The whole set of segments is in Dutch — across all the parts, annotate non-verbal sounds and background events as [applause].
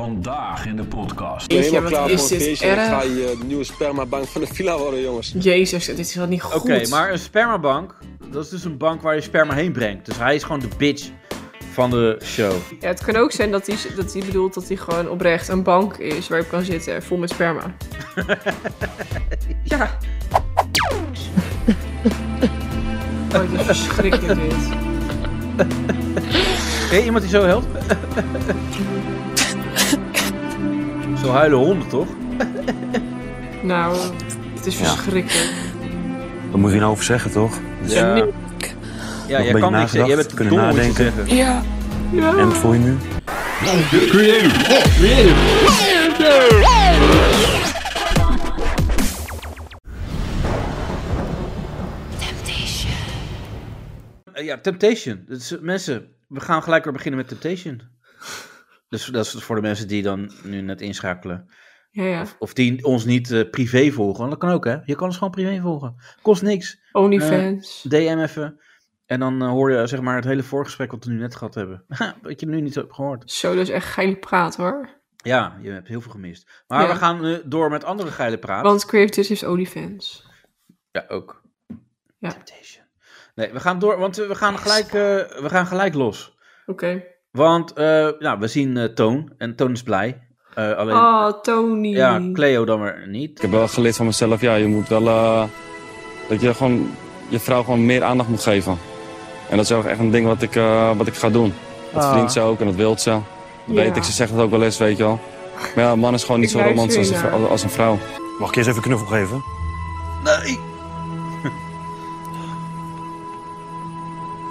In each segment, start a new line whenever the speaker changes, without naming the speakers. Vandaag in de podcast.
Jeetje,
helemaal
wat
klaar
is
voor een
dit
feestje. en Ik
erg.
ga je eh, nieuwe spermabank van de villa worden, jongens.
Jezus, dit is wel niet goed.
Oké, maar een spermabank, dat is dus een bank waar je sperma heen brengt. Dus hij is gewoon de bitch van de show.
Ja, het kan ook zijn dat hij dat die bedoelt dat hij gewoon oprecht een bank is waar je op kan zitten, vol met
[laughs]
sperma. ja. Oh, dit is verschrikkelijk dit.
Ken je iemand die zo helpt? zo huilen honden, toch?
Nou, het is verschrikkelijk.
Wat moet je nou over zeggen, toch?
Ja, ja jij
beetje
kan niks zeggen.
nagedacht,
Jij bent te
kunnen
dom om iets te
nadenken.
zeggen.
Ja.
En voor je nu?
Eh, Ja, Temptation. Dus, mensen, we gaan gelijk weer beginnen met Temptation. Dus dat is voor de mensen die dan nu net inschakelen.
Ja, ja.
Of die ons niet eh, privé volgen. Want dat kan ook, hè? Je kan ons gewoon privé volgen. Kost niks.
Onlyfans.
DM even. En dan eh, hoor je zeg maar, het hele voorgesprek wat we nu net gehad hebben. [laughs] [laughs] wat je nu niet hebt gehoord.
Zo, dat is echt geile praat hoor.
Ja, je hebt heel veel gemist. Maar
Ja.
we gaan eh, door met andere geile praat.
Want Creative heeft Onlyfans.
Ja, ook.
Ja.
Temptation. Nee, we gaan door, want eh, we gaan gelijk, eh, we gaan gelijk los.
Oké.
Want eh, nou, we zien eh, Toon en Toon is blij. Eh, alleen,
Oh, Tony.
ja, Cleo dan maar
Ik
niet.
heb wel geleerd van mezelf, ja, je moet wel... eh, dat je gewoon je vrouw gewoon meer aandacht moet geven. En dat is ook echt een ding wat ik, eh, wat ik ga doen. Dat
Ah.
verdient ze ook en dat wil ze. Dat weet ik, ze zegt het ook wel eens, weet je wel. Maar ja, een man is gewoon niet
Ik
zo
luister
romantisch als, een
hiernaar.
vrou- als een vrouw. Mag ik je eens even knuffel geven?
Nee!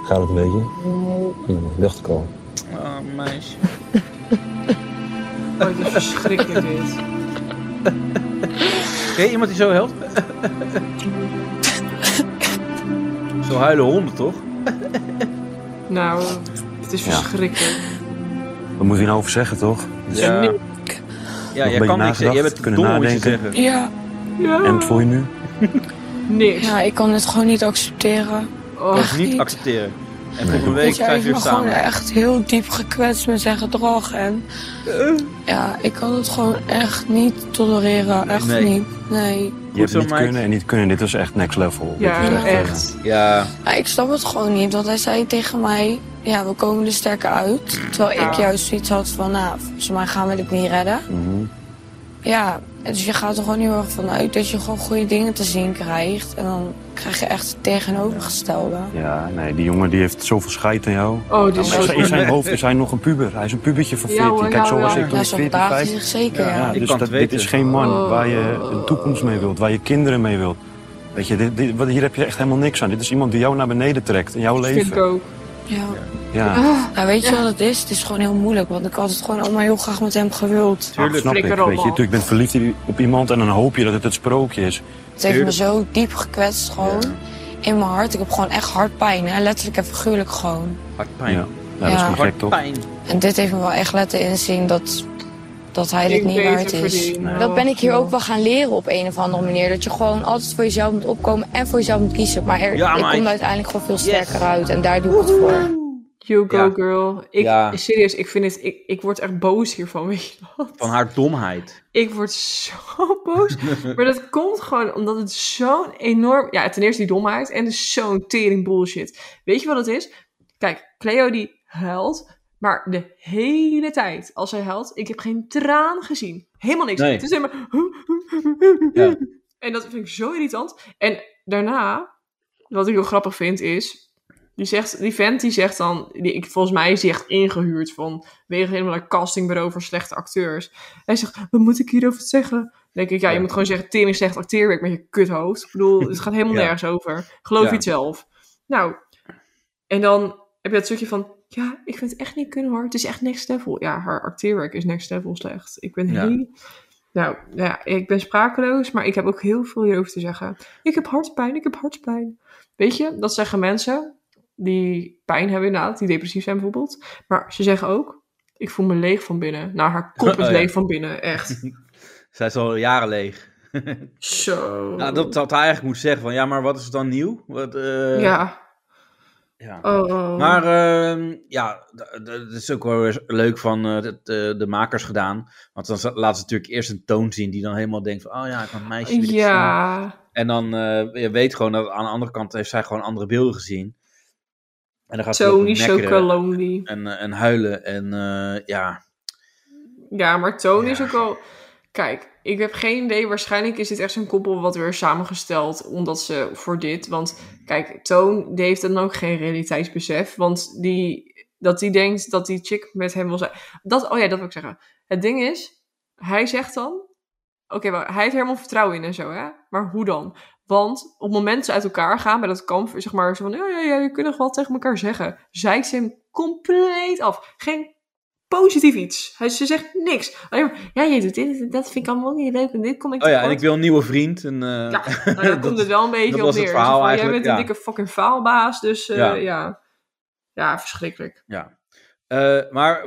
Gaat het een beetje? dacht ik al.
Oh, meisje.
Oh, dit is verschrikkelijk dit.
Ken je iemand die zo helpt? zo huilen honden, toch?
Nou, het is
Ja.
verschrikkelijk.
Wat moet je nou over zeggen, toch?
Ja. Ja, jij
beetje
kan niks zeggen.
nagedacht,
Jij bent te
kunnen
dom om iets te
nadenken.
zeggen.
Ja,
Ja.
voor je nu?
Niks.
ja, ik kan het gewoon niet accepteren.
Dat
Oh,
is niet
niet.
accepteren. En volgende week
Want jij
zijn ze
heeft
weer
me gewoon
samen.
echt heel diep gekwetst met zijn gedrag. En ja, ik kan het gewoon echt niet tolereren. Echt
nee.
niet. Nee.
Je hebt
zo,
niet
meid.
kunnen en niet kunnen. Dit was echt next level. Dit was
ja,
eh,
echt.
Ja,
Ja, ik snap het gewoon niet, want hij zei tegen mij, ja, we komen er sterker uit. Terwijl
Ja.
ik juist zoiets had van, nou, volgens mij gaan we dit niet redden.
mhm.
Ja, en dus je gaat er gewoon heel erg van uit dat je gewoon goede dingen te zien krijgt. En dan krijg je echt het tegenovergestelde.
Ja, nee, die jongen die heeft zoveel scheid aan jou.
Oh, dit is
Maar
zo
in zijn hoofd is hij nog een puber. Hij is een pubertje van
Ja,
14.
hoor,
Kijk,
ja,
zo was
ja.
ik toen
Ja,
ik
zo
14,
gedraagt hij
15.
zich zeker,
Ja,
ja.
Ja,
Ik
dus
kan
dat,
het
dit
weten.
is geen man
Oh.
waar je een toekomst mee wilt, waar je kinderen mee wilt. Weet je, dit, dit- wat- hier heb je echt helemaal niks aan. Dit is iemand die jou naar beneden trekt in jouw
vind ik
leven.
ook.
ja.
Ah.
Ja,
Nou, weet je wat het is? Het is gewoon heel moeilijk, want ik had het gewoon allemaal heel graag met hem gewild.
Ach, snap ik.
Flikker
Weet
op,
je,
man.
natuurlijk ben verliefd op iemand en dan hoop je dat het het sprookje is.
Het heeft me zo diep gekwetst gewoon. In mijn hart. Ik heb gewoon echt hard pijn, hè? letterlijk en figuurlijk gewoon.
hartpijn.
Ja, ja dat is
Ja.
niet gek, toch?
Hartpijn.
En dit heeft me wel echt laten inzien dat, dat hij dit
Ik
niet waard
beter
is.
verdienen.
Dat ben ik hier ook wel gaan leren op een of andere manier. Dat je gewoon altijd voor jezelf moet opkomen en voor jezelf moet kiezen. Maar er,
Ja,
ik kom
meid.
er uiteindelijk gewoon veel sterker
Yes.
uit. En daar doe ik het voor.
You go
Ja.
girl. Ik,
Ja.
Serieus, ik vind het, ik, ik word echt boos hiervan, weet je wat?
Van haar domheid.
Ik word zo [laughs] boos.
[laughs]
maar dat komt gewoon omdat het zo'n enorm... Ja, ten eerste die domheid en dus zo'n tering bullshit. Weet je wat het is? Kijk, Cleo die huilt, maar de hele tijd als zij huilt, ik heb geen traan gezien. Helemaal niks.
Nee.
Het is alleen maar...
Ja.
En dat vind ik zo irritant. En daarna, wat ik heel grappig vind, is... Die, zegt, die vent die zegt dan, die, ik, volgens mij is die echt ingehuurd van wegen helemaal een castingbureau voor slechte acteurs. Hij zegt, wat moet ik hierover zeggen? Dan denk ik, ja, je
Ja.
moet gewoon zeggen, tering slecht acteerwerk met je kuthoofd. Ik bedoel, het gaat helemaal
Ja.
nergens over. Geloof
Ja.
je het zelf. Nou, en dan heb je dat stukje van, ja, ik vind het echt niet kunnen hoor. Het is echt next level. Ja, haar acteerwerk is next level slecht. Ik ben
Ja.
heel... Nou, ja, ik ben sprakeloos, maar ik heb ook heel veel hierover te zeggen. Ik heb hartpijn, ik heb hartpijn. Weet je, dat zeggen mensen die pijn hebben inderdaad, die depressief zijn bijvoorbeeld. Maar ze zeggen ook, ik voel me leeg van binnen. Nou, haar kop is
[laughs] Oh, ja.
leeg van binnen, echt.
[laughs] Zij is al jaren leeg. [laughs]
Zo.
Nou, dat had hij eigenlijk moeten zeggen. Van, ja, maar wat is dan nieuw? Wat, eh,
Ja.
Ja.
Oh, oh.
Maar ehm, ja, d- d- dat is ook wel weer leuk van eh, dat, eh, de makers gedaan. Want dan za- laten ze natuurlijk eerst een toon zien die dan helemaal denkt van... Oh ja, ik heb een meisje. dit is een-
ja.
En dan eh, je weet gewoon dat aan de andere kant heeft zij gewoon andere beelden gezien. En dan gaat ze
Tony
lopen
Choco
mekkeren
Lonely.
en, eh, en huilen. En eh, ja,
Ja, maar Toon is
Ja.
ook al. Kijk, ik heb geen idee. Waarschijnlijk is dit echt zo'n koppel wat weer is samengesteld. Omdat ze voor dit. Want kijk, Toon die heeft dan ook geen realiteitsbesef. Want die, dat die denkt dat die chick met hem wil zijn. Dat, oh ja, dat wil ik zeggen. Het ding is, hij zegt dan. Oké, maar hij heeft er helemaal vertrouwen in en zo, hè? Maar hoe dan? Want op het moment dat ze uit elkaar gaan bij dat kamp, zeg maar zo van, ja, ja, ja, je kunt nog wel tegen elkaar zeggen. Zeikt ze hem compleet af. Geen positief iets. Hij, ze zegt niks. Alleen maar, ja, je doet dit en dat vind ik allemaal niet leuk en dit kom ik
Oh ja, en
tekort.
ik wil een nieuwe vriend. En, eh,
Ja, nou, daar
dat-
komt het wel een beetje
dat
op
was het
neer. Zo
verhaal
van, jij
eigenlijk,
bent een
ja.
dikke fucking faalbaas, dus eh,
Ja.
ja. ja. verschrikkelijk.
[laughs] ja. Eh, maar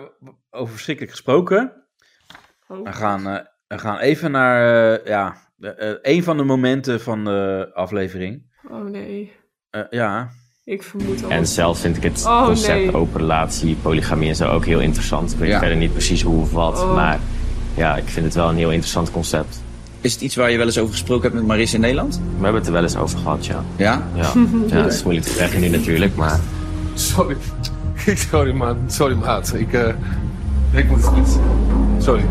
over verschrikkelijk gesproken.
Oh.
We gaan, eh, we gaan even naar eh, ja, een van de momenten van de aflevering.
Oh nee,
Eh, ja,
ik vermoed al.
En zelf vind ik het
Oh,
concept
nee.
open relatie, polygamie en zo ook heel interessant. Ik weet
Ja.
verder niet precies hoe of wat,
Oh.
maar ja, ik vind het wel een heel interessant concept.
Is het iets waar je wel eens over gesproken hebt met Maris in Nederland?
We hebben het er wel eens over gehad, ja.
Ja?
[laughs]
Ja, ja het is moeilijk te zeggen nu natuurlijk, maar...
Sorry. [laughs] Sorry, man. Sorry, maat. Ik, eh, ik moet het niet. Sorry.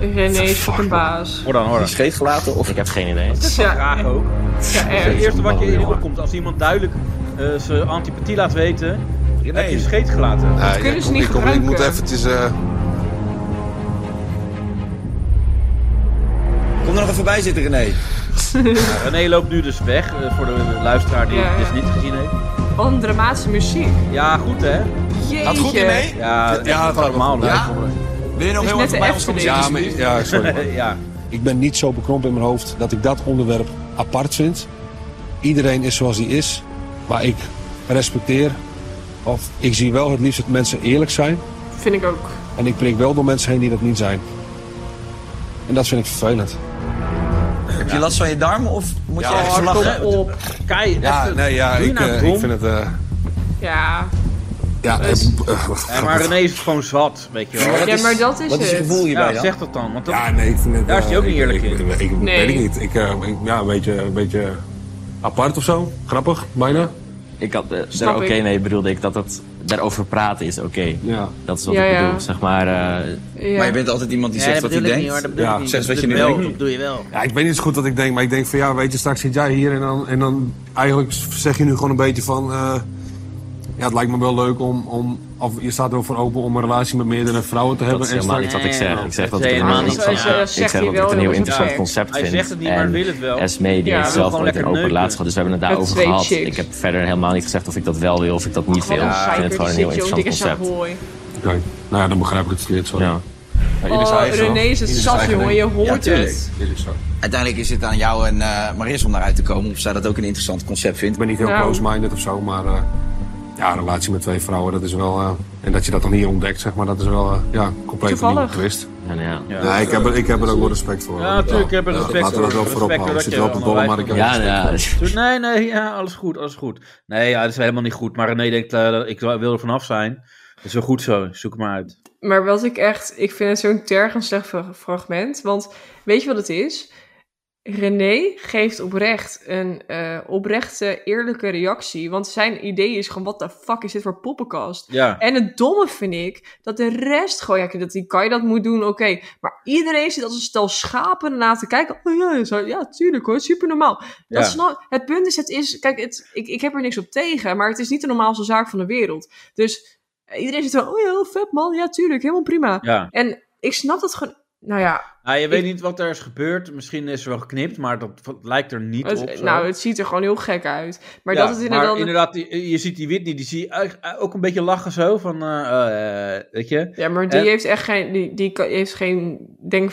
René is fucking baas.
hoor dan, hoor dan.
Scheef gelaten of...
Ik heb geen
[laughs]
idee.
Dus ja,
Vraag ook.
ja,
Het
erg.
eerste wat je in je opkomt, als iemand duidelijk eh, zijn antipathie laat weten, heb je scheet gelaten.
Ah,
kunnen
ja,
ze
kom,
niet
ik, kom, ik moet
gebruiken.
eventjes... eh,
Kom er nog even bij zitten, René.
René loopt nu dus weg, eh, voor de luisteraar die
Ja,
het dus
ja.
niet gezien heeft.
Wat een dramatische muziek.
Ja, goed hè?
Jeetje.
Gaat goed, René?
Ja, echt
Ja, het gaat
allemaal.
wel goed.
hè?
Ja, kom maar.
Wil je nog
Het is
heel
net
even
de
bij ons
Efteling.
komen
Ja, maar, ja, sorry. man.
[laughs] ja.
Ik ben niet zo bekrompen in mijn hoofd dat ik dat onderwerp apart vind. Iedereen is zoals hij is. Maar ik respecteer, of ik zie wel het liefst dat mensen eerlijk zijn.
Vind ik ook.
En ik prik wel door mensen heen die dat niet zijn. En dat vind ik vervelend.
Heb je last van je darmen of moet je
Ja,
ergens
hardop.
lachen?
Op.
Kai,
Ja,
echt,
nee, ja,
doe je
ik,
nou
eh,
dom?
ik vind het... eh,
Ja.
ja,
Dus-
eh, eh, wat-
Ja, maar René is het gewoon zat, weet je wel.
Ja, maar dat is
Wat is je
het.
gevoel hierbij
Ja,
dan?
zeg dat dan. Want dat,
ja, nee, ik vind het...
Daar is hij
eh,
ook niet
ik-
eerlijk
ik-
in.
Ik, ik-
Nee.
weet ik niet. Ik, eh, ik- ja, een beetje, een beetje apart of zo. Grappig, bijna.
Ik had... eh,
Snap
Oké,
ik.
nee, bedoelde ik dat het daarover praten is oké.
Ja.
Dat is wat
Ja,
ik
ja.
bedoel, zeg maar. eh,
Ja.
Maar je bent altijd iemand die zegt wat hij denkt.
Ja, ik niet.
zeg
Dus
wat je nu denkt.
doe je wel.
Ja, ik weet niet zo goed wat ik denk, maar ik denk van ja, weet je, straks zit jij hier en dan, en dan eigenlijk zeg je nu gewoon een beetje van. eh, ja, het lijkt me wel leuk om, om. Of je staat er wel voor open om een relatie met meerdere vrouwen te
Dat
hebben.
is helemaal
straks-
niet wat ik zeg. Ik zeg dat ik
Nee,
het helemaal
maar
niet
dat
van
is- dat
zeg. Ik
zegt
zeg
hij
dat ik
wel,
het een heel
dat is
interessant
oké.
concept
Hij
vind.
zegt het niet, maar
En
wil het wel.
Esme, die
Ja,
heeft
wil
zelf
gewoon
ooit een
lekker
open
neuken.
relatie gehad. Dus we hebben het
Met
daarover
twee
gehad.
chicks.
Ik heb verder helemaal niet gezegd of ik dat wel wil of ik dat niet
Wat
wil.
een
Ik vind het
zeiker
gewoon
die
een heel
zit, joh.
interessant
Dikke
concept.
Savoy.
Oké. Nou ja, dan begrijp ik het verkeerd. Sorry.
Ja.
Maar ieder zijn
Oh,
eigen ding.
René is het
Ieder zijn
zat,
eigen
jongen. Je
ding.
hoort
tuurlijk.
het.
Dit is zo.
Uiteindelijk is het aan jou en eh Maris om daaruit te komen. Of zij dat ook een interessant concept vindt.
Ik ben niet heel
Nou.
close-minded of zo, maar. eh, ja, een relatie met twee vrouwen, dat is wel. eh, en dat je dat dan hier ontdekt, zeg maar, dat is wel. eh, ja, compleet een nieuwe
Toevallig.
twist.
Ja, nou ja.
Ja,
Ja, ik, heb er, ik heb er ook wel respect voor.
Ja, natuurlijk heb ik
Ja,
respect
Laten we dat
voor.
wel voorop
Respect
houden. Ik
dat
zit
je
wel op de
allemaal
dolle, maar ik heb
Ja,
respect
ja.
voor.
Tuurlijk, Nee, nee, ja, alles goed, alles goed. Nee, ja, dat is helemaal niet goed. Maar René denkt, eh, ik wil er vanaf zijn. Dat is wel goed zo, zoek het maar uit.
Maar wat ik echt, ik vind het zo'n tergend slecht fra- fragment. Want weet je wat het is? René geeft oprecht een eh, oprechte, eerlijke reactie. Want zijn idee is gewoon: wat de fuck is dit voor poppenkast?
Ja.
En het domme vind ik dat de rest gewoon, ja, dat die Kai dat moet doen, oké. Maar iedereen zit als een stel schapen na te kijken. Oh ja, zo, ja, tuurlijk hoor, super normaal. Dat
Ja.
snap- het punt is, het is, kijk, het, ik, ik heb er niks op tegen, maar het is niet de normaalste zaak van de wereld. Dus eh, iedereen zit wel, oh ja, heel vet man, ja, tuurlijk, helemaal prima.
Ja.
En ik snap dat gewoon, nou ja,
Ah, je weet niet wat er is gebeurd. Misschien is er wel geknipt, maar dat v- lijkt er niet op.
het,
zo.
nou, het ziet er gewoon heel gek uit. Maar
Ja,
dat het inderdaad,
die- je ziet die Whitney, die zie je eigenlijk ook een beetje lachen zo. Van, eh, eh, weet je?
ja, maar die
en-
heeft echt geen, die, die kan- heeft geen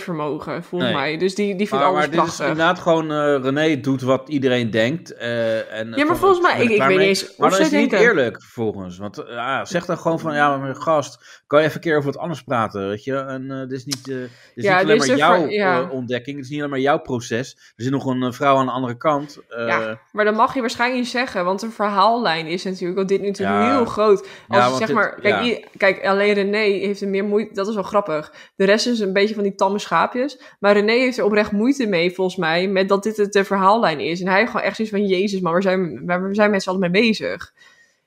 denkvermogen, volgens
Nee.
mij. Dus die, die vindt
maar,
alles
maar dit is
prachtig.
inderdaad gewoon eh, René doet wat iedereen denkt. eh, en
Ja, maar volgens mij-
ben
ik-
er
ik
klaar
weet
mee.
niet eens
Maar
of
dan is
zij
het niet
denken.
eerlijk vervolgens. Want eh, ja, zeg dan gewoon van ja, maar mijn gast, kan je even een keer over wat anders praten, weet je? En eh, dit is niet, eh, dit is
Ja,
niet
dit
alleen
is
maar
een ver-
jouw
ja.
eh, ontdekking, het is niet alleen maar jouw proces. Er zit nog een eh, vrouw aan de andere kant. eh,
ja, maar dat mag je waarschijnlijk niet zeggen, want de verhaallijn is natuurlijk, want dit nu natuurlijk
Ja.
heel groot. Als
Ja,
je
want
zeg
dit-
maar, kijk,
ja.
i- kijk, alleen René heeft er meer moeite, dat is wel grappig. De rest is een beetje van die tamme schaapjes, maar René heeft er oprecht moeite mee, volgens mij, met dat dit het de verhaallijn is. En hij heeft gewoon echt zoiets van, jezus man, waar zijn, waar waar zijn mensen allemaal mee bezig?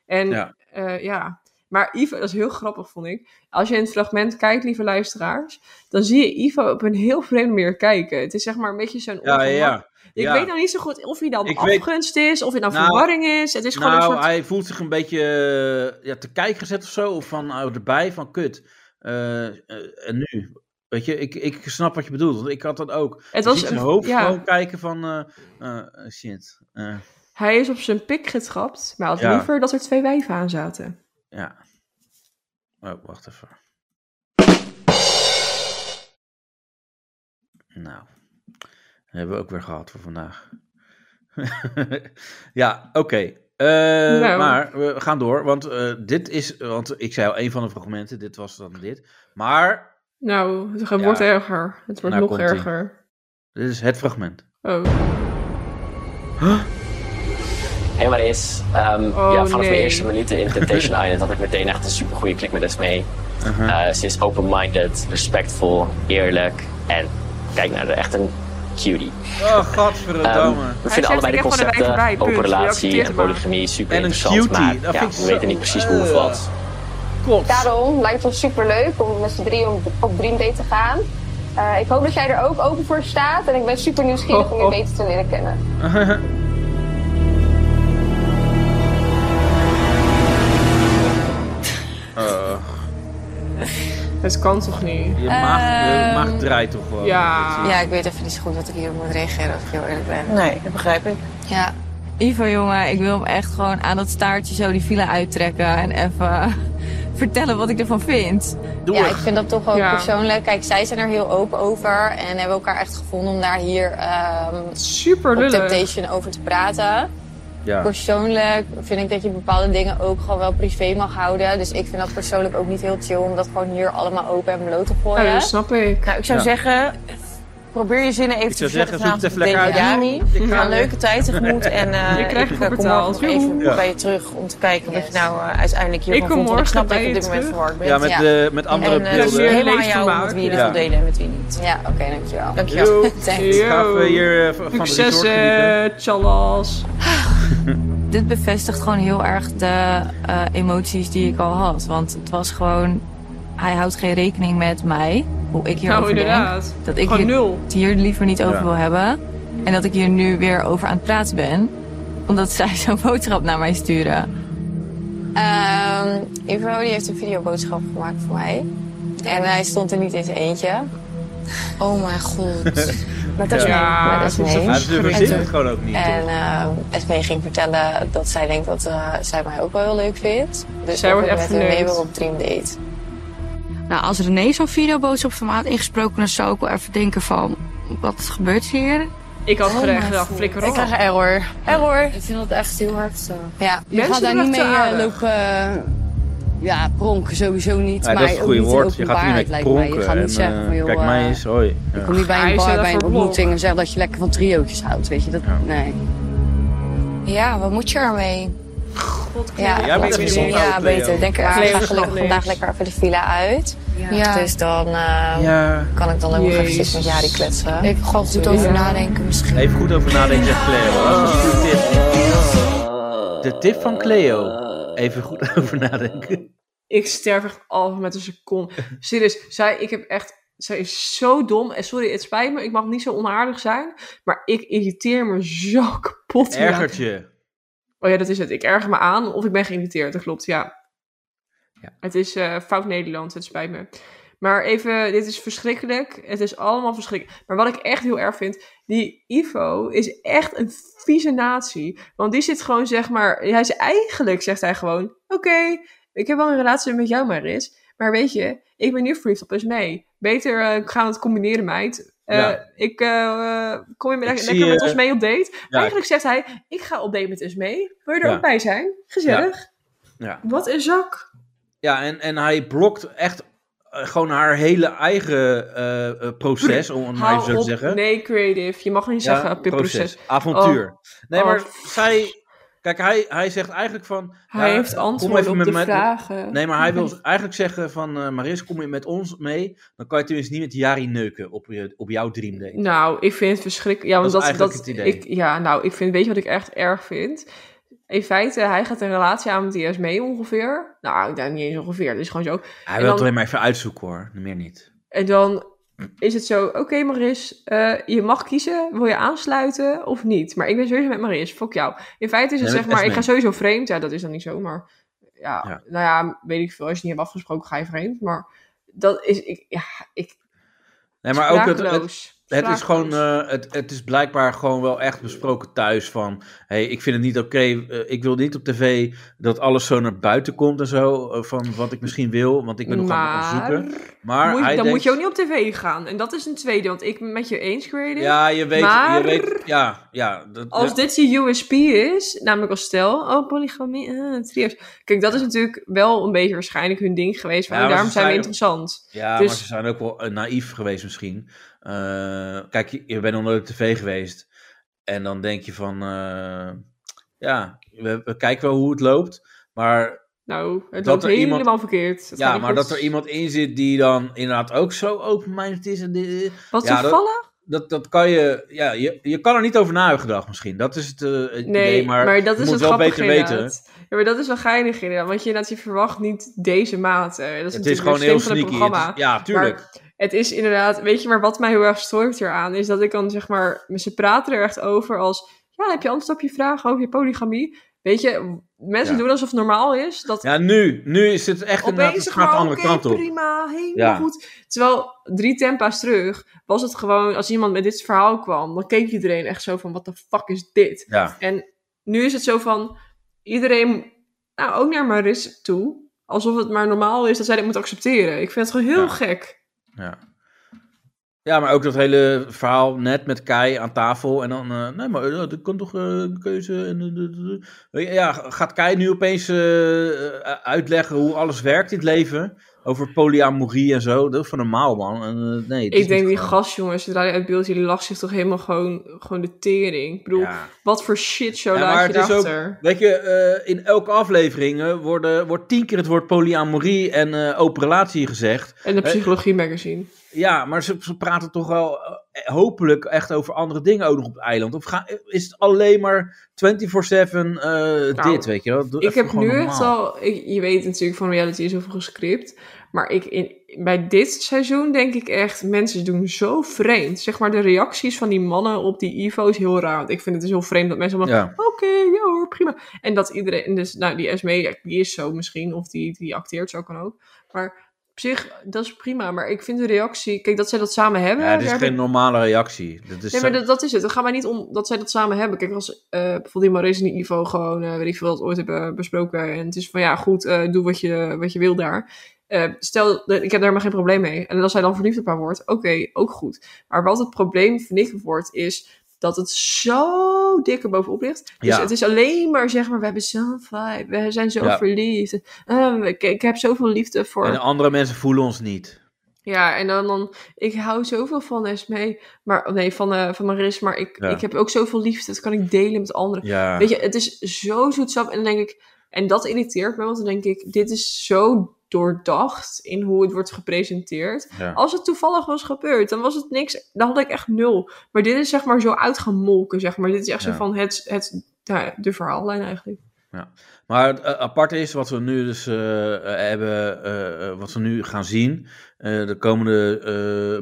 En
Ja.
ja. ja. Maar Ivo, dat is heel grappig, vond ik. Als je in het fragment kijkt, lieve luisteraars, dan zie je Ivo op een heel vreemde manier kijken. Het is zeg maar een beetje zo'n
Ja, ja, ja.
ongemak. Ik
Ja.
weet nou niet zo goed of hij dan
Ik weet-
afgunst is, of het nou,
Nou,
verwarring is. Het is gewoon
nou,
een soort...
hij voelt zich een beetje eh, ja, te kijk gezet of zo. Of van oh, erbij, van kut. Eh, eh, en nu? Weet je, ik, ik snap wat je bedoelt. Want ik had dat ook.
Het
Het
was
was een
een-
hoofd
ja.
gewoon kijken van... eh, eh, shit. eh,
Hij is op zijn pik getrapt, maar had
Ja.
liever dat er twee wijven aan zaten.
ja. Oh, wacht even. Nou. Dat hebben we ook weer gehad voor vandaag. [laughs] ja, oké. Eh,
Nou.
Maar we gaan door, want eh, dit is, want ik zei al, een van de fragmenten, dit was dan dit. Maar
Nou, het
Ja.
wordt erger. Het wordt nog
Nou, komt-ie.
erger.
dit is dus het fragment.
Oh.
Helemaal is. ehm,
Oh,
ja, vanaf
nee.
mijn eerste minuten in Temptation Island had ik meteen echt een super goede klik met Esmee. Eh, ze is open-minded, respectvol, eerlijk en kijk naar de echt een cutie.
Oh, godverdomme.
Ehm, we vinden allebei de concepten open eh, relatie en polygamie super
En een
interessant,
cutie,
maar
dat
ja,
vind ik
we weten
zo-
niet precies hoe of
eh.
wat.
Daarom lijkt het ons super leuk om met z'n drieën op, op Dream Date te gaan. Eh, ik hoop dat jij er ook open voor staat en ik ben super nieuwsgierig om je beter te leren kennen.
Het kan toch niet?
Eh, Je
maag- je Ehm,
maag draait toch wel.
Ja, ik weet even niet zo goed wat ik hierop moet reageren, als ik heel eerlijk ben.
Nee,
dat begrijp ik.
Ja. Ivo, jongen, ik wil hem echt gewoon aan dat staartje zo die file uittrekken en even [laughs] vertellen wat ik ervan vind.
Ja, ik vind dat toch ook
Ja.
persoonlijk. Kijk, zij zijn er heel open over en hebben elkaar echt gevonden om daar hier ehm
Super
op
lullig.
Temptation over te praten.
Ja.
Persoonlijk vind ik dat je bepaalde dingen ook gewoon wel privé mag houden. Dus ik vind dat persoonlijk ook niet heel chill om dat gewoon hier allemaal open en bloot te gooien.
Ja, Oh, dat snap ik.
Nou, ik zou
Ja.
zeggen, probeer je zinnen even
Ik
te
zou zeggen,
zeggen
zoek
vanavond
het
op
even lekker uit.
Daily
Ja.
Dani.
Ik
Ga
ga
een
weer.
leuke tijd tegemoet en eh
Je krijgt
ik
goed
eh, kom morgen nog
betaald.
even
Ja.
bij je terug om te kijken wat je nou eh, uiteindelijk
Ik
hiervan
kom
vond. Want ik
morgen
snap dat
bij
je op
je
dit moment
terug.
verward bent.
Ja, met, eh, met andere
en, eh,
beelden.
het is helemaal
Leesvermaak.
jou met wie je dit
Ja.
wil delen en met wie niet. Ja, oké, dankjewel. Dankjewel.
Yo.
dus Thanks.
Ik ga even hier eh, van de
Succes,
resort genieten.
chalas.
[laughs] Dit bevestigt gewoon heel erg de eh, emoties die ik al had. Want het was gewoon, hij houdt geen rekening met mij, hoe ik hierover
Nou, inderdaad.
denk. Dat ik
Gewoon
hier,
nul.
het hier liever niet over
Ja.
wil hebben. En dat ik hier nu weer over aan het praten ben. Omdat zij zo'n boodschap naar mij sturen.
Ehm, Ivo die heeft een videoboodschap gemaakt voor mij. En hij stond er niet in zijn eentje. Oh mijn god. Met Esmee.
Ja,
met Esmee.
maar ze verzin het gewoon ook niet.
En
toch?
uh, Esmee ging vertellen dat zij denkt dat eh, zij mij ook wel heel leuk vindt. Dus
Zij
dat
wordt
ik
echt
met René
verneukt.
weer op Dream Date.
Nou, als René zo'n videoboodschap van me had ingesproken, dan zou ik wel even denken van, wat gebeurt hier?
Ik had
Oh
graag
my
nou,
gedacht,
god.
flikker
Ik
op.
krijg error. Error. Ik
vind dat echt heel heftig.
Ja,
je gaat daar niet mee eh, lopen
eh, ja, pronken sowieso niet.
Ja,
maar
dat is het
ook
goede
niet in
woord. Je gaat niet
openbaarheid,
mee
lijkt mij.
pronken.
Je gaat
en,
niet zeggen van,
eh,
joh,
Kijk, mij eens. Hoi. Ja.
kom niet bij
Hij
een
is
bar,
net
bij een
verloren.
ontmoeting en zeg dat je lekker van triootjes houdt, weet je. Dat, Nee.
Ja, wat moet je ermee?
Cleo. Jij bent
laten we
een
zien.
iemand
ja
ook,
beter.
Cleo.
Denk er aan.
Cleo
Ik ga
is
gelukkig
leuk.
vandaag lekker even de villa uit.
Ja.
Dus dan eh,
Ja.
kan ik dan ook nog eventjes met
Jezus.
Jari kletsen. Even gewoon
goed over nadenken
misschien.
Even goed over nadenken, zegt Cleo. Dat is een goede tip. De tip van Cleo. Even goed [laughs] over nadenken.
Ik sterf echt af met een
[laughs]
seconde. Serieus, zij, ik heb echt... Zij is zo dom. En sorry, het spijt me. Ik mag niet zo onaardig zijn. Maar ik irriteer me zo kapot. hieraan.
Ergert je.
Oh ja, dat is het. Ik erger me aan of ik ben geïrriteerd. Dat klopt, ja. Het is eh, fout Nederland, het spijt me. Maar even, dit is verschrikkelijk. Het is allemaal verschrikkelijk. Maar wat ik echt heel erg vind, die Ivo is echt een vieze natie. Want die zit gewoon, zeg maar, hij is eigenlijk, zegt hij gewoon, oké, ik heb wel een relatie met jou, Maris. Maar weet je, ik ben nu verliefd op Esmee. Beter eh, gaan we het combineren, meid. Eh,
Ja.
Ik eh, eh, kom je middag
Ik
lekker
zie,
met
eh,
ons mee op date.
ja.
Eigenlijk zegt hij, ik ga op date met Esmee. Wil je er
Ja.
ook bij zijn? Gezellig.
Ja,
Wat een zak.
ja en, en hij blokt echt eh, gewoon haar hele eigen eh, eh, proces, om het maar even
Hou
zo te
op.
zeggen.
Nee, creative. Je mag niet
Ja,
zeggen pipproces.
Avontuur.
Oh.
Nee,
Oh.
maar zij. Kijk, hij, hij zegt eigenlijk van.
Hij
ja,
heeft
kom
antwoord
even
op
met
de
mij-
vragen.
Nee, maar hij wil eigenlijk zeggen van. eh, Maris, kom je met ons mee? Dan kan je tenminste niet met Jari neuken op, je, op jouw dream date.
Nou, ik vind het verschrikkelijk. Ja,
Dat
want
is
dat, dat,
eigenlijk het idee.
Ik, ja, nou, ik vind, weet je wat ik echt erg vind? In feite, hij gaat een relatie aan met die mee ongeveer. Nou, daar niet eens ongeveer. Dat is gewoon zo. En
Hij wil het
dan-
alleen maar even uitzoeken hoor, meer niet.
En dan
Mm.
is het zo, oké Maris, eh, je mag kiezen, wil je aansluiten of niet? Maar ik ben sowieso met Maris, fuck jou. In feite is het
Nee,
zeg
met
maar, ik ga
Esmee.
sowieso vreemd. Ja, dat is dan niet zo, maar ja,
Ja.
nou ja, weet ik veel. Als je niet hebt afgesproken, ga je vreemd. Maar dat is, ik, ja, ik...
Nee, maar ook het, het,
Sprakeloos.
het is gewoon, eh, het, het is blijkbaar gewoon wel echt besproken thuis van, hey, ik vind het niet oké, eh, ik wil niet op tv dat alles zo naar buiten komt en zo, eh, van wat ik misschien wil, want ik ben nog aan het
Maar-
zoeken. Maar
moet,
hij
dan
denkt,
moet je ook niet op tv gaan. En dat is een tweede, want ik ben met je eens, Creative.
ja, je weet,
Maar
je weet, ja, ja. Dat,
als
ja.
dit je USP is, namelijk als stel, oh, polygamie, eh, triers. Kijk, dat is natuurlijk wel een beetje waarschijnlijk hun ding geweest. Van,
Ja,
oh,
maar
daarom
ze
zijn we
zijn-
interessant.
Ja,
dus,
maar ze zijn ook wel eh, naïef geweest misschien. Eh, kijk, je, je bent nog nooit op tv geweest. En dan denk je van... eh, ja, we, we kijken wel hoe het loopt. Maar
Nou, het
dat
loopt
er iemand-
helemaal verkeerd. Dat gaat
ja,
niet
maar
goed.
dat er iemand in zit die dan inderdaad ook zo open-minded is. En dit-
Wat
ja,
toevallig?
Dat, dat, dat kan je, ja, je... Je kan er niet over na hebben gedacht misschien. Dat is het, eh, het
Nee,
idee.
dat
Maar, je
is
moet
het
wel
grappige
beter weten.
inderdaad. Ja, maar dat is wel geinig inderdaad, want je, inderdaad, je verwacht niet deze mate. Dat is
Het is
natuurlijk
gewoon
weer slim
heel
van het
sneaky.
programma.
Het is- ja, tuurlijk.
Maar het is inderdaad, weet je, maar wat mij heel erg stoort hieraan, is dat ik dan zeg maar, ze praten er echt over als, ja, heb je antwoord op je vraag over je polygamie? Weet je, mensen
Ja.
doen alsof het normaal is, dat
Ja, nu. Nu is het echt inderdaad...
opeens
Het gaat de
gewoon,
andere
oké,
kant op.
prima, helemaal
Ja.
goed. Terwijl drie tempa's terug was het gewoon, als iemand met dit verhaal kwam, dan keek iedereen echt zo van, wat de fuck is dit?
Ja.
En nu is het zo van, iedereen, nou ook naar Maris toe, alsof het maar normaal is dat zij dit moet accepteren. Ik vind het gewoon heel gek.
Ja. Ja, maar ook dat hele verhaal net met Kai aan tafel. En dan, eh, nee, maar eh, dat kan toch eh, een keuze. En, eh, eh, eh. Weet je, ja, gaat Kai nu opeens eh, eh, uitleggen hoe alles werkt in het leven? Over polyamorie en zo. Dat is van normaal, man. En, eh, nee, het is
Ik denk
niet
die
gewoon.
gast, jongens, zodra hij uit beeld, die lacht zich toch helemaal gewoon, gewoon de tering. Ik bedoel,
Ja.
wat voor shit show
Ja,
laat
maar
je
het is ook,
daarachter?
weet je, eh, in elke aflevering eh, worden, wordt tien keer het woord polyamorie en eh, open relatie gezegd.
En de
Eh,
Psychologie Magazine.
Ja, maar ze, ze praten toch wel eh, hopelijk echt over andere dingen ook nog op het eiland. Of ga, is het alleen maar 24-7 eh, dit, weet je wel? Doe
Nou, ik
even
heb
gewoon
nu echt
normaal.
al, ik- je weet natuurlijk van reality is zoveel gescript, maar ik in, bij dit seizoen denk ik echt, mensen doen zo vreemd. Zeg maar de reacties van die mannen op die Ivo is heel raar. Want ik vind het dus heel vreemd dat mensen allemaal,
Ja.
oké, ja hoor, prima. En dat iedereen, en dus nou die Esme, ja, die is zo misschien, of die, die acteert zo kan ook. Maar op zich, dat is prima, maar ik vind de reactie, kijk dat zij dat samen hebben.
Ja, dit is
daar heb
geen
ik-
normale reactie. Dit is
nee, maar
zo-
dat, dat is het. Het gaat mij niet om dat zij dat samen hebben. Kijk, als eh, bijvoorbeeld die Maurice en die Ivo gewoon, eh, weet ik veel, dat ooit hebben besproken. En het is van, ja, goed, eh, doe wat je, wat je wil daar. Eh, stel, dat- ik heb daar helemaal geen probleem mee. En als zij dan verliefd op haar wordt, oké, ook goed. Maar wat het probleem, vind ik, wordt, is dat het zo dikker bovenop ligt. Dus
Ja.
het is alleen maar, zeg maar, we hebben zo'n vibe. We zijn zo
Ja.
verliefd. Eh, ik, ik heb zoveel liefde voor...
En de andere mensen voelen ons niet.
Ja, en dan, dan ik hou zoveel van Esme, maar nee, van, eh van Maris, maar ik,
Ja.
ik heb ook zoveel liefde, dat kan ik delen met anderen.
Ja.
Weet je, het is zo zoetsap en dan denk ik, en dat irriteert me, want dan denk ik, dit is zo doordacht in hoe het wordt gepresenteerd.
Ja.
Als het toevallig was gebeurd, dan was het niks, dan had ik echt nul. Maar dit is zeg maar zo uitgemolken, zeg maar. Dit is echt
Ja.
zo van het, het, nou ja, de verhaallijn eigenlijk.
Ja. Maar het eh, aparte is wat we nu dus eh, eh, hebben, eh, eh, wat we nu gaan zien, eh, de komende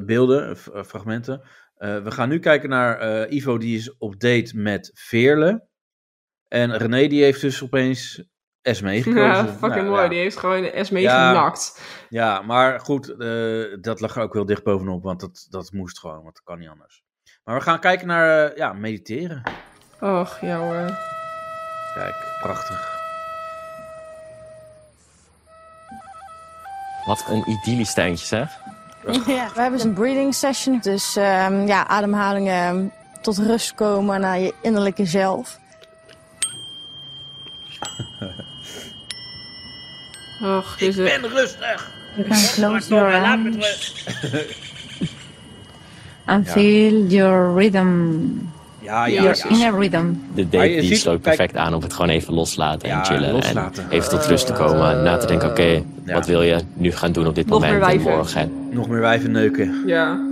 eh, beelden, eh, f- eh, fragmenten. Eh, we gaan nu kijken naar eh, Ivo, die is op date met Veerle. En René, die heeft dus opeens Esme gekozen.
[laughs] Ja, fucking
Nou,
mooi.
ja.
Die heeft gewoon Esme
Ja.
genakt.
Ja, maar goed, eh, dat lag er ook wel dicht bovenop, want dat, dat moest gewoon, want dat kan niet anders. Maar we gaan kijken naar, eh, ja, mediteren.
Och, ja hoor.
[laughs] Kijk, prachtig.
Wat een idyllisch tuintje, zeg.
Ja, we hebben een breathing session. Dus ehm, ja, ademhalingen ehm, tot rust komen naar je innerlijke zelf.
Och, ik ben
rustig.
You can close your eyes and
Ja.
feel your rhythm.
Ja,
ja,
your
ja.
inner rhythm.
De
Maar
date
je
die
ziet-
sloot perfect aan op het gewoon even loslaten
Ja,
en chillen.
loslaten.
En even tot rust te komen. na te denken, oké, wat wil je nu gaan doen op dit
Nog meer
moment en
wijven.
morgen. En
Nog meer wijven neuken.
Ja.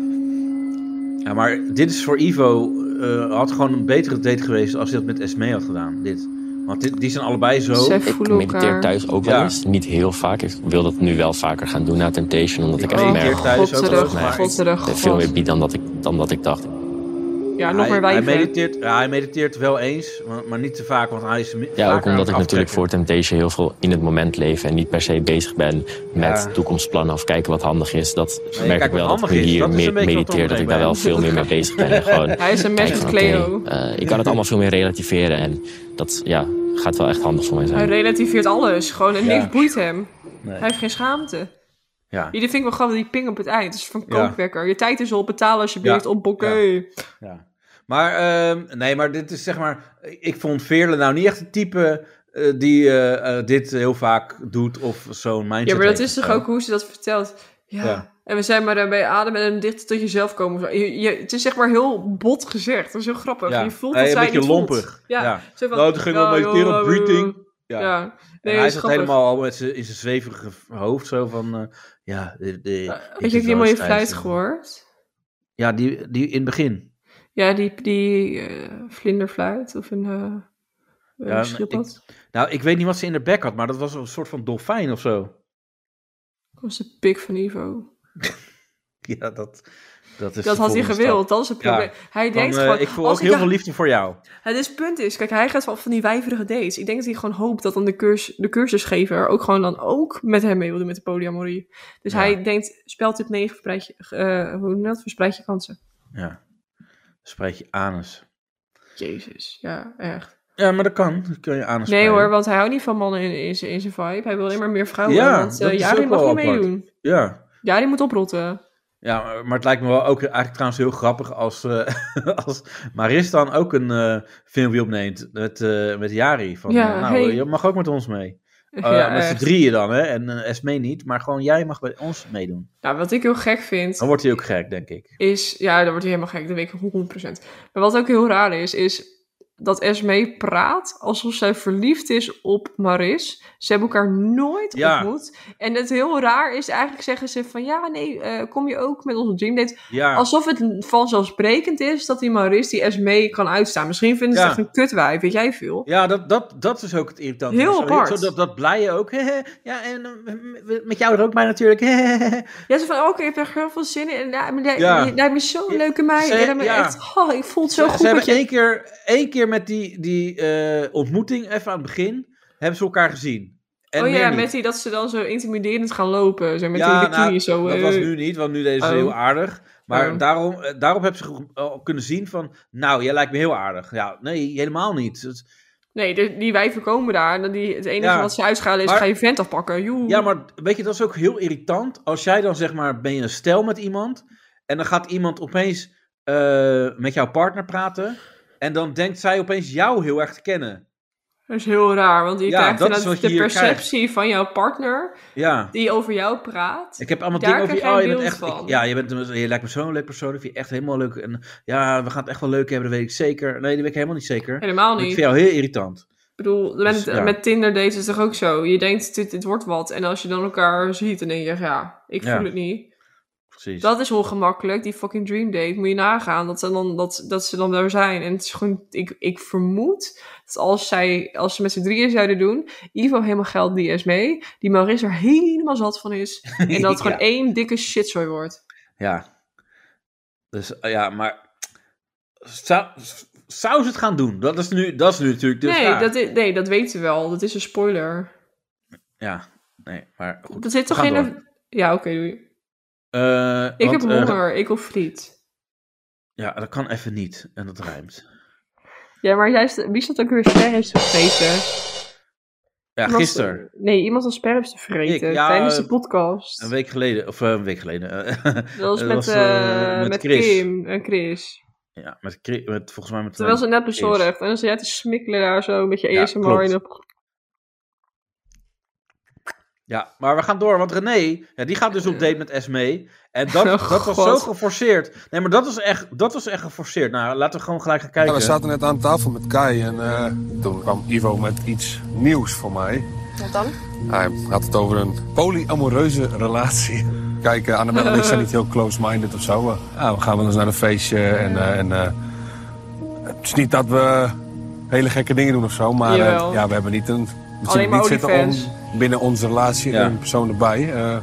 Ja, maar dit is voor Ivo. eh, had gewoon een betere date geweest als hij dat met Esme had gedaan. Dit. Want dit, die zijn allebei zo.
Ze voelen
Ik mediteer
elkaar.
thuis ook wel eens. Niet heel vaak. Ik wil dat nu wel vaker gaan doen na Temptation. Omdat ik,
Ik
echt
mediteer
merk
thuis ook wel
dat
eens, maar
het
ik-
mij veel meer biedt dan dat ik, dan dat ik dacht.
Ja, nog
hij,
meer
hij
wijven.
mediteert, ja, hij mediteert wel eens, maar, maar niet te vaak, want hij is. mi-
Ja,
vaak
ook omdat
aan
ik
het
natuurlijk voor Temptation heel veel in het moment leef. En niet per se bezig ben met
Ja.
toekomstplannen of kijken wat handig is. Dat
Nee,
merk
kijk
ik wel dat
wat
ik
handig
nu
is.
hier
Dat is een
meer
beetje wat
mediteer. Dat ik daar wel
ondernemen.
veel meer mee bezig ben.
[laughs]
En gewoon
Hij is een
kijken
mens
van,
met
oké,
Cleo.
eh, ik kan het allemaal veel meer relativeren. En dat ja, gaat wel echt handig voor mij zijn.
Hij relativeert alles. Gewoon en
Ja.
niks boeit hem.
Nee.
Hij heeft geen schaamte.
Ja.
Jullie vind ik wel grappig, die ping op het eind. Dat is van
Ja.
kookwekker. Je tijd is op, betaal alsjeblieft,
Ja.
op bokken.
Ja. Maar ehm, nee, maar dit is zeg maar. Ik vond Veerle nou niet echt het type eh, die eh, eh, dit heel vaak doet of zo'n mindset.
Ja, maar dat
heeft
is
of
toch
zo.
ook hoe ze dat vertelt. Ja.
Ja.
En we zijn maar daarbij ademen en dicht tot jezelf komen. Zo, Je, je- het is zeg maar heel bot gezegd. Dat is heel grappig.
Ja.
Je voelt
Nee,
dat
een
zij
beetje
niet
lompig.
voelt. Ja.
Ja.
Zo van,
Nou, toen gingen we
oh,
mediteren
joh,
op breathing.
oh,
Ja.
oh. Ja. Nee,
en
dat
hij
is
zat
grappig.
helemaal al met zijn- in zijn zweverige hoofd zo van. eh, ja, de, de,
Weet je, ik die mooie fluit gehoord.
eh. Ja, die, die in het begin.
Ja, die, die eh, vlinderfluit of een, eh een
maar
schildpad.
ik- nou, ik weet niet wat ze in haar bek had, maar dat was een soort van dolfijn of zo. [laughs]
Dat was de pik van Ivo.
Ja, dat, dat
Dat
is. de
had hij
volgende
gewild,
stap.
dat is het probleem. Hij
van,
denkt
eh,
gewoon,
Ik voel
als
ook
ik
heel
daar-
veel liefde voor jou.
Het is, punt is, kijk, hij gaat wel van die wijverige dates. Ik denk dat hij gewoon hoopt dat dan de, curs, de cursusgever ook gewoon dan ook met hem mee wil doen met de polyamorie. Dus
Ja.
hij denkt, speltip 9, verspreid je, eh, hoe noem je dat? Verspreid je kansen.
Ja. Spreid je anus.
Jezus, ja, echt.
Ja, maar dat kan. Dat kun je anus
Nee
spreiden.
hoor, want hij houdt niet van mannen in, in, zijn- in zijn vibe. Hij wil alleen maar meer vrouwen,
Ja,
want
dat
eh
is
Jari
ook
mag
wel
niet
apart.
meedoen.
Ja.
Jari moet oprotten.
Ja, maar- maar het lijkt me wel ook eigenlijk trouwens heel grappig als, eh, [laughs] als Maris dan ook een eh, filmpje opneemt met, eh, met Jari. Van,
Ja,
eh, nou,
hey.
je mag ook met ons
[laughs]
mee. Eh,
Ja,
met z'n
echt.
drieën dan, hè. En eh, Esme niet, maar gewoon jij mag bij ons meedoen.
Nou, wat ik heel gek vind,
Dan wordt hij ook gek, denk ik.
is... Ja, dan wordt hij helemaal gek, dat weet ik 100%. Maar wat ook heel raar is, is dat Esme praat alsof zij verliefd is op Maris. Ze hebben elkaar nooit
Ja.
ontmoet. En het heel raar is, eigenlijk zeggen ze van... Ja, nee, eh, kom je ook met onze dreamdate?
Ja.
Alsof het vanzelfsprekend is dat die Maris die Esme kan uitstaan. Misschien vinden ze
Ja.
het echt een kutwijf, weet jij veel?
Ja, dat, dat, dat is ook het irritante.
Heel
Zo-
apart.
Zo, dat, dat blije ook. [laughs] ja, en eh, met jou er ook bij natuurlijk. [laughs]
Ja, ze van, oh, oké, ik heb er heel veel zin in. En ja, maar jij,
Ja.
jij- jij bent zo'n leuke meid.
Ze-
En dan ben je
ja.
echt, oh, ik voel het zo
ze,
goed
ze
met
hebben
je.
één keer, één keer met die, die eh, ontmoeting, even aan het begin, hebben ze elkaar gezien. En
oh
meer
ja,
niet.
met die dat ze dan zo intimiderend gaan lopen. Zo met
Ja,
die bikini
nou,
zo.
dat
eh.
was nu niet, want nu deden ze
Oh.
heel aardig. Maar
Oh.
daarom, eh, daarop hebben ze ge- al kunnen zien van, nou, jij lijkt me heel aardig. Ja, nee, helemaal niet. Het-
Nee, de- die wijven komen daar. En dan die, het enige
Ja,
wat ze uitschalen is,
maar-
ga je vent afpakken. Joe.
Ja, maar weet je, dat is ook heel irritant. Als jij dan zeg maar, ben je een stel met iemand. En dan gaat iemand opeens eh, met jouw partner praten. En dan denkt zij opeens jou heel erg te kennen.
Dat is heel raar, want je
Ja,
krijgt
dat is
inderdaad
wat je
de
hier
perceptie van jouw partner
Ja.
die over jou praat.
Ik heb allemaal
Daar
dingen over
krijg
je.
jij
Oh,
een
je bent
beeld
echt. ik-
van.
ja, je, bent, een- je lijkt me zo'n leuk persoon. Ik vind je echt helemaal leuk. En ja, we gaan het echt wel leuk hebben, dat weet ik zeker. Nee, dat weet ik helemaal niet zeker.
Helemaal
Ik
niet.
vind jou heel irritant.
Ik bedoel, met,
Dus, ja.
met Tinder dates is het toch ook zo. Je denkt, dit, dit wordt wat. En als je dan elkaar ziet, dan denk je, ja, ik voel
Ja.
het niet.
Precies.
Dat is ongemakkelijk, die fucking dream date. Moet je nagaan dat ze dan, dat, dat ze dan daar zijn. En het is gewoon, ik, ik vermoed dat als, zij, als ze met z'n drieën zouden doen, Ivo helemaal geld die is mee, die Maurice er helemaal zat van
[laughs]
is. En dat het gewoon
Ja.
één dikke shitzooi wordt.
Ja. Dus eh, ja, maar. Zou, zou ze het gaan doen? Dat is nu, dat is nu natuurlijk de
nee,
vraag.
dat is, nee, dat weten we wel. Dat is een spoiler.
Ja, nee, maar goed.
Dat zit
we
toch
gaan
in
door.
een... Ja, oké, doei.
Eh,
Ik
want,
heb
eh,
honger, ik hoef friet.
ja, dat kan even niet. En dat rijmt.
Ja, maar juist, wie zat ook weer ster heeft gegeten?
Ja,
Iemand-
gisteren.
Nee, iemand was sperms te vreten
Ik, ja,
tijdens de
eh,
podcast.
Een week geleden. Of eh, een week geleden. eh, [laughs]
Dat was
eh,
met,
eh,
eh, met
Chris.
Kim en Chris.
Ja, met, Chris- met volgens mij met...
Terwijl ze net
Chris.
bezorgd. En dan zat jij te smikkelen daar zo met je
Ja,
ASMR in op.
Ja, maar we gaan door, want René, ja, die gaat dus op date met Esme. En
[laughs]
dat,
Oh,
dat
God.
was zo geforceerd. Nee, maar dat was echt, dat was echt geforceerd. Nou, laten we gewoon gelijk gaan kijken.
Ja, we zaten net aan tafel met Kai en eh, toen kwam Ivo met iets nieuws voor mij.
Wat dan?
Hij had het over een polyamoreuze relatie. Kijk, uh, Annabelle en ik zijn niet heel close-minded of zo. Eh, ja, we gaan wel eens naar een feestje en... eh, en eh, het is niet dat we hele gekke dingen doen of zo, maar eh,
Jawel.
ja, we hebben niet een... We
Alleen
zitten
maar
niet zitten
OnlyFans.
om binnen onze relatie
Ja.
een persoon erbij. Eh,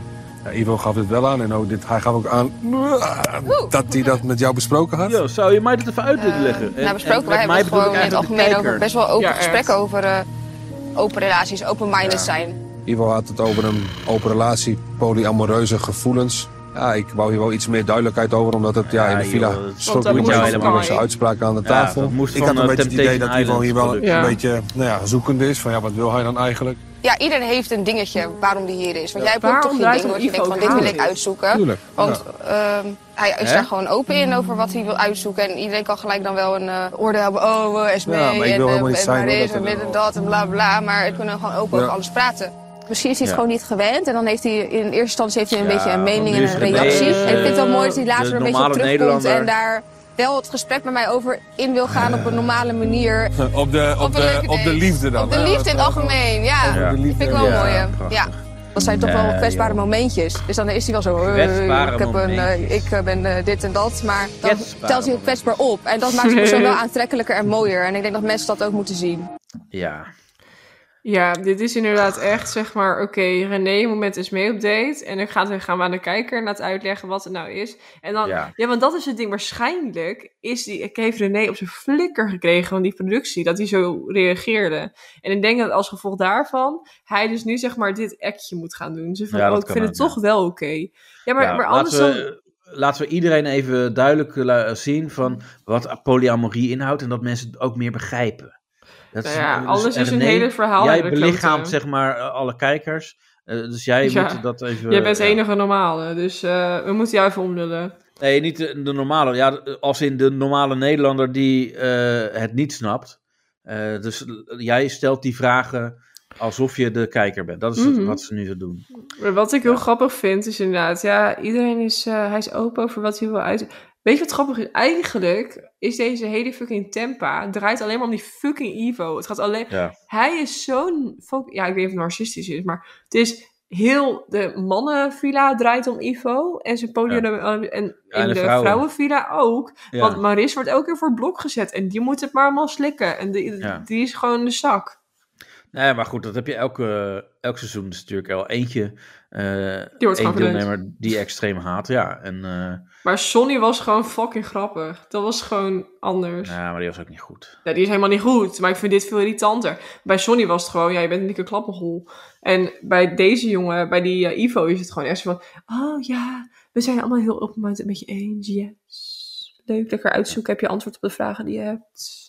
ja, Ivo gaf dit wel aan en ook dit, hij gaf ook aan dat hij dat met jou besproken had.
Yo, zou je mij dat even uit willen leggen?
nou, besproken, we hebben het gewoon in het algemeen over best wel open gesprekken over eh, open relaties, open-minded zijn.
Ivo had het over een open relatie, polyamoreuze gevoelens. Ja, ik wou hier wel iets meer duidelijkheid over, omdat het ja, in de
joh,
villa
dat- Want
stond
dat
niet
moet
met
jou
zijn
helemaal niet.
uitspraken aan de
Ja,
tafel.
dat moest
ik
van,
had een
eh,
beetje het idee dat
Temptation
Ivo hier wel
Island
een
product.
beetje nou ja, zoekende is van ja, wat wil hij dan eigenlijk?
Ja, ieder heeft een dingetje waarom die hier is. Want jij hebt ook
Waarom
toch een
draait
ding wat je
Ivo
denkt van
het
dit wil
aan?
ik uitzoeken.
Tuurlijk,
Want ehm, hij is
Hè?
daar gewoon open in over wat hij wil uitzoeken. En iedereen kan gelijk dan wel een eh, oordeel hebben. Oh, eh, SME
Ja, maar ik wil
en, eh,
helemaal niet
en
zijn,
maar
hoor,
dit
dat
en
er-
dit en dat en bla bla. Maar het kunnen we gewoon open
Ja.
over alles praten. Misschien is hij het
Ja.
gewoon niet gewend. En dan heeft hij in eerste instantie heeft hij een
Ja,
beetje een
want
mening
nu
en
is
een
het
reactie.
ineens,
en ik vind het wel mooi dat hij
eh,
later
de
een beetje op
normale
terugkomt.
Nederlander.
En daar wel het gesprek met mij over in wil gaan op een normale manier.
op, de, op,
een
de,
leuke
op de
date.
liefde dan.
Op de
hè?
liefde in het algemeen, ja.
Ja.
Dat vind ik wel
Ja,
mooi. hè.
prachtig.
Ja. Dat zijn toch wel
Ja,
kwetsbare momentjes. Dus dan is hij wel zo. eh,
Kwetsbare
ik, heb een, eh,
momentjes.
ik eh, ben eh, dit en dat. Maar dan
Kwetsbare
telt hij ook kwetsbaar op. En dat maakt de persoon
[laughs]
wel aantrekkelijker en mooier. En ik denk dat mensen dat ook moeten zien.
Ja.
Ja, dit is inderdaad echt, zeg maar, oké, René moet met Esmee op date. En dan gaan, gaan we aan de kijker en laten uitleggen wat het nou is. En dan, ja.
Ja.
want dat is het ding. Waarschijnlijk is die, ik heeft René op zijn flikker gekregen van die productie, dat hij zo reageerde. En ik denk dat als gevolg daarvan, hij dus nu, zeg maar, dit actje moet gaan doen. Ze van,
Ja, dat
oh, ik
kan
vind het
ook,
toch wel oké. Ja, maar,
Ja,
maar anders
laten,
dan...
we, laten we iedereen even duidelijk eh, la- zien van wat polyamorie inhoudt en dat mensen het ook meer begrijpen. Dat
Nou ja,
dus
alles is een
René,
hele verhaal
Jij
naar de
belichaamt
kloten.
zeg maar eh, alle kijkers, Eh, dus jij
Ja.
moet dat even...
Jij bent de
ja.
enige normale, dus eh, we moeten jou even omlullen.
Nee, niet de, de normale. Ja, als in de normale Nederlander die eh, het niet snapt. Eh, dus l- jij stelt die vragen alsof je de kijker bent. Dat is het-
Mhm.
wat ze nu doen.
Maar Wat ik heel grappig vind is inderdaad, ja, iedereen is, eh, hij is open over wat hij wil uit. Weet je wat grappig is? Eigenlijk is deze hele fucking tempa, het draait alleen maar om die fucking Ivo. Het gaat alleen,
Ja.
hij is zo'n, fo- ja, ik weet niet of het narcistisch is, maar het is heel, de mannenvilla draait om Ivo en zijn podium en in
Ja, en
de,
de vrouwen.
vrouwenvilla ook.
Ja.
Want Maris wordt elke keer voor het blok gezet en die moet het maar allemaal slikken en die,
Ja.
die is gewoon de zak.
Nee, maar goed, dat heb je elke, elk seizoen. Dus natuurlijk al eentje. eh
Die wordt gewoon verdeeld.
één deelnemer die extreem haat. Ja, en, eh,
Maar Sonny was gewoon fucking grappig. Dat was gewoon anders.
ja, nou, maar die was ook niet goed.
Ja, die is helemaal niet goed, maar ik vind dit veel irritanter. Bij Sonny was het gewoon, ja, je bent een dikke klappenhol. En bij deze jongen, bij die eh, Ivo, is het gewoon echt zo van... Oh ja, we zijn allemaal heel open-minded met je eens, yes. Leuk, lekker uitzoeken, heb je antwoord op de vragen die je hebt.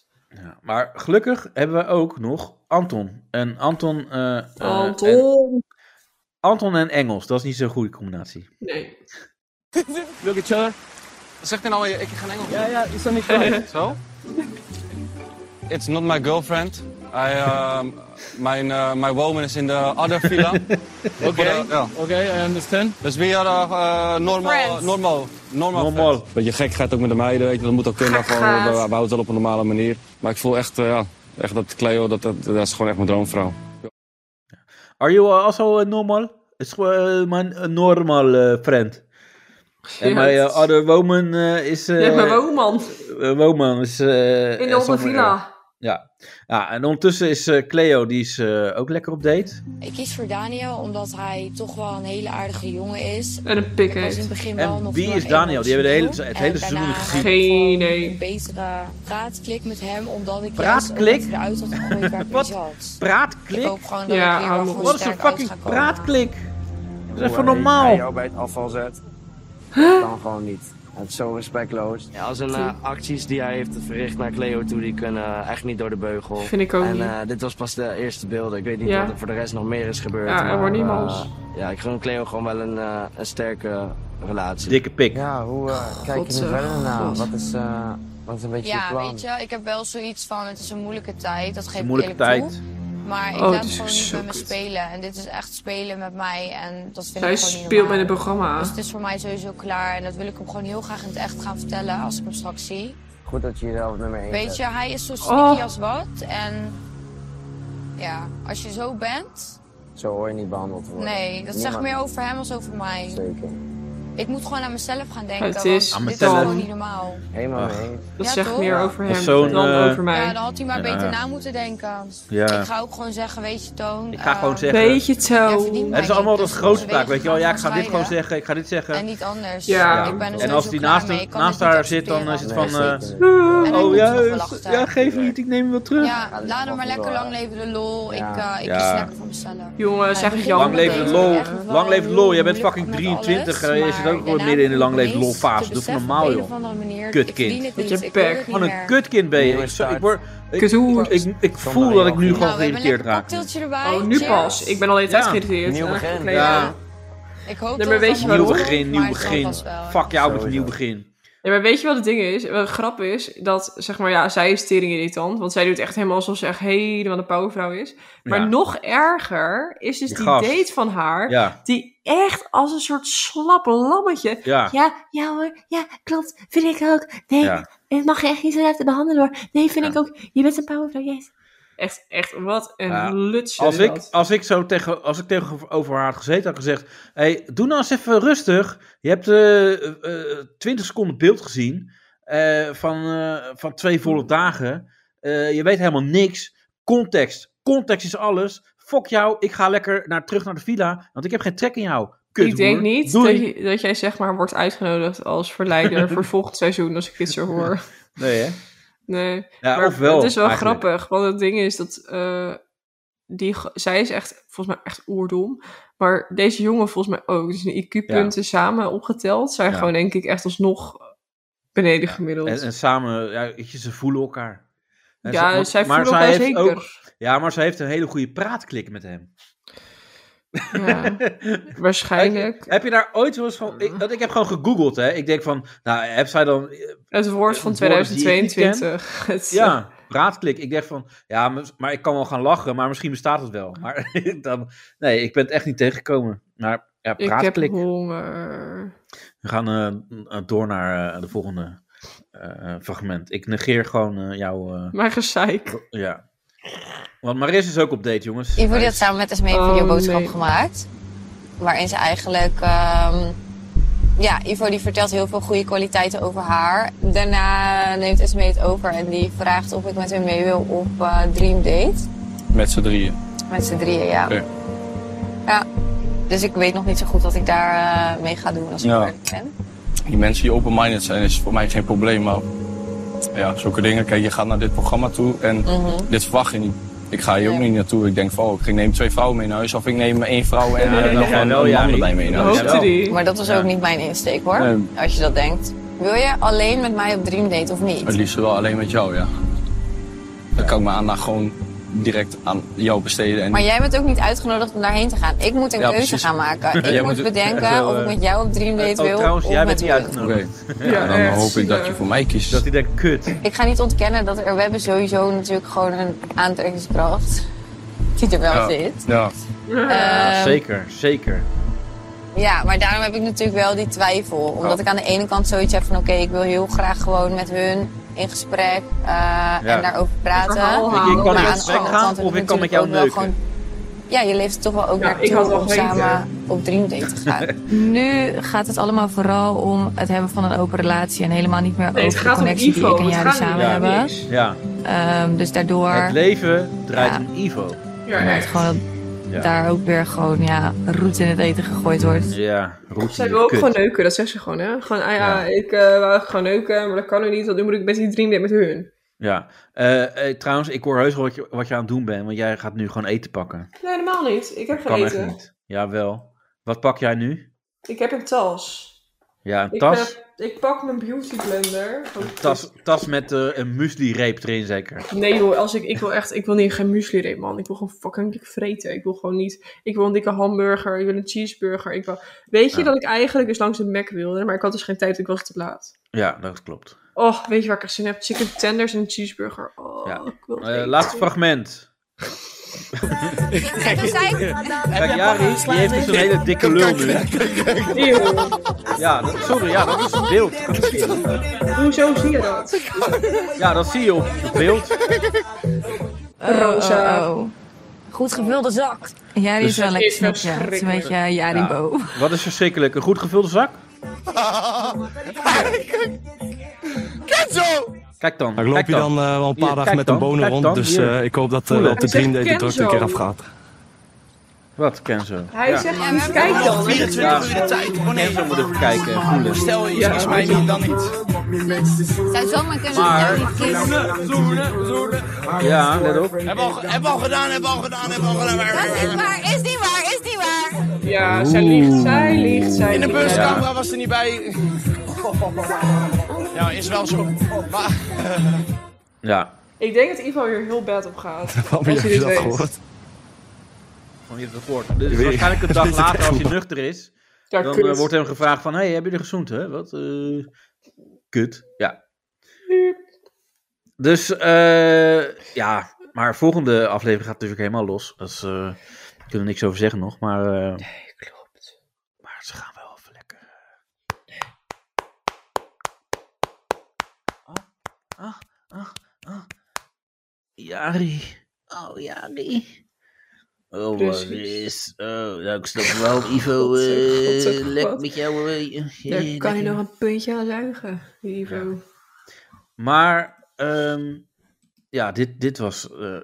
Ja, maar gelukkig hebben we ook nog Anton. En Anton... eh, eh, en-
Anton!
Anton en Engels, dat is niet zo'n goede combinatie. [laughs]
Nee.
Wil je chillen?
eh?
Zeg dan
nou?
al, ik ga Engels. Ja, ja, is dat niet
[laughs]
Zo? It's not my girlfriend. I, um, mijn, eh, my woman is in the other villa.
Oké,
okay, I understand. Dus we are uh, uh, normal, normal, normal.
Normal.
Beetje gek gaat ook met de meiden, weet je, dat moet ook kunnen. Gewoon, we, we houden het wel op een normale manier. Maar ik voel echt, eh, ja, echt dat Cleo, dat, dat, dat is gewoon echt mijn droomvrouw.
Are you also uh, normal? It's uh, my uh, normal uh, friend. En
Ja,
my
het
uh, other woman uh, is... eh,
Ja, mijn woonman.
eh, woman is... eh,
In de andere
somewhere.
villa.
Ja. ja, en ondertussen is eh, Cleo, die is eh, ook lekker op date.
Ik kies voor Daniel omdat hij toch wel een hele aardige jongen is.
En een
Ik
pik
was in
heeft.
het begin wel
En
nog
wie
heel
is
erg
Daniel? Die hebben de hele,
emotioneel.
het hele
En
seizoen niet
daarna
gezien.
Geen
gewoon
idee.
een betere praatklik met hem, omdat ik
Praatklik?
juist ook eruit had gegooid waar ik niet zat.
Praatklik?
Ik hoop gewoon dat
Ja,
ik hier
hou
wel
me
gewoon
op. Wat is
sterk
een fucking
uit ga komen.
praatklik? Dat is even
Hoe hij-
normaal.
hij jou bij het afval zet.
Dat kan gewoon niet. Het is zo respectloos.
Ja, als een eh, acties die hij heeft verricht naar Cleo toe, die kunnen eh, echt niet door de beugel.
Vind ik ook
En
niet.
eh, dit was pas de eerste beelden. Ik weet niet
Ja.
wat er voor de rest nog meer is gebeurd.
Ja, er
maar,
wordt niet
eh,
mals.
ja, ik gun Cleo gewoon wel een, eh, een sterke relatie.
Dikke pik.
Ja, hoe
eh,
Oh,
kijk je er verder naar? Wat
is, wat is een
Ja, weet je, ik heb wel zoiets van, het is een moeilijke tijd, dat geef ik
moeilijke
eerlijk toe.
tijd.
Maar ik
Oh,
laat
dit is
gewoon
echt
niet
zo
met me
kut.
spelen. En dit is echt spelen met mij en dat vind
Zij
ik gewoon niet
speelt met het
normaal.
programma.
Dus het is voor mij sowieso klaar en dat wil ik hem gewoon heel graag in het echt gaan vertellen als ik hem straks zie.
Goed dat je jezelf nummer 1
Weet je, hij is zo sneaky
Oh.
als wat en ja, als je zo bent,
Zo hoor je niet behandeld te worden.
nee, dat zegt
Niemand-
meer over hem als over mij.
Zeker.
Ik moet gewoon aan mezelf gaan denken,
Het is
want
aan
dit is
mezelf.
gewoon niet normaal.
Helemaal
Ach.
mee.
Dat
Ja,
zegt
toch?
meer over
Als
hem
zo'n,
dan
eh,
over mij.
Ja, dan had hij maar
Ja.
beter na moeten denken.
Ja.
Ik ga ook gewoon zeggen, weet je Toon.
Ik ga gewoon
ehm,
zeggen.
jij verdient mij
Het is allemaal
niet,
dat
dus
grote
we
taak,
weten
weet je wel. Ja, ik ga
gaan
dit gewoon
scheiden.
zeggen, ik ga dit zeggen.
En niet anders.
Ja.
Ik ben er
en
sowieso
als die
klaar
naast,
mee. Ik kan
naast
dit niet
haar zit, dan eh, is het
accepteren. Nee,
van... eh,
zeker. En hij moet
oh,
nog wel
ja,
achter.
ja, geef niet, ik neem hem wel terug.
Ja, laat hem maar lekker lang leven de lol. Ik,
Ja.
eh ik
Ja.
kies lekker voor mezelf.
Eh,
Jongen, zeg ik
Lang
jammer.
leven de lol, lang leven de lol. Jij bent fucking 23, eh, je zit ook gewoon midden in de lang leven de lol fase. Doe even normaal,
Op een of
joh.
andere manier. Ik verdien
Kutkind.
het niet. Ik wil het niet
Wat een
meer.
kutkind ben je. Ik, zo- ik, word, ik, ik, ik, ik voel dat ik nu
Nou,
gewoon geïrriteerd raak.
Tiltje erbij.
Oh, nu
Cheers.
pas. Ik ben al de hele tijd
Ja.
geïrriteerd.
Nieuw begin.
Oké,
Ja.
Ik hoop
Nee,
dat
maar weet
het
je
allemaal
waarom?
goed komt,
Begin, nieuw
maar het zal
begin.
vast wel.
Fuck jou met een nieuw begin.
Ja, maar weet je wat het ding is? Wat grap is, dat zeg maar, ja, zij is tering irritant. Want zij doet echt helemaal alsof ze echt helemaal een powervrouw is. Maar
Ja.
nog erger is dus
Die
die,
gast.
date van haar.
Ja.
Die echt als een soort slap lammetje.
Ja.
ja, ja hoor, ja, klopt. Vind ik ook. Nee,
Ja.
het mag je echt niet zo laten behandelen hoor. Nee, vind ik ook. Je bent een powervrouw, yes. Echt, echt, wat een
Ja,
lutje
als
is
ik,
dat.
als ik zo tegen, als ik tegenover haar had gezeten, had ik gezegd: hey, doe nou eens even rustig. Je hebt eh, eh, 20 seconden beeld gezien eh, van, eh, van twee
Hmm.
volle dagen. Eh, je weet helemaal niks. Context. Context is alles. Fok jou. Ik ga lekker naar, terug naar de villa, want ik heb geen trek in jou. Kut,
ik denk
hoer.
niet dat,
Doei.
je- dat jij zeg maar wordt uitgenodigd als
[laughs]
verleider voor volgend seizoen als ik dit zo hoor.
Nee, hè?
Nee.
Ja,
maar
of wel,
Het is wel
eigenlijk.
grappig, want het ding is dat eh, die, g- zij is echt, volgens mij echt oerdom. Maar deze jongen volgens mij ook. Dus een IQ-punten samen opgeteld zijn
Ja.
gewoon denk ik echt alsnog beneden gemiddeld.
En, en samen, ja, weet je, ze voelen elkaar. En
Ja,
want-
zij voelen elkaar
heeft
zeker.
ook- ja, maar zij heeft een hele goede praatklik met hem. [laughs]
Ja, waarschijnlijk.
Heb je daar ooit wel eens van... Ik, dat, ik heb gewoon gegoogeld, hè. Ik denk van, nou, heb zij dan...
Het woord van
woorden die ik niet
2022. [laughs]
ken?
Het- eh,
ja, praatklik. Ik dacht van, ja, maar, maar ik kan wel gaan lachen, maar misschien bestaat het wel. Maar [laughs] dan... Nee, ik ben het echt niet tegengekomen. Maar ja,
Ik heb
praatklik.
honger.
We gaan eh, m- eh, door naar eh, de volgende eh, eh, fragment. Ik negeer gewoon eh, jouw... eh,
Mijn gezeik.
Ja. Want Maris is ook op date, jongens.
Ivory had samen met Esmee een
Oh,
videoboodschap
nee.
gemaakt. Waarin ze eigenlijk... ehm, ja, Ivo die vertelt heel veel goede kwaliteiten over haar. Daarna neemt Esmee het over en die vraagt of ik met hem mee wil op eh, Dream Date.
Met z'n drieën.
Met z'n drieën, ja.
Oké.
ja. Dus ik weet nog niet zo goed wat ik daar eh, mee ga doen als ik
Ja.
eerlijk ben.
Die mensen die open-minded zijn, is voor mij geen probleem. Maar ja, zulke dingen. Kijk, je gaat naar dit programma toe en
Mhm.
dit verwacht je niet. Ik ga hier ook niet naartoe. Ik denk van, oh, ik neem twee vrouwen mee naar huis. Of ik neem één vrouw en
Ja,
eh,
dat
nog
ga je
een,
wel,
een man
Jari.
erbij mee naar huis.
Oh.
Ja.
Maar dat was
Ja.
ook niet mijn insteek hoor,
Nee.
als je dat denkt. Wil je alleen met mij op Dream Date of niet?
Het liefst wel alleen met jou, ja. Dan kan ik mijn aandacht gewoon direct aan jou besteden. En
Maar jij bent ook niet uitgenodigd om daarheen te gaan. Ik moet een
Ja,
keuze
precies.
gaan
[laughs]
maken. Ik
Jij
moet
moet-
bedenken
Zo,
of ik
eh,
met jou op Dream Date
oh,
wil. of met wie.
uitgenodigd.
Oké. [laughs] Ja, dan hoop ik dat je voor mij kiest. Dat
hij denkt, kut.
Ik ga niet ontkennen dat er, we hebben sowieso natuurlijk gewoon een aantrekkingskracht. Die er wel zit.
Ja.
Ja,
Ehm,
zeker, zeker.
Ja, maar daarom heb ik natuurlijk wel die twijfel. Omdat
Oh.
ik aan de ene kant zoiets heb van... oké, ik wil heel graag gewoon met hun in gesprek eh, en daarover praten.
Weet je, ik kan
Maar aan
met
de
gesprek
andere
gaan
kant heb
of ik kan met
natuurlijk
jou
ook wel
neuken.
Ja, je leeft er toch wel ook
Ja, ik
naartoe
had wel
om
weten.
samen op Dream Date te
[laughs]
gaan.
Nu gaat het allemaal vooral om het hebben van een open relatie en helemaal niet meer
Nee, het
over de
gaat om
connectie die
Ivo.
ik en
Het
Jari
gaat
samen
niet om
hebben.
niks.
Ja.
Ehm, dus daardoor
Het leven draait
Ja.
om Ivo.
wordt het gewoon
Ja.
daar ook weer gewoon ja, roet in het eten gegooid wordt.
Ja, roet
Zij wil ook gewoon neuken, dat zegt ze gewoon, hè? Gewoon, ah ja, ik eh, wou gewoon neuken, maar dat kan nu niet, want nu moet ik met die dream date met hun.
Ja. Eh, eh, trouwens, ik hoor heus wel wat je, wat je aan het doen bent, want jij gaat nu gewoon eten pakken.
Nee, helemaal niet. Ik heb
Kan
geen
echt
eten.
niet. Jawel. Wat pak jij nu?
Ik heb een tas.
Ja, een
Ik,
tas,
eh, ik pak mijn beauty blender. Want-
tas, tas met eh, een muesli-reep erin zeker.
Nee joh, als ik, ik wil echt, ik wil niet geen muesli reep man. Ik wil gewoon fucking dik vreten. Ik wil gewoon niet, ik wil een dikke hamburger, ik wil een cheeseburger. Ik wil... Weet je
Ja.
dat ik eigenlijk eens langs de Mac wilde, maar ik had dus geen tijd, ik was te laat.
Ja, dat klopt.
Och, weet je waar ik echt zin in heb? Chicken tenders en een cheeseburger. Oh,
Ja.
ik wil het
Eh,
eten.
laatste fragment.
Kijk,
Kijk, Jari, die heeft dus een hele dikke lul nu. [laughs] Ja, dat, sorry, ja, dat is een beeld. Kan ik zien.
Hoezo zie je dat? Oh,
Ja, dat zie je op het beeld.
Rosa.
Oh,
Goed gevulde zak. Jari
Dus-
is wel lekker
Is
snap, ja. Het is een beetje eh,
Ja.
Jaribo.
Wat is verschrikkelijk? Een goed gevulde zak?
Kenzo!
Kijk dan.
Ik loop
kijk
hier dan eh, wel een paar
Hier,
dagen
kijk
met een
dan,
bonen
kijk
rond,
dan,
dus
hier.
eh, ik hoop dat eh,
Voel
op
het.
de dream date de
Kenzo.
drukte een keer afgaat.
Wat, Kenzo?
Hij
Ja.
zegt, kijk dan.
24 uur de tijd. Kenzo moet even kijken en voelen.
Stel je iets is mij niet, dan niet.
Zou zomaar kunnen
Ah.
dat
Maar-
jij niet kiest.
Oh,
Ja, let op.
Hebben we al, gedaan, hebben we al gedaan, hebben we al gedaan.
Maar is niet waar, is niet waar.
Ja, zij liegt, zij liegt, zij
In de
liegt.
buscamera
was er niet bij.
Ja, is wel zo. Maar...
Ja.
[laughs] Ik denk dat Ivo hier heel bad op
[laughs]
gaat.
Waarom
Als
heb je
dit
dat
weet.
gehoord?
Van je rapport. Dus
Ik weet-
waarschijnlijk een
Dit
dag
is
later,
echt
als hij
goed.
nuchter is,
Ja,
dan
kut.
eh, wordt hem gevraagd van, hey, heb je er gezoend, hè? Wat? eh, kut. Ja. Dus, eh, ja. Maar volgende aflevering gaat natuurlijk helemaal los. Dat is, eh, we kunnen er niks over zeggen nog, maar... eh, Maar ze gaan wel even lekker. Ah, ah, ah. Jari. Oh, Jari. Oh,
Precies.
wat is... Oh, nou, ik snap wel, Ivo.
God,
eh,
God, zeg,
lekker
God.
met jou. eh, eh,
Daar kan
lekker.
je nog een puntje aan zuigen, Ivo.
Maar, ehm, ja, dit, dit was... eh,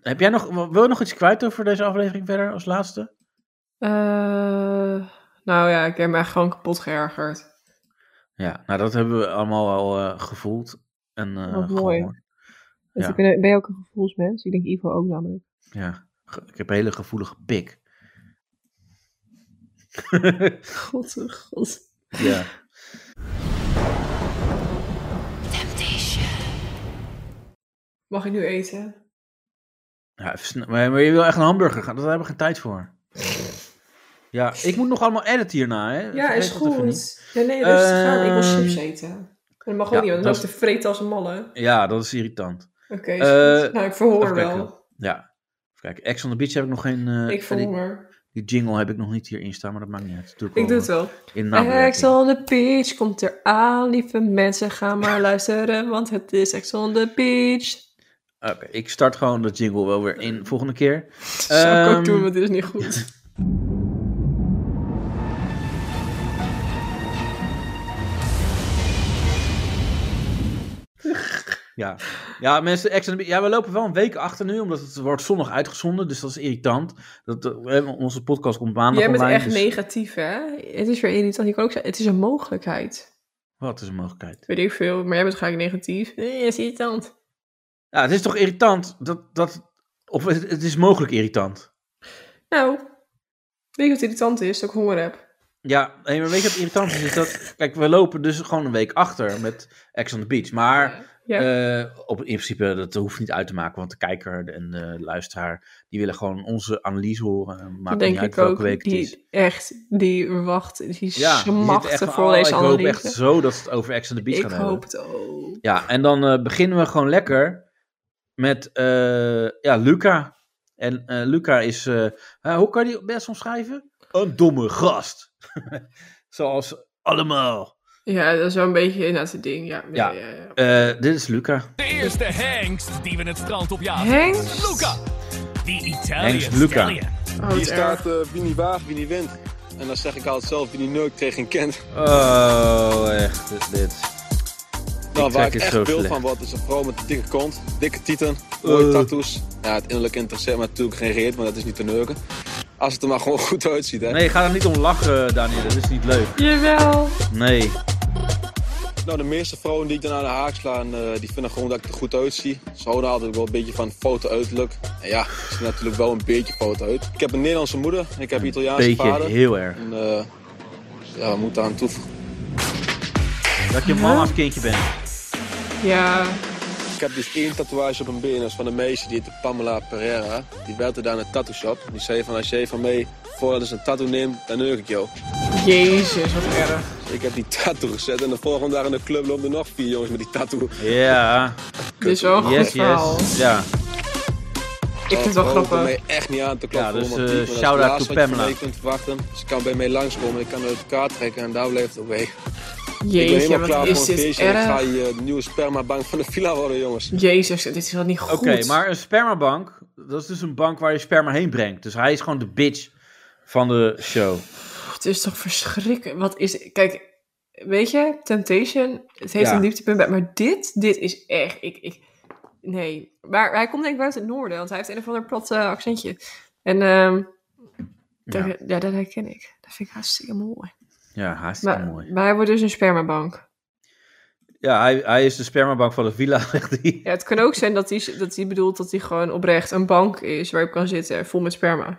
heb jij nog... Wil je nog iets kwijt over deze aflevering verder als laatste?
Eh, nou ja, ik heb me echt gewoon kapot geërgerd.
Ja, nou, dat hebben we allemaal al eh, gevoeld. En, eh,
Wat mooi.
gehoord.
Dus
Ja.
ik ben, ben je ook een gevoelsmens? Ik denk Ivo ook
[laughs]
namelijk.
Ja, ge- ik heb een hele gevoelige pik.
God, oh god.
Ja.
Mag ik nu eten?
[laughs] ja even sne- maar, maar je wil echt een hamburger gaan, daar hebben we geen tijd voor. Ja, ik moet nog allemaal editen hierna, hè?
Ja,
Vergeet
is
dat even niet.
goed. Nee, nee, rustig aan. Ik wil
Ehm,
chips eten. En dat mag ook
ja,
niet, want dan
dat
loop te vreten als een malle.
Ja, dat is irritant.
Oké,
Eh,
is goed. Nou, ik verhoor
even kijken.
wel.
Ja. Even kijken, Ex on the Beach heb ik nog geen... eh,
Ik verhoor.
Die, die jingle heb ik nog niet hierin staan, maar dat maakt niet uit. doe
Ik doe het wel.
In
Ex
nabewerking.
on the Beach komt eraan, lieve mensen. Ga
[laughs]
maar luisteren, want het is Ex on the Beach.
Oké, ik start gewoon dat jingle wel weer in volgende keer.
Dat [laughs] zou ik
Ehm,
ook doen, want dit is niet goed.
Ja. ja, mensen, Ex on the Beach- ja, we lopen wel een week achter nu, omdat het wordt zondag uitgezonden, dus dat is irritant. Dat, eh, onze podcast komt maandag
Jij bent
online,
echt
dus-
negatief, hè? Het is weer irritant. Je kan ook zeggen, het is een mogelijkheid.
Wat is een mogelijkheid?
Weet ik veel, maar jij bent gelijk negatief. Nee, het is irritant.
Ja, het is toch irritant dat... dat of het, het is mogelijk irritant.
Nou, weet je wat irritant is? Dat ik honger heb.
Ja, nee, maar weet je wat irritant is? is dat, kijk, we lopen dus gewoon een week achter met Ex on the Beach. Maar
Ja.
eh, op, in principe, dat hoeft niet uit te maken. Want de kijker en de luisteraar, die willen gewoon onze analyse horen. Maakt
Dat
niet
denk
uit
ik
welke
ook.
week het is.
Die, echt, die wacht, die
Ja, die zitten echt
smachten
van,
voor
oh,
deze
Ik hoop
analyse.
echt zo dat ze het over Ex on the Beach
ik
gaan hebben.
hoop het ook.
Ja, en dan eh, beginnen we gewoon lekker met eh, ja, Luca. En eh, Luca is, eh, eh, hoe kan je die best omschrijven? Een domme gast. [laughs] Zoals allemaal.
Ja, dat is wel een beetje inderdaad het ding. Ja,
Ja,
ja, ja.
eh, dit is Luca.
De eerste hengst die we het strand op jagen.
Hengst?
Luca. Die Italië.
Hengst Luca.
Hier staat eh, wie niet waagt, wie niet wint. En dan zeg ik altijd zelf wie niet neukt tegen een kent. [laughs]
Oh, echt, dit. dit.
Nou,
trek
waar ik
het
echt
zo
beeld
slecht.
van word, is een vrouw met een dikke kont, dikke tieten, mooie
Eh.
tattoos. Ja, het innerlijk interesseert me natuurlijk geen reet, maar dat is niet te neuken. Als het er maar gewoon goed uitziet, hè.
Nee, ga er niet om lachen, Daniel. Dat is niet leuk.
Jawel.
Nee.
Nou, de meeste vrouwen die ik dan aan de haak sla, en, eh, die vinden gewoon dat ik er goed uitzie. Ze houden altijd wel een beetje van foto uiterlijk. En ja, ik zie natuurlijk wel een beetje foto uit. Ik heb een Nederlandse moeder, en ik heb een Italiaanse
beetje,
vader.
heel erg.
En, eh, ja, we moeten aan toevoegen.
Dat je mama's kindje bent.
Ja.
Ik heb dus één tatoeage op een been. Dat is van een meisje, die heette Pamela Pereira. Die werkte daar in een tattoo shop. Die zei van, als jij van mij voordat ze een tattoo neemt, dan neuk ik jou.
Jezus, wat erg.
Dus ik heb die tattoo gezet en de volgende dag in de club lopen er nog vier jongens met die tattoo.
Ja.
Dit is wel een goed
yes,
verhaal.
yes. Ja.
Ik vind het
Oh,
wel grappie.
mij echt niet aan te kloppen.
Ja, dus,
hoor, want
eh,
die- maar dat is
shout-out
het laatste
to
wat je van
Pamela.
mij kunt verwachten. Ze kan bij mij langskomen, ik kan uit elkaar trekken en daar blijft het bij. ik ben
Jeetje,
helemaal
wat
klaar
is
voor een
dit
feestje. en Ik
erg.
ga je eh, nieuwe spermabank van de villa worden, jongens.
Jezus, dit is wel niet goed.
Oké, maar een spermabank, dat is dus een bank waar je sperma heen brengt. Dus hij is gewoon de bitch van de show.
Het is toch verschrikkelijk. Wat is. Kijk, weet je, Temptation, het heeft
Ja.
een dieptepunt bij. Maar dit, dit is echt. Ik, ik, nee. Maar hij komt denk ik uit het noorden, want hij heeft een of ander plat eh, accentje. En ehm, daar- ja. dat herken ik. Dat vind ik hartstikke mooi.
Ja, hartstikke
Maar,
mooi.
maar hij wordt dus een spermabank.
Ja, hij, hij is de spermabank van de villa, [laughs] zegt hij.
Ja, het kan ook zijn dat hij, dat hij bedoelt dat hij gewoon oprecht een bank is waar je op kan zitten, vol met
[laughs]
sperma.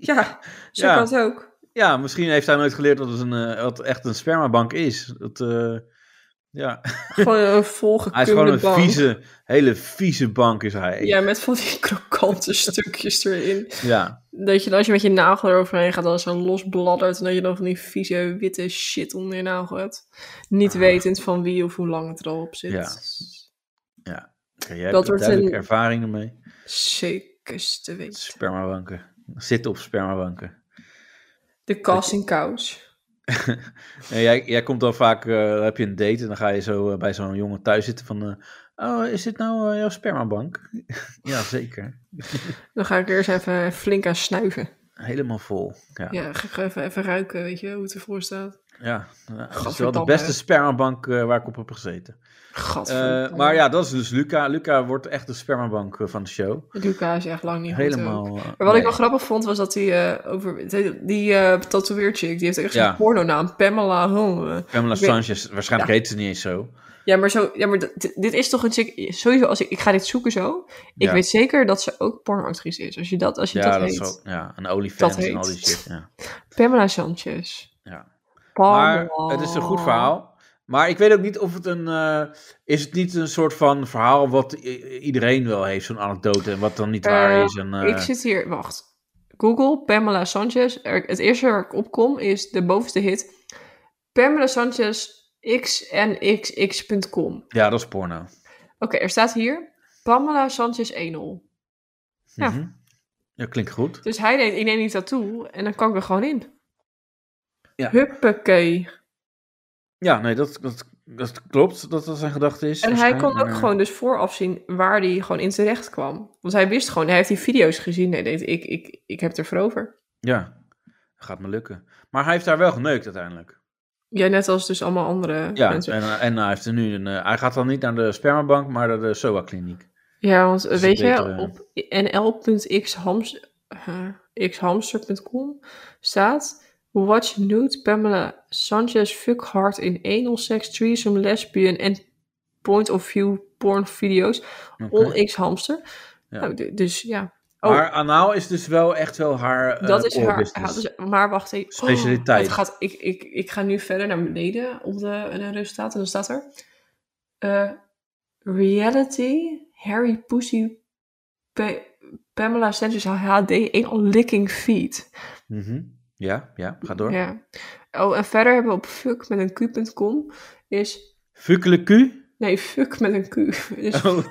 ja, zo
Ja.
kan het ook.
Ja, misschien heeft hij nooit geleerd wat, een, eh, wat echt een spermabank is. Dat, eh, ja.
Gewoon een
hij is gewoon
volgekrulde
een
bank.
vieze, hele vieze bank is hij.
Ja, met van die [laughs] krokante stukjes erin.
Ja.
Dat je dan als je met je nagel eroverheen gaat, dan is het los bladdert. En dat je dan van die vieze witte shit onder je nagel hebt. Niet wetend van wie of hoe lang het erop zit.
Ah. Ja. Ja. Oké, jij
Dat
hebt
wordt
duidelijk
een-
ervaringen mee.
Zeker te weten.
Spermabanken. Zitten op spermabanken.
De casting couch.
En jij, jij komt dan vaak, eh, dan heb je een date en dan ga je zo eh, bij zo'n jongen thuis zitten van... eh, oh, is dit nou eh, jouw spermabank? [laughs] ja, zeker.
Dan ga ik er eerst even flink aan snuiven.
Helemaal vol. Ja,
Ja,
ja.
ga ik gewoon even, even ruiken, weet je, hoe het ervoor staat.
Nou, dat is wel de
Gadverdamme.
beste spermabank eh, waar ik op heb gezeten.
Gadverdamme.
Eh, maar ja, dat is dus Luca. Luca wordt echt de spermabank eh, van de show.
Luca is echt lang niet
Helemaal,
goed ook.
eh,
Maar wat
nee.
ik wel grappig vond, was dat die eh, over... Die, die eh, tatoeëerchick, die heeft echt zo'n
Ja.
pornonaam. Pamela Home.
Pamela
Ik weet-
Sanchez, waarschijnlijk
Ja.
heet ze niet eens zo.
Ja, maar, zo, ja, maar dit, dit is toch een chick... Sowieso, als ik, ik ga dit zoeken zo. Ik
Ja.
weet zeker dat ze ook pornoactrice is. Als je dat, als je
ja,
dat,
dat
weet.
is ook. Ja, een olifant
Dat
en al die
heet.
shit. Ja.
Pamela Sanchez.
Ja.
Pamela.
Maar het is een goed verhaal. Maar ik weet ook niet of het een. eh, is het niet een soort van verhaal wat i- iedereen wel heeft, zo'n anekdote en wat dan niet waar
Eh,
is? En, eh,
Ik zit hier... Wacht. Google Pamela Sanchez. Er- het eerste waar ik op kom is de bovenste hit. Pamela Sanchez xnxx.com.
Ja, dat is porno.
Oké, er staat hier Pamela Sanchez 1-0. Ja.
Mhm. Ja, klinkt goed.
Dus hij denkt, ik neem die tattoo en dan kan ik er gewoon in.
Ja.
Huppakee.
Ja, nee, dat, dat, dat klopt dat dat zijn gedachte is. eh,
En hij kon ook
waarschijnlijk.
gewoon dus vooraf zien waar hij gewoon in terecht kwam. Want hij wist gewoon, hij heeft die video's gezien en hij denkt, ik, ik, ik heb er voor over.
Ja, gaat me lukken. Maar hij heeft daar wel geneukt uiteindelijk.
Ja, net als dus allemaal andere
Ja,
mensen.
en, en hij, heeft er nu een, eh, hij gaat dan niet naar de spermabank, maar naar de SOA-kliniek.
Ja, want eh,
Dus
weet
dat
je,
beter, eh.
op nl.xhamster.com staat... Watch nude Pamela Sanchez fuck hard in anal sex, threesome, lesbian en point of view porn video's on
Oké.
xhamster.
Ja.
Nou, du- dus ja. Oh,
Maar anaal is dus wel echt wel haar eh,
dat is
core
haar...
business.
haar- maar wacht even. Oh,
Specialiteit.
het gaat, ik, ik, ik ga nu verder naar beneden op de, de resultaten. En dan staat er... eh, reality Harry Pussy Pa- Pamela Sanchez HD anal licking feet.
Mhm. Ja, ja, ga door.
Ja. Oh, en verder hebben we op fuck met een q.com is...
Fukkele Q?
Nee, fuck met
[laughs]
een q. Dus
Oh.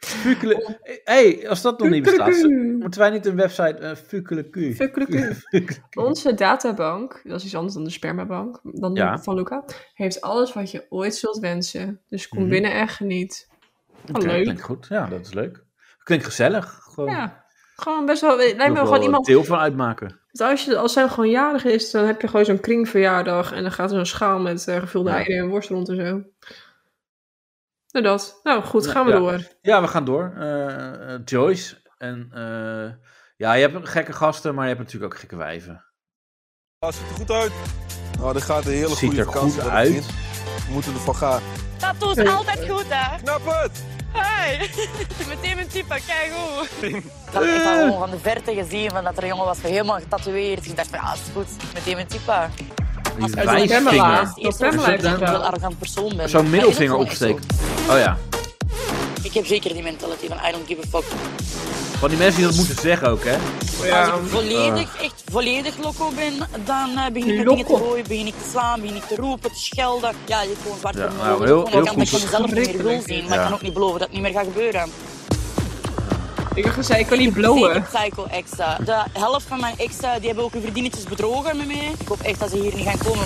Fukkele... hey, als dat nog niet
Fukkele
bestaat,
Q.
moeten wij niet een website eh Fukkele Q?
Fukkele Q. Oh, Onze databank, dat is iets anders dan de spermabank, dan die
Ja.
van Luca, heeft alles wat je ooit zult wensen. Dus kom
Mhm.
binnen en geniet. Wel
Oké,
leuk.
Klinkt goed, ja, dat is leuk. Klinkt gezellig. Gewoon,
Ja, gewoon best wel. Lijkt me
wil
gewoon
wel
iemand.
deel van uitmaken.
Want Als, je, als zij gewoon jarig is, dan heb je gewoon zo'n kringverjaardag en dan gaat er zo'n schaal met eh, gevulde eieren en worst rond en zo. Nou, dat. Nou, goed, gaan we
ja.
door.
Ja, we gaan door. Eh, eh, Joyce. En eh, ja, je hebt gekke gasten, maar je hebt natuurlijk ook gekke wijven.
Ah, ziet er goed uit. Nou, dit gaat een hele
Ziet
goede
er
kans
goed
dat het
uit.
wint. We moeten ervan gaan.
Dat doet
Hey.
altijd goed, hè?
Knap het!
Hey! Meteen mijn type, kijk hoe.
Ik had echt al gewoon van de verte gezien van dat er een jongen was helemaal getatoeëerd. Ik dacht van, ja, is goed, meteen mijn type.
Die
als ik
wijsvinger.
Pamela- dat
Is
Pamela
dat
heeft
dan
gedaan. een arrogant persoon ben.
Zo'n middelvinger
Maar is dat wel
opsteekt. Oh ja.
echt zo? Ik heb zeker die mentality van I don't give a fuck.
Van die mensen die dat moeten zeggen ook, hè?
Als ik
Ah.
volledig, echt volledig loco ben, dan eh, begin ik met dingen te gooien, begin ik te slaan, begin ik te roepen, te schelden. Ja, je gewoon zwart
Ja,
voor mijn
nou,
ogen.
heel-
Gewoon,
heel
ik kan ik
goed.
kan mezelf niet meer wil zien, maar
Ja.
ik kan ook niet beloven dat het niet meer gaat gebeuren.
Ik dacht dat zij ik kan niet
Zeker
blowen.
psycho exen. De helft van mijn exen, die hebben ook hun verdienetjes bedrogen met mij. Ik hoop echt dat ze hier niet gaan komen.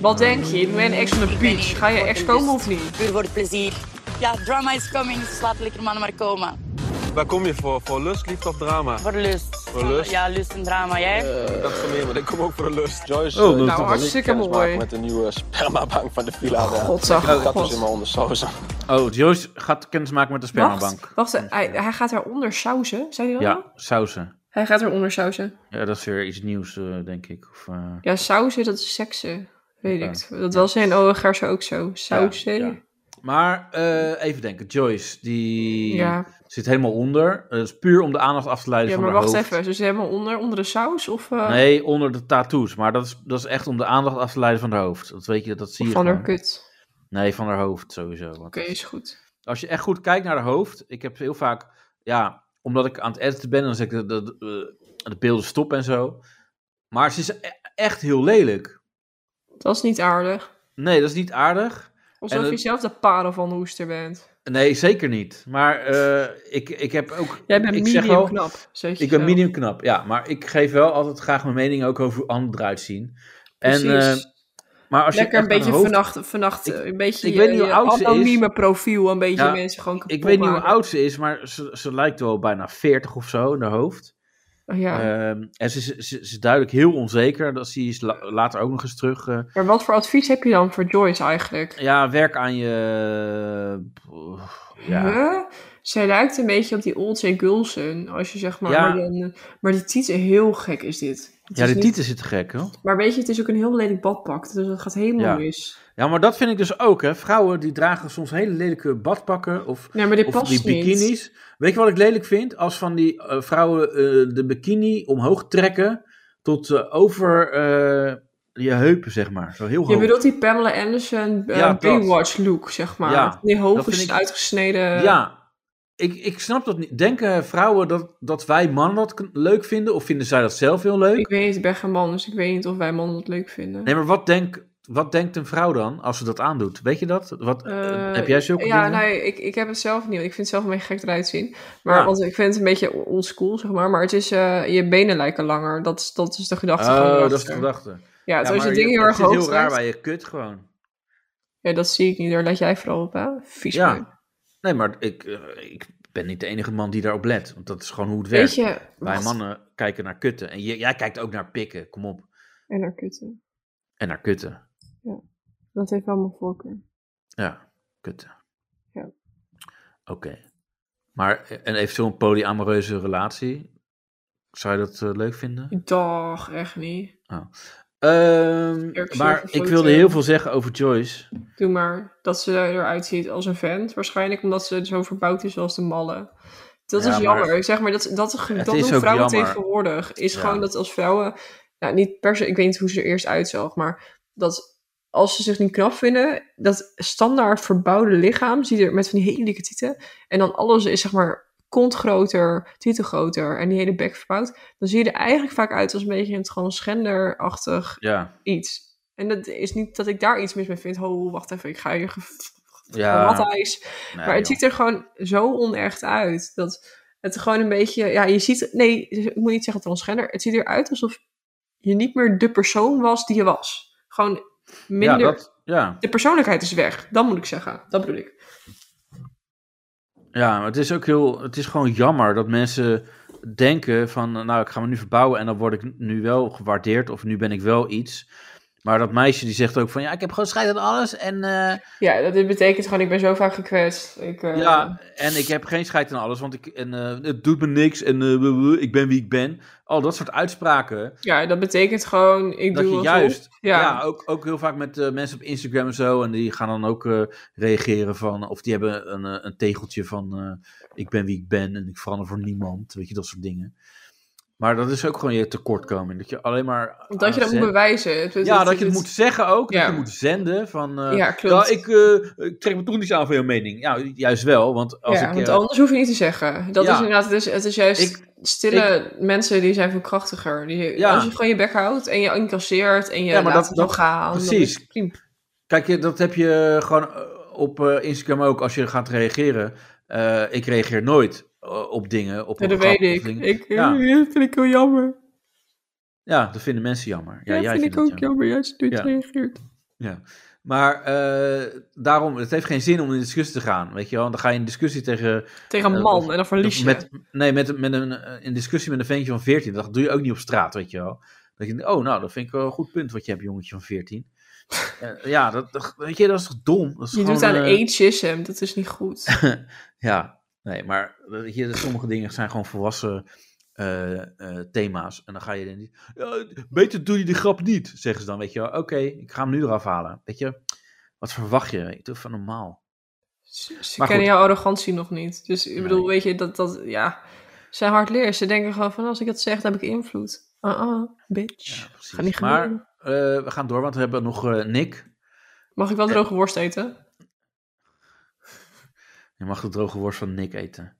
Wat denk je? Ik ben ex van de beach. Ga je ex komen of niet?
Puur voor het plezier. Ja, drama is coming, dus laat lekker mannen maar komen.
Waar kom je voor? Voor lust, liefde of drama?
Voor lust. Eh,
Voor lust?
Ja, lust en drama, jij?
Ik dacht van nee, maar ik kom ook voor de lust. Joyce, eh,
Oh,
ik
dat is
wil
toch
Nou, hartstikke
kennis maken
mooi.
met de nieuwe spermabank van de villa. daar.
Godzag,
Ik had
God.
dus in mijn ondersausen.
Oh, Joost gaat kennismaken met de spermabank.
Wacht, wacht hij, hij gaat daaronder sauzen. Zei hij dat? nou?
Ja, sausen.
Hij gaat eronder sauzen.
Ja, dat is weer iets nieuws, eh, denk ik. Of, eh,
Ja, sauzen, dat is seksen. Weet ik. het.
Ja.
Dat was in Oegaarse ook zo. Sauzen.
Ja, Maar eh, even denken, Joyce, die
Ja.
zit helemaal onder. Dat is puur om de aandacht af te leiden
Ja,
van
maar
haar
wacht
hoofd.
even. Ze zijn helemaal onder, onder de saus? Of eh,
Nee, onder de tattoos. Maar dat is, dat is echt om de aandacht af te leiden van haar hoofd. Dat weet je, dat zie je
van haar
gewoon.
kut?
Nee, van haar hoofd sowieso. Want
Oké, is goed.
Als je echt goed kijkt naar haar hoofd. Ik heb heel vaak, ja, omdat ik aan het editen ben, dan zeg ik dat dat, eh, de beelden stop en zo. Maar ze is e- echt heel lelijk.
Dat is niet aardig.
Nee, dat is niet aardig.
Alsof
En
je
het-
zelf de parel van de hoester bent.
Nee, zeker niet. Maar eh, ik, ik heb ook.
Jij bent
ik
medium
zeg wel,
knap, zeg je
Ik ben
zelf.
medium knap, ja. Maar ik geef wel altijd graag mijn mening ook over hoe anderen eruit zien. En,
Precies.
eh, maar als
Lekker
je
een beetje
vannacht.
vannacht, vannacht eh, een beetje
ik
je,
weet niet hoe
je
oud ze is.
anonieme profiel, een beetje
Ja,
mensen gewoon kapot
Ik weet niet hoe
maken.
oud ze is, maar ze, ze lijkt wel bijna 40 of zo in haar hoofd.
Oh ja.
Ehm, en ze, ze, ze- ze is duidelijk heel onzeker. Dat zie je la- later ook nog eens terug. eh.
Maar wat voor advies heb je dan voor Joyce eigenlijk?
ja, werk aan je. Ja.
Huh? Zij lijkt een beetje op die Old St. Gulson, als je zeg maar...
Ja.
Maar, dan- maar die tieten, heel gek is dit. Het
Ja,
is
de
niet-
titel zit te gek, hoor.
Maar weet je, het is ook een heel lelijk badpak, dus dat gaat helemaal
Ja.
mis.
Ja, maar dat vind ik dus ook, hè. Vrouwen die dragen soms hele lelijke badpakken of,
Nee, maar dit
of
past
die
niet.
bikinis. Weet je wat ik lelijk vind? Als van die eh, vrouwen eh, de bikini omhoog trekken tot eh, over eh, je heupen, zeg maar. Zo heel hoog.
Je bedoelt die Pamela Anderson eh,
Ja, dat.
Baywatch look, zeg maar.
Ja,
die
dat
hoge,
vind ik-
uitgesneden...
Ja, ik, ik snap dat niet. Denken vrouwen dat, dat wij mannen dat k- leuk vinden of vinden zij dat zelf heel leuk?
Ik weet niet, ik ben geen man, dus ik weet niet of wij mannen dat leuk vinden.
Nee, maar wat, denk, wat denkt een vrouw dan als ze dat aandoet? Weet je dat? Wat, eh,
Eh,
heb jij zulke
Ja,
dingen?
nee, ik, ik heb het zelf niet. want Ik vind het zelf een beetje gek eruit zien. Maar,
Ja.
Want ik vind het een beetje onschool, zeg maar. Maar het is, eh, je benen lijken langer. Dat is, dat is de gedachte.
Oh,
gewoon
dat
erachter.
is de gedachte.
Ja, dus als je
maar
dingen heel
het
erg
zit
hoog
heel raar
trekt-
bij je kut gewoon.
Ja, dat zie ik niet. Daar let jij vooral op, hè? Vies
ja.
man.
Nee, maar ik, eh, ik ben niet de enige man die daarop let. Want dat is gewoon hoe het
Weet
werkt.
je,
Wij
wacht.
mannen kijken naar kutten. En j- jij kijkt ook naar pikken, kom op.
En naar kutten.
En naar kutten.
Ja. Dat heeft wel mijn voorkeur.
Ja, kutten.
Ja.
Oké. Maar eh, een eventueel polyamoreuze relatie, zou je dat eh, leuk vinden?
Dag, echt niet.
Oh. Ehm,
Erg
maar
zorgvergroten.
ik wilde heel veel zeggen over Joyce.
Doe maar dat ze eruit ziet als een vent. Waarschijnlijk omdat ze zo verbouwd is als de malle. Dat
Ja,
is
maar-
jammer. zeg maar, dat, dat, dat doen
is ook
vrouwen
jammer.
tegenwoordig. Is
Ja.
gewoon dat als vrouwen... Nou, niet per se... Ik weet niet hoe ze er eerst uitzag. Maar dat als ze zich niet knap vinden... Dat standaard verbouwde lichaam... Ziet er met van die hele dikke tieten. En dan alles is zeg maar kont groter, tieten groter... En die hele bek verbouwd. Dan zie je er eigenlijk vaak uit als een beetje een transgender-achtig
Ja.
iets. En dat is niet dat ik daar iets mis mee vind. Ho, wacht even, ik ga hier ge-
Ja.
wat ijs.
Nee,
maar het
joh.
ziet er gewoon zo onecht uit. Dat het gewoon een beetje, ja, je ziet, nee, ik moet niet zeggen transgender. Het ziet eruit alsof je niet meer de persoon was die je was. Gewoon minder.
Ja, dat, ja.
De persoonlijkheid is weg. Dat moet ik zeggen. Dat bedoel ik.
Ja, maar het is ook heel. Het is gewoon jammer dat mensen denken van. eh, Nou, ik ga me nu verbouwen en dan word ik nu wel gewaardeerd. Of nu ben ik wel iets. Maar dat meisje die zegt ook van. Ja, ik heb gewoon scheid aan alles. En, eh,
Ja, dat dit betekent gewoon, ik ben zo vaak gekwetst. Ik, eh,
ja, en ik heb geen scheid aan alles. Want ik, en, eh, het doet me niks. En eh, wuh, wuh, ik ben wie ik ben. Al dat soort uitspraken.
ja, dat betekent gewoon, ik
dat
doe
je
alsof-
juist. Ja,
ja.
ook, ook heel vaak met eh, mensen op Instagram en zo. En die gaan dan ook eh, reageren van. Of die hebben een, eh, een tegeltje van. eh, ik ben wie ik ben en ik verander voor niemand. Weet je, dat soort dingen. Maar dat is ook gewoon je tekortkoming. Dat je alleen maar. eh,
Dat je dat moet bewijzen. Dus
ja, dat je het moet zeggen ook. Dat je moet zenden van... eh,
Ja, klopt.
ik, eh, ik trek me toch niet aan van jouw mening. Ja, juist wel. Want als
ja,
ik...
want
eh,
anders hoef je niet te zeggen. Dat
Ja.
is inderdaad, het is, het is juist stille mensen die zijn veel krachtiger. Die,
Ja.
Als je gewoon je bek houdt en je incasseert en je
Ja, maar
laat
dat-
het
dat-
wel gaan. dan
precies.
is het prima.
Kijk, je- dat heb je gewoon eh, op eh, Instagram ook als je gaat reageren. Eh, ik reageer nooit eh, op dingen. Op
Ja,
een
dat
grap
weet
of
ik.
dingen.
ik eh,
Ja,
[laughs] Dat vind ik heel jammer.
ja, dat vinden mensen jammer. Ja,
Ja,
jij
dat vind
vindt
ik
het
ook jammer. Jij hebt
Ja.
reageert.
Ja. Maar eh, daarom, het heeft geen zin om in discussie te gaan. Weet je wel, dan ga je in discussie tegen.
Tegen een
eh,
man
of-
en dan verlies je.
Met, nee, met, met een, eh, in discussie met een ventje van 14. Dat doe je ook niet op straat, weet je wel. Dat je denkt, oh, nou, dat vind ik wel een goed punt wat je hebt, jongetje van 14. Eh, ja, dat, dat- weet je, dat is toch dom? Dat is
Je doet
gewoon,
aan
eh,
ageism, dat is niet
[laughs]
goed.
Ja, nee, maar weet je, sommige dingen zijn gewoon volwassen eh, eh, thema's. En dan ga je er niet. "Ja, beter doe je die grap niet, zeggen ze dan. Weet je wel, oké, ik ga hem nu eraf halen. Weet je, wat verwacht je? Ik doe van normaal.
Ze
Maar
kennen
goed.
jouw arrogantie nog niet. Dus ik bedoel, weet je, dat, dat ja, ze zijn hardleers. Ze denken gewoon van, als ik dat zeg, dan heb ik invloed. Ah, ah, bitch. Ga niet
maar
gebeuren.
eh, we gaan door, want we hebben nog eh, Nick.
Mag
eh,
ik wel droge worst eten?
Je mag de droge worst van Nick eten.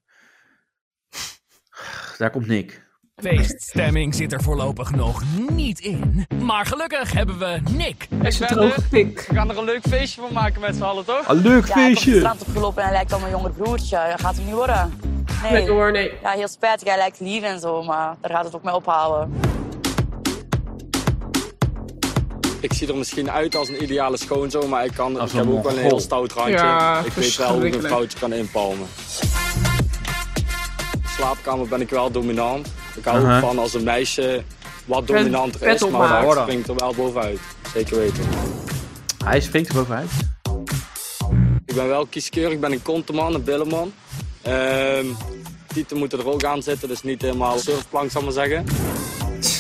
Daar komt Nick.
Feeststemming zit er voorlopig nog niet in. Maar gelukkig hebben we Nick.
Is een droge pik.
We gaan er een leuk feestje van maken met z'n allen, toch?
Een leuk
ja, Ik heb op het strand opgelopen en hij lijkt al mijn jonger broertje. Dat gaat hem niet worden. Nee.
Nee, hoor, nee.
Ja, heel spijtig. Hij lijkt lief en zo, maar daar gaat het ook mee ophouden.
Ik zie er misschien uit als een ideale schoonzoon, maar ik, kan, ik
een
heb ook wel een
Mongool.
heel stout randje.
Ja,
ik weet wel hoe ik een
verschrikkelijk.
vrouwtje kan inpalmen. In de slaapkamer ben ik wel dominant. Ik hou
Aha.
ook van als een meisje wat
Pet-
dominanter
pet
is, maar
opmaakt.
daar springt er wel bovenuit. Zeker weten.
Hij springt er bovenuit.
Ik ben wel kieskeurig, ik ben een konteman, een billenman. Ehm tieten moeten er ook aan zitten, dus niet helemaal surfplank, zal ik maar zeggen.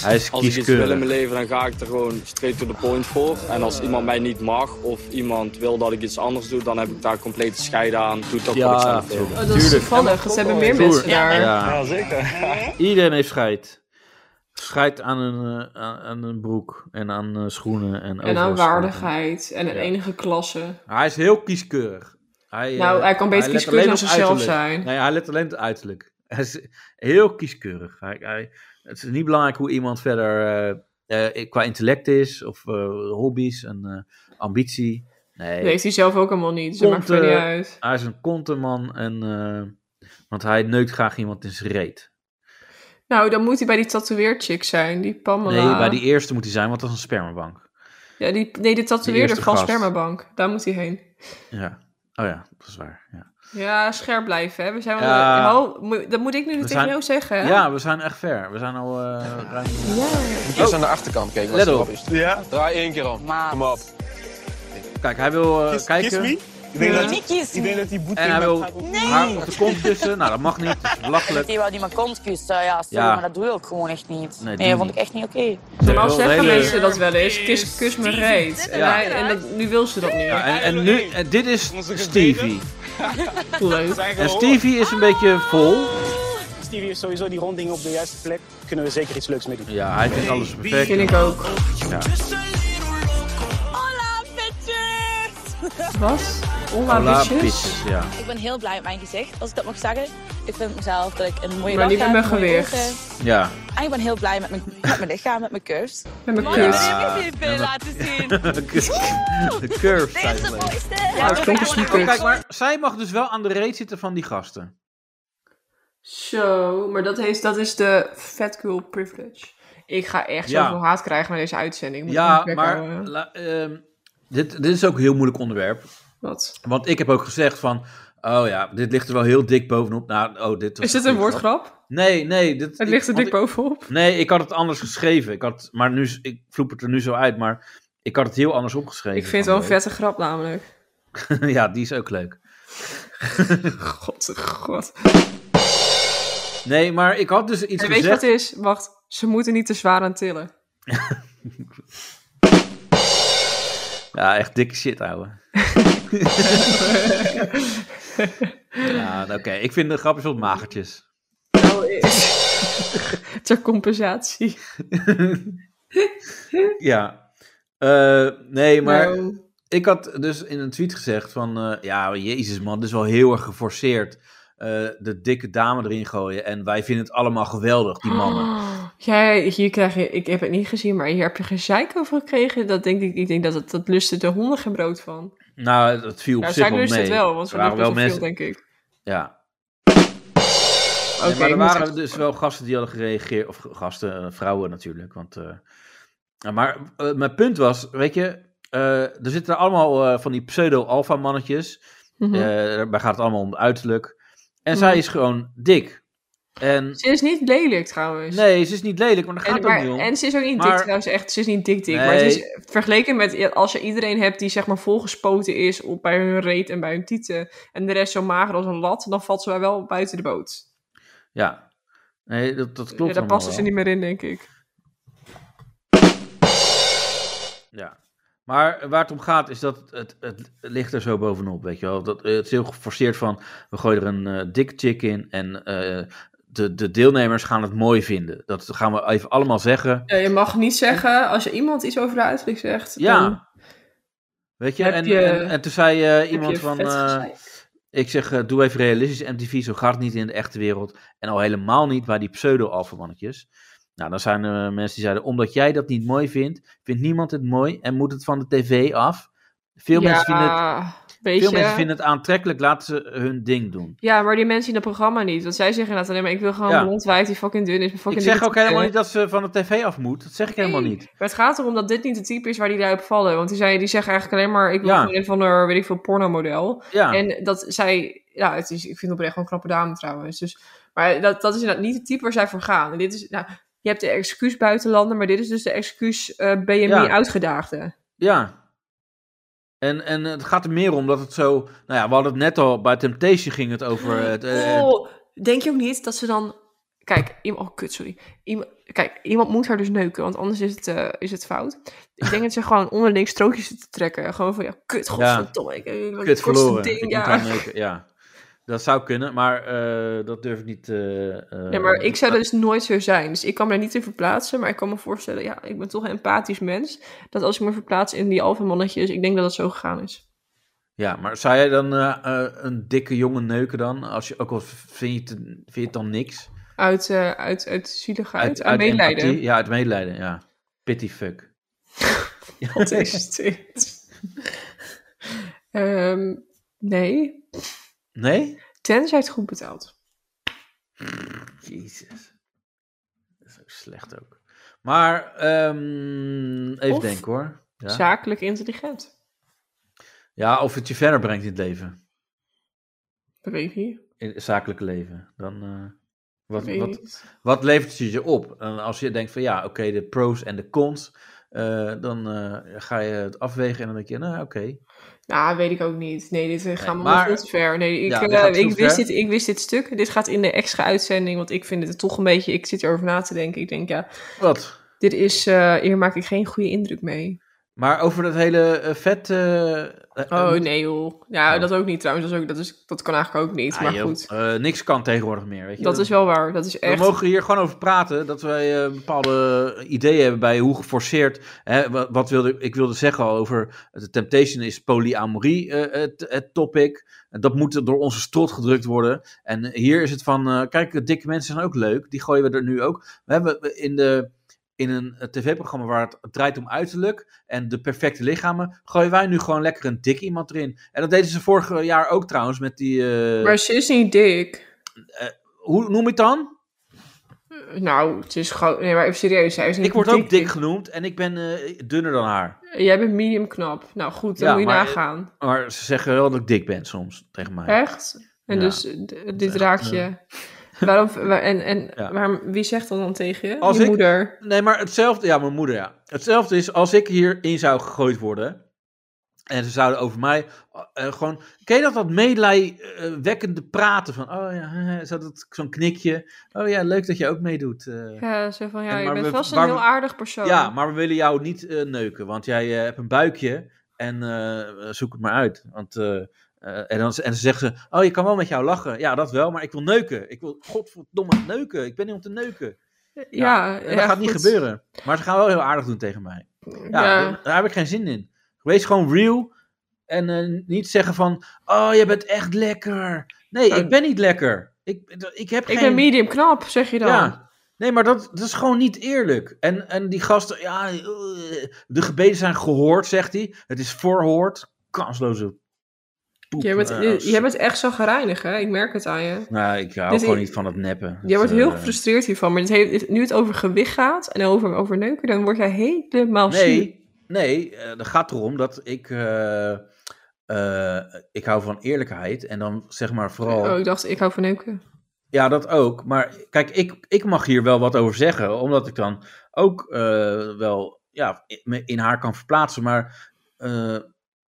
Hij is
Als ik iets wil in mijn
kieskeurig.
leven, dan ga ik er gewoon straight to the point voor. En als iemand mij niet mag of iemand wil dat ik iets anders doe, dan heb ik daar complete scheiden aan. Doe toch
Ja,
wat ik zelf wil.
tuurlijk.
Oh, dat is toevallig. Ze hebben meer mensen
Broer.
daar.
Ja.
[laughs]
Iedereen heeft scheid. Scheid aan een, eh, aan, aan een broek en aan eh, schoenen en, eh,
En aan
overal
waardigheid en een enige klasse.
scheid. Hij is heel kieskeurig. Hij,
Nou,
eh,
hij kan beter
let
kieskeurig
alleen
dan
op
zichzelf
uiterlijk.
zijn.
Nee, hij let alleen op het uiterlijk. [laughs] Hij is heel kieskeurig. Hij, hij, het is niet belangrijk hoe iemand verder eh, eh, qua intellect is of eh, hobby's en eh, ambitie. Nee,
Dat heeft hij zelf ook allemaal niet. Dus dat maakt
Konte-
het niet uit.
Hij is een konteman en, eh, want hij neukt graag iemand in zijn reet.
Nou, dan moet hij bij die tatoeëerchick zijn. Die Pamela.
Nee, bij die eerste moet hij zijn, want dat is een spermabank.
ja, die, nee, de tatoeëerder
eerste
van
gast.
Spermabank. Daar moet hij heen.
Ja. Oh ja, dat is waar. Ja,
Ja, scherp blijven. Hè. We zijn wel...
Ja.
Oh, moet- dat moet ik nu
We
tegen
zijn-
jou zeggen. hè?
ja we zijn echt ver. We zijn al eh, ruim...
Moet je eens aan de achterkant kijken wat
Let
erop
op.
is. Ja? Draai één keer om. Kom op.
Kijk, hij wil eh, kijken.
Ik denk dat- Niet kies ik denk me. dat
hij
die boete
En
in
hij
mijn
wil
gaat- Nee.
haar op de kont kussen. Nou, dat mag niet. Dat is belachelijk.
Die wou die mijn kont kussen. Ja, sorry,
Ja.
maar dat doe je ook gewoon echt niet. Nee,
Nee, doe
dat vond
niet.
ik echt niet oké.
Normaal wil zeggen een hele- mensen
dat wel eens. Kus, kus me reet. En,
Ja.
hij- en dat, nu wil ze dat niet.
Ja, en, en nu, en dit is Stevie.
Leuk.
En Stevie is een beetje vol.
Stevie heeft sowieso die ronddingen op de juiste plek. Kunnen we zeker iets leuks mee doen.
Ja, hij vindt alles perfect.
Vind ik ook.
Ja.
Hola, bitches!
Wat? Hola,
Hola,
bitches?
bitches, ja.
Ik ben heel blij met mijn gezicht, als ik dat mag zeggen. Ik vind mezelf dat ik een mooie dag
Maar niet met
heb,
mijn
mooie
gewicht.
ogen.
Ja.
En ik ben heel blij met mijn, met mijn lichaam, met mijn curves.
Met mijn
curves.
Ik heb even laten
[laughs]
zien.
De curves zijn
Dit is de
leuk.
mooiste.
Ja, dat klonk als sneakers.
Kijk, maar zij mag dus wel aan de reet zitten van die gasten.
Zo, maar dat, heeft, dat is de fat girl privilege. Ik ga echt
Ja.
zoveel haat krijgen naar deze uitzending. Moet ik
Ja,
me bek
maar
houden.
la- ehm, dit, dit is ook een heel moeilijk onderwerp.
Wat?
Want ik heb ook gezegd van, oh ja, dit ligt er wel heel dik bovenop. Nou, oh, dit was
Is dit een
goede
woordgrap?
Nee, nee. Dit,
Het ligt er
want
dik
ik-
bovenop.
Nee, ik had het anders geschreven. Ik had, maar nu, is- ik vloep het er nu zo uit, maar ik had het heel anders opgeschreven.
Ik vind het wel een vette grap namelijk.
vet. [laughs] ja, die is ook leuk.
God, god.
Nee, maar ik had dus iets
En weet je
gezegd.
wat het is? Wacht, ze moeten niet te zwaar aan tillen.
Ja, echt dikke shit,
[laughs]
ouwe. ja, oké. Ik vind de grapjes wat magertjes.
Nou, eh, [laughs] ter compensatie.
Ja. Eh, nee, maar
Nou.
ik had dus in een tweet gezegd van... eh, ja, jezus man, dit is wel heel erg geforceerd. eh, de dikke dame erin gooien. En wij vinden het allemaal geweldig, die [laughs]
Ah.
mannen.
Jij, hier krijg je, ik heb het niet gezien, maar hier heb je gezeik over gekregen. Dat denk ik, ik denk dat, het, dat lusten de honden geen brood van.
Nou, dat viel op
Nou,
zich
zij
wel mee.
lust het wel, want ze
Er waren
doen best wel veel, denk ik.
Ja.
Oké,
Nee, maar
ik
er
moet
waren
echt-
dus wel gasten die hadden gereageerd. Of gasten, eh, vrouwen natuurlijk. Want, eh, ja, maar eh, mijn punt was, weet je... eh, er zitten allemaal eh, van die pseudo-alpha-mannetjes.
Mhm.
Eh, daarbij gaat het allemaal om het uiterlijk. En
Mhm.
zij is gewoon dik. En,
Ze is niet lelijk trouwens.
Nee, ze is niet lelijk, maar daar gaat
en,
het ook
maar-
niet om.
En ze is ook niet
Maar-
dik trouwens, echt. Ze is niet dik dik. Maar het
Nee.
is vergeleken met ja, als je iedereen hebt die zeg maar volgespoten is op, bij hun reet en bij hun tieten. En de rest zo mager als een lat, dan valt ze wel buiten de boot.
Ja, nee, dat, dat klopt
Ja, daar
allemaal
passen ze
wel.
niet meer in, denk ik.
Ja. Maar waar het om gaat is dat het, het ligt er zo bovenop, weet je wel. Dat, eh, het is heel geforceerd van, we gooien er een eh dik chick in en eh, de, de deelnemers gaan het mooi vinden. Dat gaan we even allemaal zeggen.
Ja, je mag niet zeggen, als je iemand iets over de uiterlijk zegt,
Ja.
dan
Weet je,
Heb
en,
je-
en, en toen zei eh, iemand
je
van,
vet
eh, ik zeg, eh, doe even realistisch MTV, zo gaat het niet in de echte wereld. En al helemaal niet bij die pseudo-alfamannetjes. Nou, dan zijn er mensen die zeiden, omdat jij dat niet mooi vindt, vindt niemand het mooi en moet het van de tv af. Veel
Ja,
mensen vinden het...
weet
Veel
je.
mensen vinden het aantrekkelijk, laten ze hun ding doen.
Ja, maar die mensen in het programma niet. Want zij zeggen inderdaad alleen maar, ik wil gewoon
Ja.
een blond wijf die fucking dun is. maar Fucking
ik zeg
dikke
ook helemaal
tieten.
niet dat ze van de tv af moet. Dat zeg ik helemaal niet.
Maar het gaat erom dat dit niet het type is waar die lui op vallen. Want die, zei, die zeggen eigenlijk alleen maar, ik wil
Ja.
gewoon een van de, weet ik veel, pornomodel.
Ja.
En dat zij, ja, het is, ik vind het oprecht gewoon een knappe dame trouwens. Dus, maar dat, dat is inderdaad niet het type waar zij voor gaan. En dit is, nou, je hebt de excuus buitenlander, maar dit is dus de excuus eh, BMI
Ja.
uitgedaagde.
Ja. En, en het gaat er meer om dat het zo... Nou ja, we hadden het net al, bij Temptation ging het over... Het, eh,
Oh, denk je ook niet dat ze dan... Kijk, iemand... Oh, kut, sorry. Iemand, kijk, iemand moet haar dus neuken, want anders is het, eh, is het fout. Ik denk dat ze gewoon onderling strookjes zitten trekken. Gewoon van, ja, kut, godverdomme. ik- eh, wat
kut
het kortste
verloren.
ding,
Ik
ja.
moet haar neuken, ja. Dat zou kunnen, maar eh, dat durf ik niet... eh, eh,
Nee, maar ik zou er dus nooit zo zijn. Dus ik kan me daar niet in verplaatsen. Maar ik kan me voorstellen, ja, ik ben toch een empathisch mens. Dat als ik me verplaats in die alfamannetjes, ik denk dat dat zo gegaan is.
Ja, maar zou jij dan eh, eh, een dikke jongen neuken dan? Als je, ook al vind je, het, vind je het dan niks?
Uit, eh, uit, uit zieligheid, uit, medelijden.
empathie? Ja, uit medelijden, ja. Pity fuck.
[laughs] Wat is
[laughs]
dit? Ehm, nee,
Nee?
tenzij het goed betaalt.
Jezus. Dat is ook slecht ook. Maar, ehm, even
Of
denken hoor. Ja.
Zakelijk intelligent.
ja, of het je verder brengt in het leven.
Dat weet ik niet.
In het zakelijke leven. Dan, eh, wat,
Weet
wat,
niet.
wat levert het je op? En als je denkt van ja, oké, de pros en de cons. eh, dan eh, ga je het afwegen en dan denk je, nou oké.
Nou, weet ik ook niet. Nee, dit eh, gaan we
maar-
maar, veel te ver. Nee, ik,
Ja, dit
eh,
gaat veel
ik,
te
wist
ver.
dit, ik wist dit stuk. Dit gaat in de extra uitzending, want ik vind het toch een beetje... Ik zit erover na te denken. Ik denk, ja...
Wat?
Dit is... eh, hier maak ik geen goede indruk mee.
Maar over dat hele eh, vet... eh, eh,
Oh,
moet-
nee joh. Ja, dat ook niet trouwens. Dat, is ook, dat, is, dat kan eigenlijk ook niet.
Oh. Ah,
maar
joh,
goed,
eh, niks kan tegenwoordig meer, weet je.
dat is wel waar. Dat is echt...
We mogen hier gewoon over praten. Dat wij eh, bepaalde ideeën hebben bij hoe geforceerd. Hè, wat, wat wilde, ik wilde zeggen al over. De Temptation is polyamorie eh, het, het topic. En dat moet er door onze strot gedrukt worden. En hier is het van. eh, kijk, dikke mensen zijn ook leuk. Die gooien we er nu ook. We hebben in de. In een eh, tv-programma waar het draait om uiterlijk en de perfecte lichamen, gooien wij nu gewoon lekker een dik iemand erin. En dat deden ze vorig jaar ook trouwens met die. eh,
Maar ze is niet dik.
hoe noem je het dan?
Nou, het is gewoon... Nee, maar even serieus. Zij is niet
Ik word
dik.
ook dik genoemd en ik ben eh, dunner dan haar.
Jij bent medium knap. Nou goed, dan
Ja,
moet je
maar- eh,
nagaan.
Maar ze zeggen wel dat ik dik ben soms tegen mij.
Echt? En
Ja.
dus eh, d- dit
echt,
raakt je.
eh. [laughs]
Waarom, waar- en en
Ja.
waarom, wie zegt dat dan tegen je?
Als
je
ik-
moeder.
Nee, maar hetzelfde. Ja, mijn moeder, ja. Hetzelfde is als ik hierin zou gegooid worden. En ze zouden over mij eh, gewoon. Ken je dat dat medelijwekkende praten? Van, oh ja, [laughs] hè, hè, zo dat- zo'n knikje. Oh ja, leuk dat je ook meedoet. eh.
Ja, zo van, ja,
En
je
maar
bent
we-
vast een
waar we-
heel aardig persoon.
Ja, maar we willen jou niet eh, neuken, want jij eh, hebt een buikje en eh, zoek het maar uit. Want, eh, eh, en, dan, en ze zeggen ze, oh, je kan wel met jou lachen. Ja, dat wel, maar ik wil neuken. Ik wil godverdomme neuken. Ik ben niet om te neuken.
Ja,
en
ja,
dat gaat niet
goed.
gebeuren. Maar ze gaan wel heel aardig doen tegen mij. Ja,
Ja.
daar- Daar heb ik geen zin in. Wees gewoon real en eh, niet zeggen van, oh, je bent echt lekker. Nee, ik ben niet lekker. Ik, ik heb
Ik
geen...
ben medium knap, zeg je dan.
Ja. Nee, maar dat, dat is gewoon niet eerlijk. En, en die gasten, ja, eh, de gebeden zijn gehoord, zegt hij. Het is voorhoord. Kansloze poep.
Jij bent,
Eh,
je- jij bent echt zo gereinigd, hè? Ik merk het aan je.
Nou, ik hou
Dus
gewoon
ik-
niet van het neppen.
Jij
Dat,
wordt heel
eh,
gefrustreerd hiervan. Maar dit heeft- nu het over gewicht gaat en over, over neuken, dan word jij helemaal ziek.
Nee, nee, eh, dat gaat erom dat ik... eh, eh, ik hou van eerlijkheid. En dan zeg maar vooral...
Oh, ik dacht, ik hou van neuken.
Ja, dat ook. Maar kijk, ik, ik mag hier wel wat over zeggen, omdat ik dan ook eh, wel ja, me in haar kan verplaatsen. Maar eh,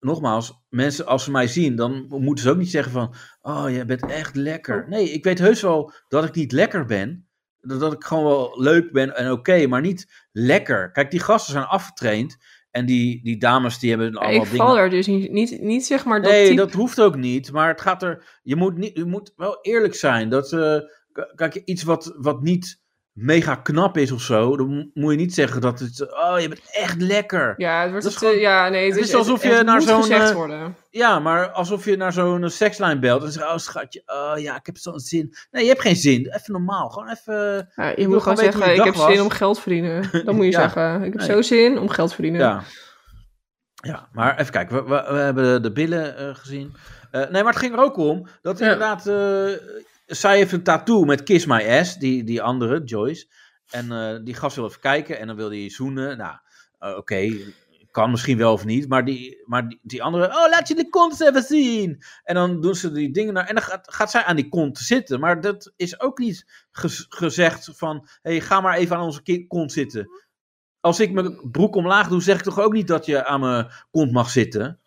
nogmaals, mensen als ze mij zien, dan moeten ze ook niet zeggen van, oh, jij bent echt
Oh.
lekker. Nee, ik weet heus wel dat ik niet lekker ben. Dat, dat ik gewoon wel leuk ben en oké, maar niet lekker. Kijk, die gasten zijn afgetraind en die, die dames die hebben allemaal
ik
dingen...
val er dus niet, niet, niet zeg maar dat
Nee,
type-
dat hoeft ook niet. Maar het gaat er. Je moet, niet, je moet wel eerlijk zijn. Dat, eh, k- kijk, iets wat, wat niet mega knap is of zo. Dan mo- moet je niet zeggen dat het. Oh, je bent echt lekker.
Ja, het wordt te- ja, nee, het,
het is alsof je
het
naar
moet
zo'n,
gezegd
eh,
worden.
Ja, maar alsof je naar zo'n eh, sekslijn belt. En zegt. Oh, schatje. Oh ja, ik heb zo'n zin. Nee, je hebt geen zin. Even normaal. Gewoon even.
Ja,
ik
je
wil
moet gewoon
weten hoe
zeggen,
je
ik
dag
heb
was.
zin om geld verdienen. Dan moet je
[laughs] Ja.
zeggen, ik heb
Nee.
zo zin om geld verdienen.
Ja. Ja, maar even kijken. We, we, we hebben de billen eh, gezien. Eh, nee, maar het ging er ook om dat inderdaad... eh, zij heeft een tattoo met Kiss My Ass, die, die andere, Joyce. En eh, die gast wil even kijken en dan wil hij zoenen. Nou, eh, oké, kan misschien wel of niet. Maar die, maar die, die andere, oh, laat je de kont even zien. En dan doen ze die dingen naar... En dan gaat, gaat zij aan die kont zitten. Maar dat is ook niet gez- gezegd van... hey, ga maar even aan onze ki- kont zitten als ik mijn broek omlaag doe, zeg ik toch ook niet dat je aan mijn kont mag zitten?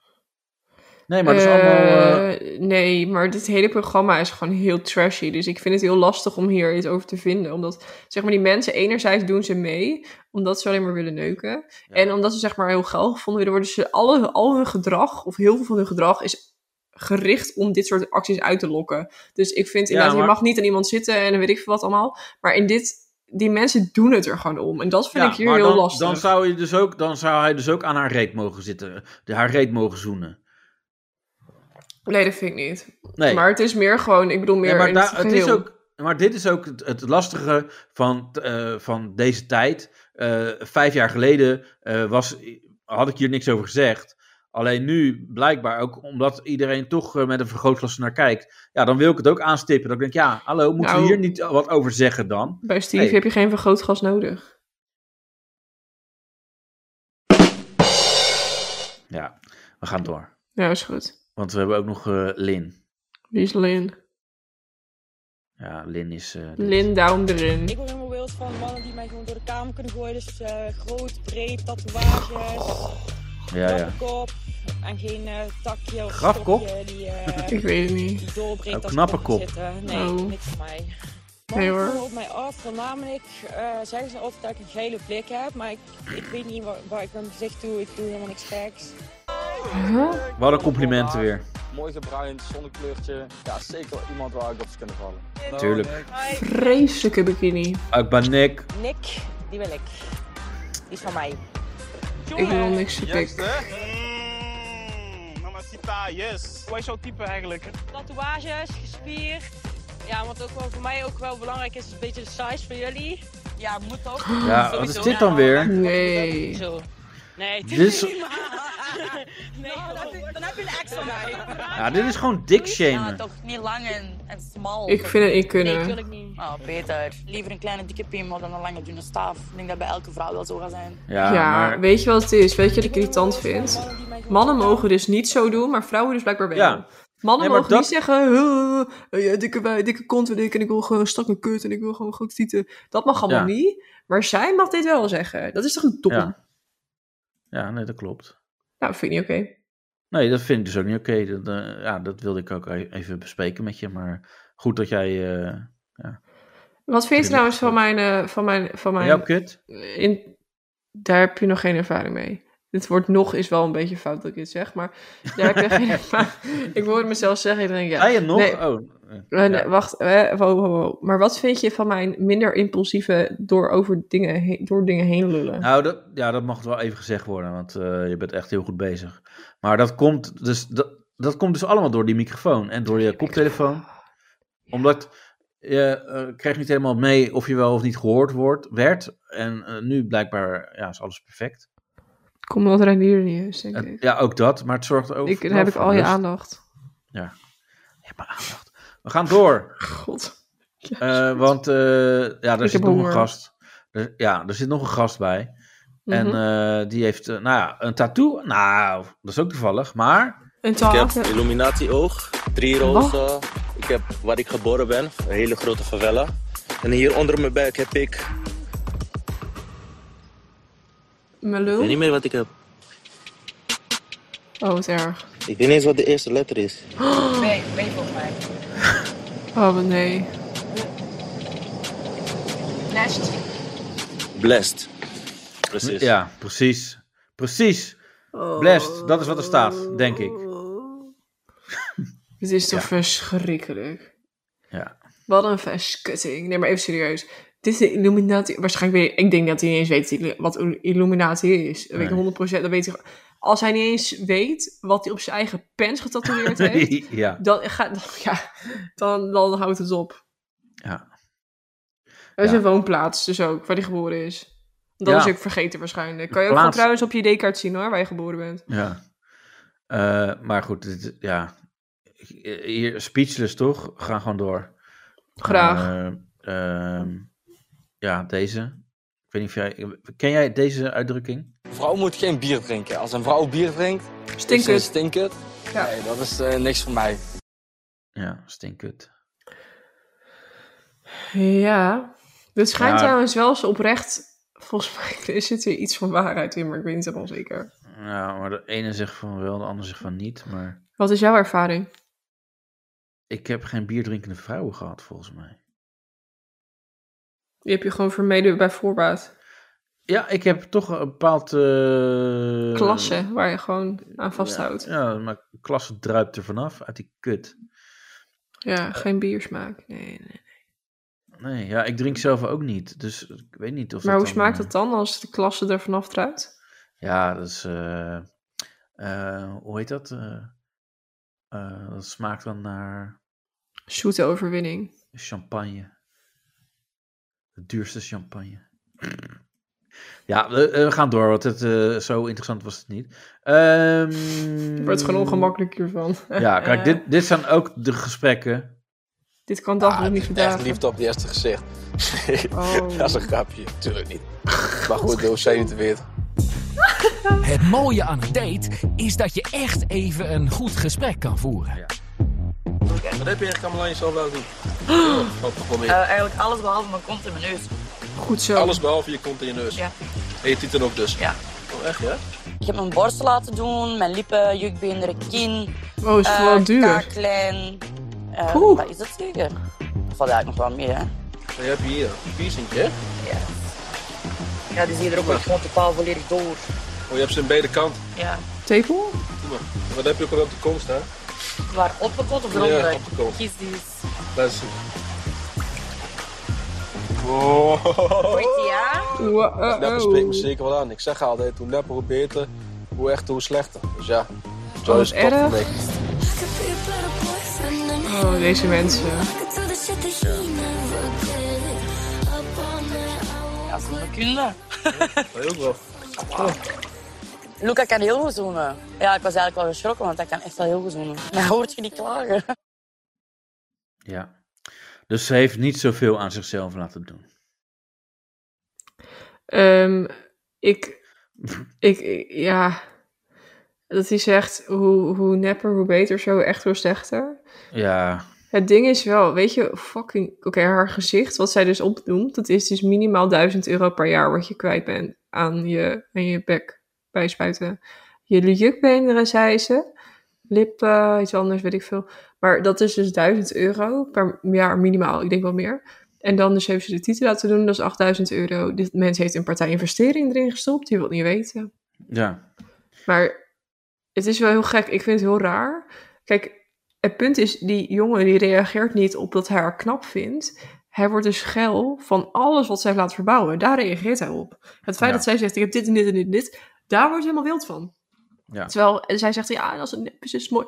Nee, maar dat is allemaal... eh,
Eh, Nee, maar dit hele programma is gewoon heel trashy. Dus ik vind het heel lastig om hier iets over te vinden. Omdat, zeg maar, die mensen enerzijds doen ze mee... omdat ze alleen maar willen neuken. En omdat ze, zeg maar, heel geil gevonden willen worden... ze alle, al hun gedrag, of heel veel van hun gedrag... is gericht om dit soort acties uit te lokken. Dus ik vind
Ja,
inderdaad, je
maar-
mag niet aan iemand zitten... en weet ik veel wat allemaal. Maar in dit... Die mensen doen het er gewoon om. En dat vind
ja,
ik hier
maar
heel
dan,
lastig.
Dan zou, je dus ook, dan zou hij dus ook aan haar reet mogen zitten. De, haar reet mogen zoenen.
Nee, dat vind ik niet.
Nee.
Maar het is meer gewoon, ik bedoel meer
Ja, maar,
in
daar-
het
het is
geheel.
ook, maar dit is ook het, het lastige van, eh, van deze tijd. Eh, vijf jaar geleden eh, was, had ik hier niks over gezegd. Alleen nu, blijkbaar ook omdat iedereen toch eh, met een vergrootglas naar kijkt. Ja, dan wil ik het ook aanstippen. Dat ik denk, ja, hallo, moeten
Nou,
we hier niet wat over zeggen dan?
Bij Steve
Nee.
heb je geen vergrootglas nodig.
Ja, we gaan door.
Ja, Nou, is goed.
Want we hebben ook nog eh, Lin.
Wie is Lin?
Ja, Lin is... eh, dit.
Lin down erin.
Ik ben helemaal wild van mannen die mij gewoon door de kamer kunnen gooien. Dus eh, groot, breed, tatoeages,
Ja, ja.
kop en geen eh, takje of
Grafkop?
stokje die, eh,
[laughs] Ik weet het niet.
die doorbreekt
Oh,
als
knappe
kop
kop.
zitten. Nee,
Oh.
niks voor mij.
Nee,
Mannen
hoor.
komen op mij af, voornamelijk eh, zeggen ze altijd dat ik een gele blik heb, maar ik, ik weet niet waar, waar ik mijn gezicht doe, ik doe helemaal niks geks.
Wat een complimenten weer.
Mooi gebruind, zonnekleurtje. Ja, zeker wel iemand waar ik op zou kunnen vallen.
Tuurlijk.
Vreselijke bikini.
Akbanek.
Nick, die wil ik. Die is van mij.
Ik wil niks te pik.
Mm, Mamacita, yes. Wat is jouw type eigenlijk? Tatoeages, gespierd. Ja, wat ook wel voor mij ook wel belangrijk is, is een beetje de size van jullie. Ja, moet
[gasps]
ook.
Ja, wat is
nou.
dit dan weer?
Nee.
Zo. Nee,
Dit is-
niet waar. Nee, dan, heb je een ex van mij.
Ja, dit is gewoon dik
Ja,
shamen.
toch niet lang en, en smal.
Ik vind het niet kunnen.
Nee, natuurlijk niet. Oh, beter. Liever een kleine dikke piemel dan een lange dunne staaf. Ik denk dat bij elke vrouw wel zo gaat zijn.
Ja, weet je wat het is? Weet je wat ik irritant vind? Mannen mogen dus niet zo doen, maar vrouwen dus blijkbaar wel.
Ja.
Mannen
Nee, maar
mogen
dat-
niet zeggen, "Eh, eh, ja, dikke, wij- dikke kont en ik, en ik wil gewoon strak een kut en ik wil gewoon goed tieten. Dat mag allemaal
Ja.
niet. Maar zij mag dit wel zeggen. Dat is toch een dom?
Ja. ja, nee, dat klopt.
Nou, vind ik niet oké.
Nee, dat vind ik dus ook niet oké. Dat, eh, ja, dat wilde ik ook e- even bespreken met je. Maar goed dat jij... eh, ja.
Wat vind je trouwens van mijn... eh, van mijn, van mijn
Jouw kut?
In, daar heb je nog geen ervaring mee. Dit woord nog is wel een beetje [laughs]
[laughs]
fout dat ik dit zeg, maar daar heb je geen ervaring Ik hoorde mezelf zeggen, ik denk ja.
Zei je nog?
Nee,
Oh,
Eh, nee, Wacht, eh, wow, wow, wow. maar wat vind je van mijn minder impulsieve door, over dingen, heen, door dingen heen lullen?
Nou, dat, ja, dat mag wel even gezegd worden, want eh, je bent echt heel goed bezig. Maar dat komt dus, dat, dat komt dus allemaal door die microfoon en door je koptelefoon. Omdat je eh, krijgt niet helemaal mee of je wel of niet gehoord wordt, werd. En eh, nu blijkbaar ja, is alles perfect.
Kom wat Reinier niet eens, denk
En,
ik.
ja, ook dat, maar het zorgt ook
ik
voor-
dan heb ik
voor
al je
rust.
aandacht.
We gaan door.
God.
Eh, want eh, ja,
Ik
er zit
heb
nog
honger.
een gast. Er- ja, er zit nog een gast bij. En
Mhm.
eh, die heeft eh, nou ja, een tattoo. Nou, dat is ook toevallig, maar...
Een
Ik heb Illuminati oog, drie rozen. Ik heb waar ik geboren ben, een hele grote favela. En hier onder mijn buik heb ik... Ik
Mijn
weet niet
lul?
meer wat ik heb.
Oh, wat erg.
Ik weet niet eens wat de eerste letter is.
Nee, ben je volgens mij.
[gasps] Oh, wat nee.
Nest.
Blessed. Precies.
Ja, precies. Precies.
Oh,
Blessed, dat is wat er staat, denk ik.
Het is toch
Ja.
verschrikkelijk.
Ja.
Wat een verskutting. Nee, maar even serieus. Dit is de Illuminati. Waarschijnlijk weet ik denk dat hij niet eens weet die- wat Illuminati is. Dat weet ik
Nee.
100%. Dat weet hij, als hij niet eens weet wat hij op zijn eigen pens
[laughs]
getatoeëerd heeft,
ja.
dan, gaat, dan, ja, dan, dan houdt het op.
Ja.
Dat is
Ja.
een woonplaats dus ook, waar hij geboren is. Dan
Ja.
is hij ook vergeten waarschijnlijk. Kan je ook
Plaats.
gewoon trouwens op je ID-kaart zien hoor, waar je geboren bent.
ja. Eh, maar goed, dit, ja. Hier, speechless toch? We gaan gewoon door.
Graag.
Eh, ehm, ja, deze. Ik weet niet of jij... Ken jij deze uitdrukking?
Een vrouw moet geen bier drinken. Als een vrouw bier drinkt,
Stinkert.
is ze een stinkert.
Ja.
Nee, dat is eh, niks voor mij.
Ja, stinkkut.
Ja, dit schijnt
Ja.
trouwens wel eens oprecht. Volgens mij [laughs] zit er iets van waarheid in, maar ik weet niet helemaal zeker.
Ja, Nou, maar de ene zegt van wel, de ander zegt van niet. Maar
Wat is jouw ervaring?
ik heb geen bierdrinkende vrouwen gehad, volgens mij.
Die heb je gewoon vermeden bij voorbaat.
Ja, ik heb toch een bepaald... eh,
Klasse, waar je gewoon aan vasthoudt. Ja,
Ja, maar klasse druipt er vanaf uit die kut.
geen biersmaak. Nee, nee.
Nee, ja, ik drink zelf ook niet. Dus ik weet niet of
Maar
dat
hoe
dan,
smaakt
eh,
dat dan als de klasse er vanaf druipt?
Ja, dat is... eh, eh, hoe heet dat? Eh, eh, dat smaakt dan naar
Zoete overwinning.
champagne. De duurste champagne. [sniffs] Ja, we, eh, we gaan door, want het, eh, zo interessant was het niet. Ehm
Ik word gewoon ongemakkelijk hiervan.
[laughs] Ja, kijk,
[laughs]
dit, dit zijn ook de gesprekken.
Dit kan
Ah,
dag nog niet
Echt
vandaag.
liefde op het eerste gezicht. [laughs]
Oh.
dat is een grapje, tuurlijk niet. Maar goed, hoe zijn jullie het weer?
[laughs] Het mooie aan een date is dat je echt even een goed gesprek kan voeren.
Wat heb je echt allemaal aan jezelf laten doen? Oh,
Eh, eigenlijk alles behalve mijn kont en mijn neus.
Goed zo.
Alles behalve je kont en je neus.
Ja.
En je tieten ook dus.
Ja.
Oh, echt, ja?
Ik heb mijn borst laten doen, mijn lippen, jukbeenderen, kin.
Oh, is het
eh,
wel duur?
Kaaklijn. Eh,
Oeh.
wat is dat zeker? Dat valt eigenlijk nog wel meer, hè?
Dan heb je hier een piercing, hè?
Ja. Ja, die zie je er ook wel gewoon totaal volledig door.
Oh, je hebt ze aan beide kanten.
Ja.
Tepel?
Doe maar. Wat heb je ook al op de komst, hè?
Waar op de kont of
Ja,
eronder?
op de kont.
Kies die eens.
Laat eens zien. Wow.
Goed, ja?
eh,
Dat
oh.
Leppen Oh. spreekt me zeker wel aan. Ik zeg altijd, hoe lepper, hoe beter. Hoe echter, hoe slechter. Dus ja, zo
Oh,
is het toch
erg.
voor mij.
Oh, deze mensen.
Ja, zo'n kunde.
Heel wel.
Luca kan heel goed zoenen. Ja, ik was eigenlijk wel geschrokken, want hij kan echt wel heel goed zoenen. Maar hoort je niet klagen?
Ja. Dus ze heeft niet zoveel aan zichzelf laten doen.
Ehm,
[laughs]
ik, ik, ik- ja, dat hij zegt, hoe, hoe nepper, hoe beter, zo echt, hoe slechter.
Ja,
Het ding is wel, weet je, fucking, oké, haar gezicht, wat zij dus opnoemt, dat is dus minimaal 1000 euro per jaar wat je kwijt bent aan je, aan je bek bijspuiten. Jullie jukbeenderen, zei ze, lippen, iets anders, weet ik veel. Maar dat is dus 1000 euro per jaar minimaal, ik denk wel meer. En dan dus heeft ze de titel laten doen, dat is 8000 euro. Dit mens heeft een partij investering erin gestopt, die wil het niet weten.
ja.
Maar het is wel heel gek. Ik vind het heel raar. Kijk, het punt is, die jongen die reageert niet op dat hij haar knap vindt. Hij wordt dus geil van alles wat zij heeft laten verbouwen. Daar reageert hij op. Het feit
Ja.
dat zij zegt, ik heb dit en dit en dit en dit. Daar wordt hij helemaal wild van.
Ja.
Terwijl zij zegt, ja, dat is het nep is, is het mooi.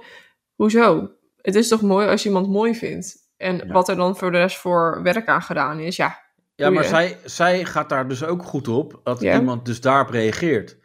Hoezo? Het is toch mooi als je iemand mooi vindt? En wat er dan voor de rest voor werk aan gedaan is, ja.
Ja, maar
boeien.
zij, zij gaat daar dus ook goed op dat
Ja.
iemand dus daarop reageert.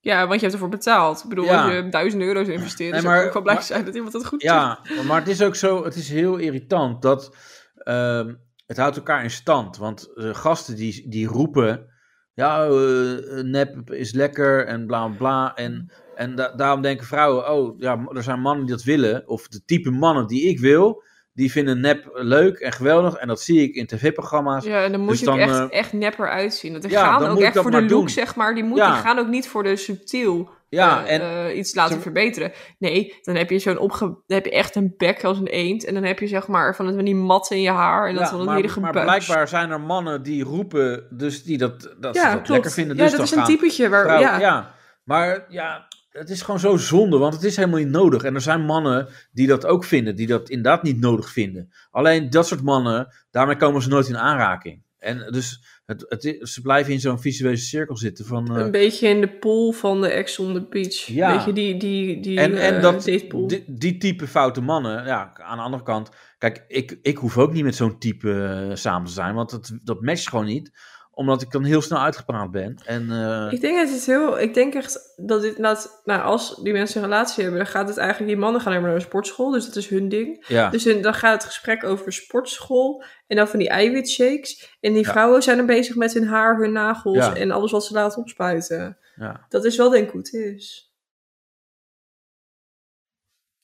Ja, want je hebt ervoor betaald. Ik bedoel,
Ja.
als je duizend euro's investeert,
Nee,
dan zou ik
maar-
ook wel blij
maar-
zijn dat iemand dat goed doet.
Ja, maar het is ook zo, het is heel irritant dat ehm, het houdt elkaar in stand. Want de gasten die, die roepen, ja, eh, nep is lekker en bla bla bla. En, en da- daarom denken vrouwen, oh ja, er zijn mannen die dat willen. Of de type mannen die ik wil, die vinden nep leuk en geweldig. En dat zie ik in tv-programma's.
Ja, en dan moet
Dus
je ook echt,
eh,
echt nepper uitzien. Dat die
ja,
gaan
dan
ook
moet ik
echt
dat
voor de
maar
look,
doen.
zeg maar. Die, moet,
Ja.
die gaan ook niet voor de subtiel
Ja,
eh,
en-
eh, iets laten verbeteren. Nee, dan heb je zo'n opge... Dan heb je echt een bek als een eend. En dan heb je zeg maar van, het- van die mat in je haar. En dat
Ja,
van dat
maar,
hele
maar
gebuis.
blijkbaar zijn er mannen die roepen, dus die dat, dat, ze
Ja,
dat
klopt.
lekker vinden.
Ja,
Dus
dat
dan
is een
gaan
typetje waar-
vrouwen-
ja.
Maar ja, het is gewoon zo zonde, want het is helemaal niet nodig. En er zijn mannen die dat ook vinden, die dat inderdaad niet nodig vinden. Alleen dat soort mannen, daarmee komen ze nooit in aanraking. En dus het, het, is- ze blijven in zo'n visuele cirkel zitten van... eh,
Een beetje in de pool van de ex on the beach.
Ja.
Weet je, die, die, die
en, en
eh,
dat,
datepool.
di- die type foute mannen, ja, aan de andere kant. Kijk, ik, ik hoef ook niet met zo'n type eh, samen te zijn, want dat, dat matcht gewoon niet. Omdat ik dan heel snel uitgepraat ben. En, eh,
Ik denk dat het heel. Ik denk echt dat dit. Dat, nou, als die mensen een relatie hebben, dan gaat het eigenlijk. Die mannen gaan helemaal naar de sportschool, dus dat is hun ding.
Ja.
Dus hun- dan gaat het gesprek over sportschool en dan van die eiwitshakes. En die
Ja.
vrouwen zijn dan bezig met hun haar, hun nagels
Ja.
en alles wat ze laten opspuiten.
ja.
Dat is wel denk ik hoe het is.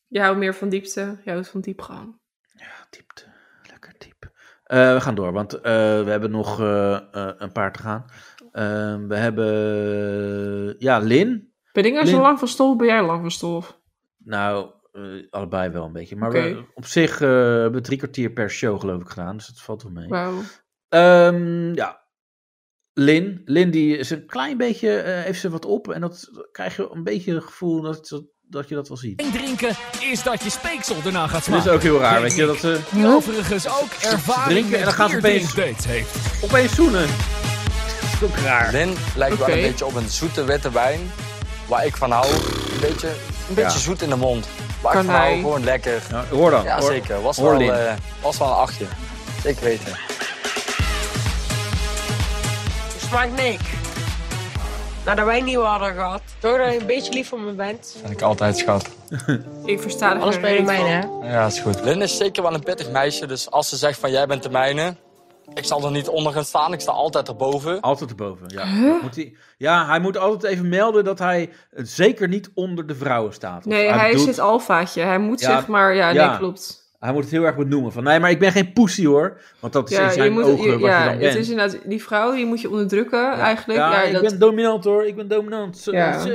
Je houdt meer van diepte, je houdt van diepgang.
Eh, we gaan door, want eh, we hebben nog eh, eh, een paar te gaan. Eh, we hebben, ja, Lin.
Ben ik nou zo
Lin-
lang van stof? Ben jij lang van stof?
Nou, eh, allebei wel een beetje. Maar
Oké.
we- op zich eh, hebben we drie kwartier per show geloof ik gedaan, dus dat valt wel mee.
Wauw.
Ehm, ja. Lin. Lin die is een klein beetje, eh, heeft ze wat op. En dat dat krijg je een beetje het gevoel dat, dat, dat je dat wel ziet.
En drinken is dat je speeksel daarna gaat
Dat
smaken.
is ook heel raar, weet je. Dat ze
Die overigens ook ervaring
drinken en dan gaan ze
met
opeens,
bierdienst heeft.
opeens zoenen. Dat is ook raar.
Lin lijkt wel
Oké.
een beetje op een zoete witte wijn. Waar ik van hou. Een beetje, een beetje
Ja.
zoet in de mond. Waar
Kan
ik van hou,
hij-
gewoon lekker.
hoor dan,
Ja,
hoor-
zeker. Was,
hoor
wel,
Lin.
eh, was wel een achtje. Zeker weten.
Smaakt niks. Nadat wij niet hadden gehad. Door dat je een beetje lief voor me bent.
Vind ik altijd
[laughs]
schat.
Ik versta er
Alles
geen
bij de
reet
mijne,
van.
hè?
Ja, is goed. Lin is zeker wel een pittig meisje. Dus als ze zegt van jij bent de mijne. Ik zal er niet onder gaan staan. Ik sta altijd erboven.
Altijd erboven, ja. Dat Moet hij, ja, hij moet altijd even melden dat hij eh, zeker niet onder de vrouwen staat. Of
Nee, hij, is
doet-
het alfaatje. Hij moet
Ja,
zeg maar. Ja,
ja.
nee, klopt.
Hij moet het heel erg benoemen. Van, nee, maar ik ben geen poesie hoor. Want dat is in zijn ogen
je-
wat
ja,
je dan bent.
Het is inderdaad, die vrouw die moet je onderdrukken eigenlijk.
Ja,
Ja,
ik
dat,
ben dominant hoor, ik ben dominant. Zo-
Ja.
zo-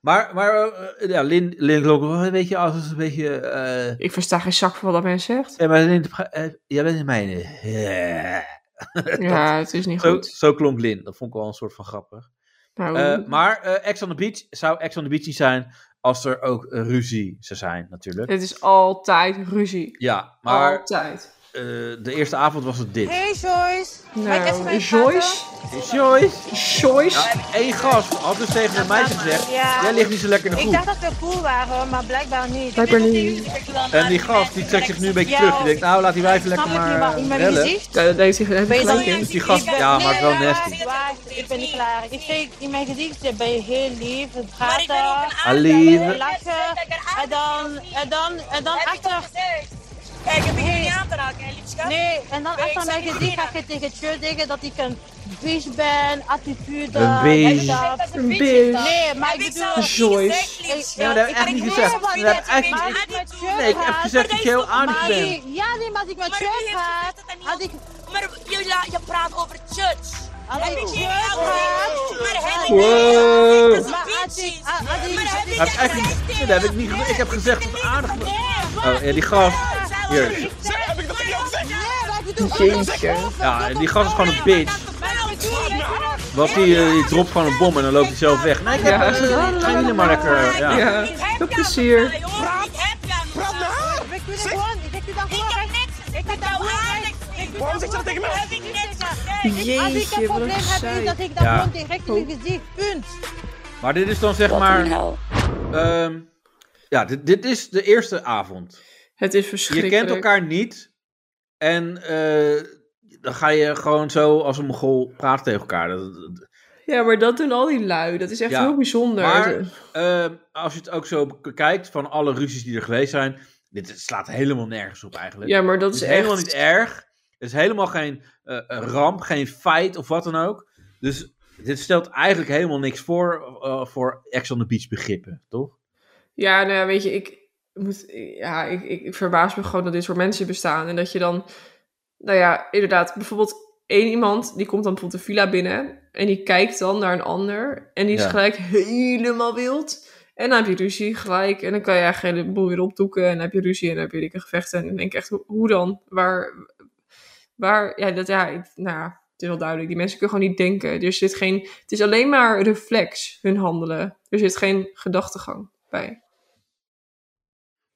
Maar, maar eh, ja, Lin, Lin loopt wel een beetje als een beetje... eh,
ik versta geen zak van wat dat mensen zegt.
Ja, maar Lin, eh, jij bent in eh, mijne. Ja, [laughs]
Ja, het is niet
zo,
goed.
Zo klonk Lin, dat vond ik wel een soort van grappig.
Nou,
Eh, maar eh Ex on the Beach zou Ex on the Beach niet zijn als er ook eh, ruzie zou zijn natuurlijk.
het is altijd ruzie.
Ja, maar...
Altijd.
eh, de eerste avond was het dit.
Hey Joyce. Mag ik even
Nou,
mee
Joyce.
Joyce.
Joyce.
Ja, één gast had dus tegen een meisje gezegd,
Ja.
jij ligt niet zo lekker in de
Ik
groep.
dacht dat we cool waren, maar blijkbaar niet.
Blijkbaar
Ik weet
niet.
dat jullie- ik wil
En die
aan-
gast die trekt zich nu een beetje
Ja,
terug. Die denkt, nou laat die wijf
snap
lekker
ik niet, maar in
maar eh,
mijn
bellen.
gezicht?
Ja, dat heeft hij heeft hij
Ben je
gelijk
dan-
in.
Dus die gast, ja, maar het is wel nasty.
Waar, Ik ben niet klaar. Ik kreeg in mijn gezicht ben je heel lief, het praten,
Alieve.
lachen en dan, en dan, en dan achter.
Kijk, heb je geen aan te raken, hè, liefschat?
Nee, en dan
Nee, ik
achter
zeg
mijn
niet
gezicht ga
beginnen.
ik tegen je zeggen dat ik een bitch ben, attitude.
Een bitch.
en dat.
Een bitch.
Nee, maar ik
Heb ik
bedoel...
zelfs niet Joyce. gezegd, Nee, maar dat heb ik echt niet gezegd. Dat heb ik echt niet- Nee, ik heb gezegd dat je heel aardig bent.
Ja, nee, maar als ik met je praat, had ik...
Maar je, la- je praat over church.
Had ik
Heb ik
church
geen
gehad,
Maar heb ik
Wow.
niet
Maar had ik- had- had ik-
Dat is echt niet- nee, dat heb ik niet gezegd. Ik heb gezegd dat het aardig was. Oh, ja, die gast. Hier.
Heb ik dat niet gezegd? Nee, maar ik
Ja, die gast is gewoon een bitch. Want die, eh, die dropt gewoon een bom en dan loopt hij zelf weg. Nee, ik heb,
Ja.
eh, gaan jullie maar lekker. eh, Ja.
Ja, veel plezier.
Praat nou! doe dit gewoon. Ik doe dat gewoon. Ik heb niks. Ik heb dat gewoon. Waarom zeg je dat tegen mij? Heb ik niks. Nee, Als ik een
Jeetje, wat een
probleem heb,
gezeik.
is dat ik dat
Ja.
gewoon direct in je gezicht. Punt.
Maar dit is dan zeg maar. ehm, ja, dit, dit is de eerste avond.
Het is
Je
verschrikkelijk.
kent elkaar niet. En eh, dan ga je gewoon zo als een mogol praten tegen elkaar. Dat- dat-
Ja, maar dat doen al die lui. Dat is echt
ja.
heel bijzonder. eh,
Maar ehm, als je het ook zo bekijkt van alle ruzies die er geweest zijn. Dit slaat helemaal nergens op eigenlijk.
Ja, maar dat
Het
is
helemaal
echt-
niet erg. Het is helemaal geen eh, ramp, geen feit of wat dan ook. Dus dit stelt eigenlijk helemaal niks voor eh, voor Ex on the Beach begrippen, toch?
Ja, nou ja, weet je, ik, moet, ja, ik, ik, ik verbaas me gewoon dat dit soort mensen bestaan. En dat je dan, nou ja, inderdaad, bijvoorbeeld één iemand die komt dan bijvoorbeeld de villa binnen en die kijkt dan naar een ander en die is
Ja.
gelijk helemaal wild. En dan heb je ruzie gelijk en dan kan je eigenlijk de boel weer opdoeken en dan heb je ruzie en dan heb je dikke gevechten. En dan denk ik echt, hoe, hoe dan? Waar, waar, ja, dat, ja, ik- nou ja, het is wel duidelijk. Die mensen kunnen gewoon niet denken. Er zit geen, het is alleen maar reflex, hun handelen. Er zit geen gedachtegang bij.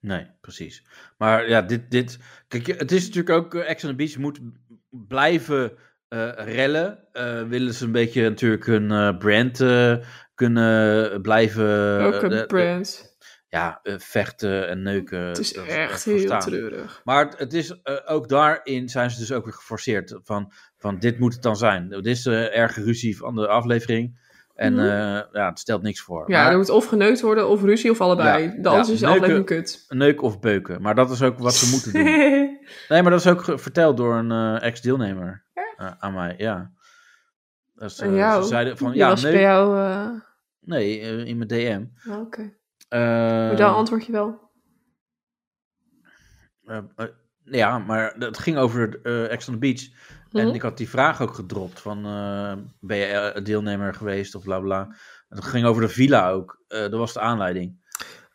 Nee, precies. Maar ja, dit, dit kijk, je- het is natuurlijk ook, eh, Ex on the Beach moet b- blijven eh, rellen. Eh, willen ze een beetje natuurlijk hun eh, brand eh, kunnen blijven...
Welke
eh, de- de-
brand?
ja, eh, vechten en neuken. Het
is echt heel treurig.
Maar het, het is, eh, ook daarin zijn ze dus ook weer geforceerd van, van dit moet het dan zijn. Dit is de erge ruzie van de aflevering. En
Mhm.
eh, ja, het stelt niks voor.
Ja,
Maar-
er moet of geneukt worden, of ruzie, of allebei.
ja,
De anders
ja,
is de aflevering
neuken-
kut.
Neuken of beuken. Maar dat is ook wat ze
[laughs]
moeten doen. Nee, maar dat is ook ge- verteld door een eh, ex-deelnemer eh, aan mij. Ja. Dat ze,
En jou?
ze zeiden van
Die
ja,
was
neuk-
bij jou... eh,
Nee, eh, in mijn DM.
nou, Oké.
Eh,
Maar dan antwoord je wel.
eh, eh, ja, maar dat ging over eh Ex on the Beach. En
Mhm.
ik had die vraag ook gedropt van eh, ben je eh, deelnemer geweest of bla bla. En dat ging over de villa ook. Eh, dat was de aanleiding.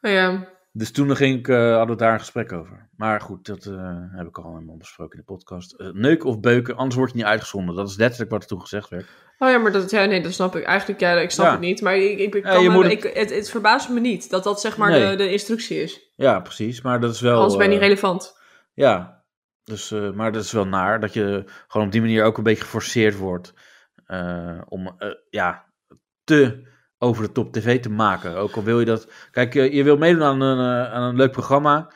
Nou ja,
Dus toen ging ik, eh, hadden we daar een gesprek over. Maar goed, dat eh, heb ik al helemaal besproken in de podcast. Eh, neuken of beuken, anders word je niet uitgezonden. Dat is letterlijk wat er toen gezegd werd.
oh ja, maar dat, ja, nee, dat snap ik. Eigenlijk, ja, ik snap
Ja.
het niet. Maar ik, ik, ik
Ja,
kan
je
me-
moet het-
ik, het, het verbaast me niet dat dat zeg maar
Nee.
de, de instructie is.
Ja, precies. Maar dat is wel.
Anders ben je niet
eh,
relevant.
Ja, dus, eh, maar dat is wel naar dat je gewoon op die manier ook een beetje geforceerd wordt eh, om eh, ja, te over de top tv te maken. Ook al wil je dat. Kijk, eh, je wil meedoen aan een, eh, aan een leuk programma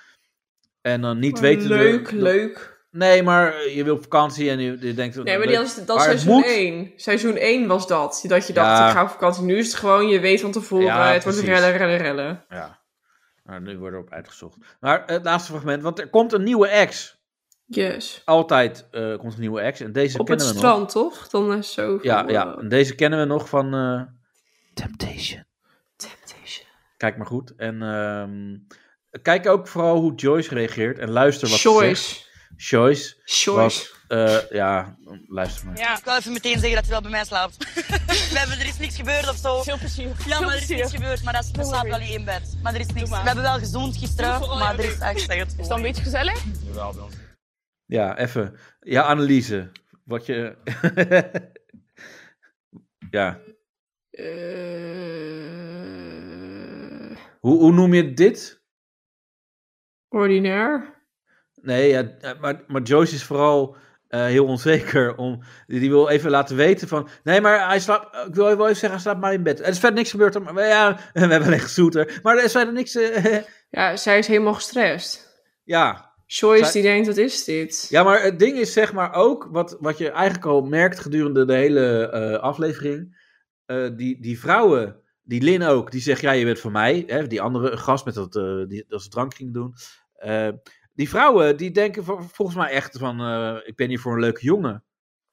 en dan niet
Maar
weten.
leuk,
dat-
leuk.
Nee, maar eh, je wil op vakantie en je, je denkt.
Nee, maar
leuk.
die was, dat
Maar
was
het
seizoen
moet-
1. Seizoen 1 was dat. Dat je dacht,
Ja.
ik ga op vakantie. Nu is het gewoon, je weet van tevoren,
Ja,
het wordt
precies.
rellen, rellen, rellen.
Ja. Nou, nu worden we op uitgezocht. Maar het laatste fragment, want er komt een nieuwe ex.
Yes.
Altijd eh, komt een nieuwe ex. En deze
Op het
kennen we nog.
strand, toch? Dan is zo van,
Ja, ja.
wow.
eh.
En deze kennen we nog van. eh, Temptation.
Temptation.
Kijk maar goed. En ehm, kijk ook vooral hoe Joyce reageert. En luister wat
Joyce.
ze zegt. Joyce.
Joyce.
Wat, eh, ja, luister maar.
Ja. Ik wil even meteen zeggen dat je wel bij mij [laughs] slaapt. We hebben, er is niks gebeurd of zo. Veel plezier. Ja,
Veel
maar er is
plezier.
niks gebeurd. Maar dat is, we slapen wel in één bed. Maar er is niks. We
maar.
hebben wel gezoend gisteren,
Doe voor
maar
alle
er is eigenlijk... Is dat een beetje gezellig?
Ja, even. Ja, analyse. Wat je. [laughs] ja.
Eh.
Hoe, hoe noem je dit?
Ordinair.
Nee, ja, eh, maar, maar Joyce is vooral eh, heel onzeker. Om, die die wil even laten weten van... Nee, maar hij slaapt... Ik wil wel even zeggen, hij slaapt maar in bed. Er is verder niks gebeurd. Maar, maar ja, [laughs] we hebben alleen gezoeter. Maar er is verder niks... eh, [laughs]
Ja, zij is helemaal gestrest.
ja.
Joyce
Zij-
die denkt, wat is dit?
Ja, maar het ding is zeg maar ook... Wat, wat je eigenlijk al merkt gedurende de hele eh, aflevering... eh, die, die vrouwen... Die Lin ook, die zegt, ja, je bent van mij. Hè, die andere gast met dat, eh, die, dat ze drank ging doen. Eh, die vrouwen, die denken vol- volgens mij echt van... eh, ik ben hier voor een leuke jongen.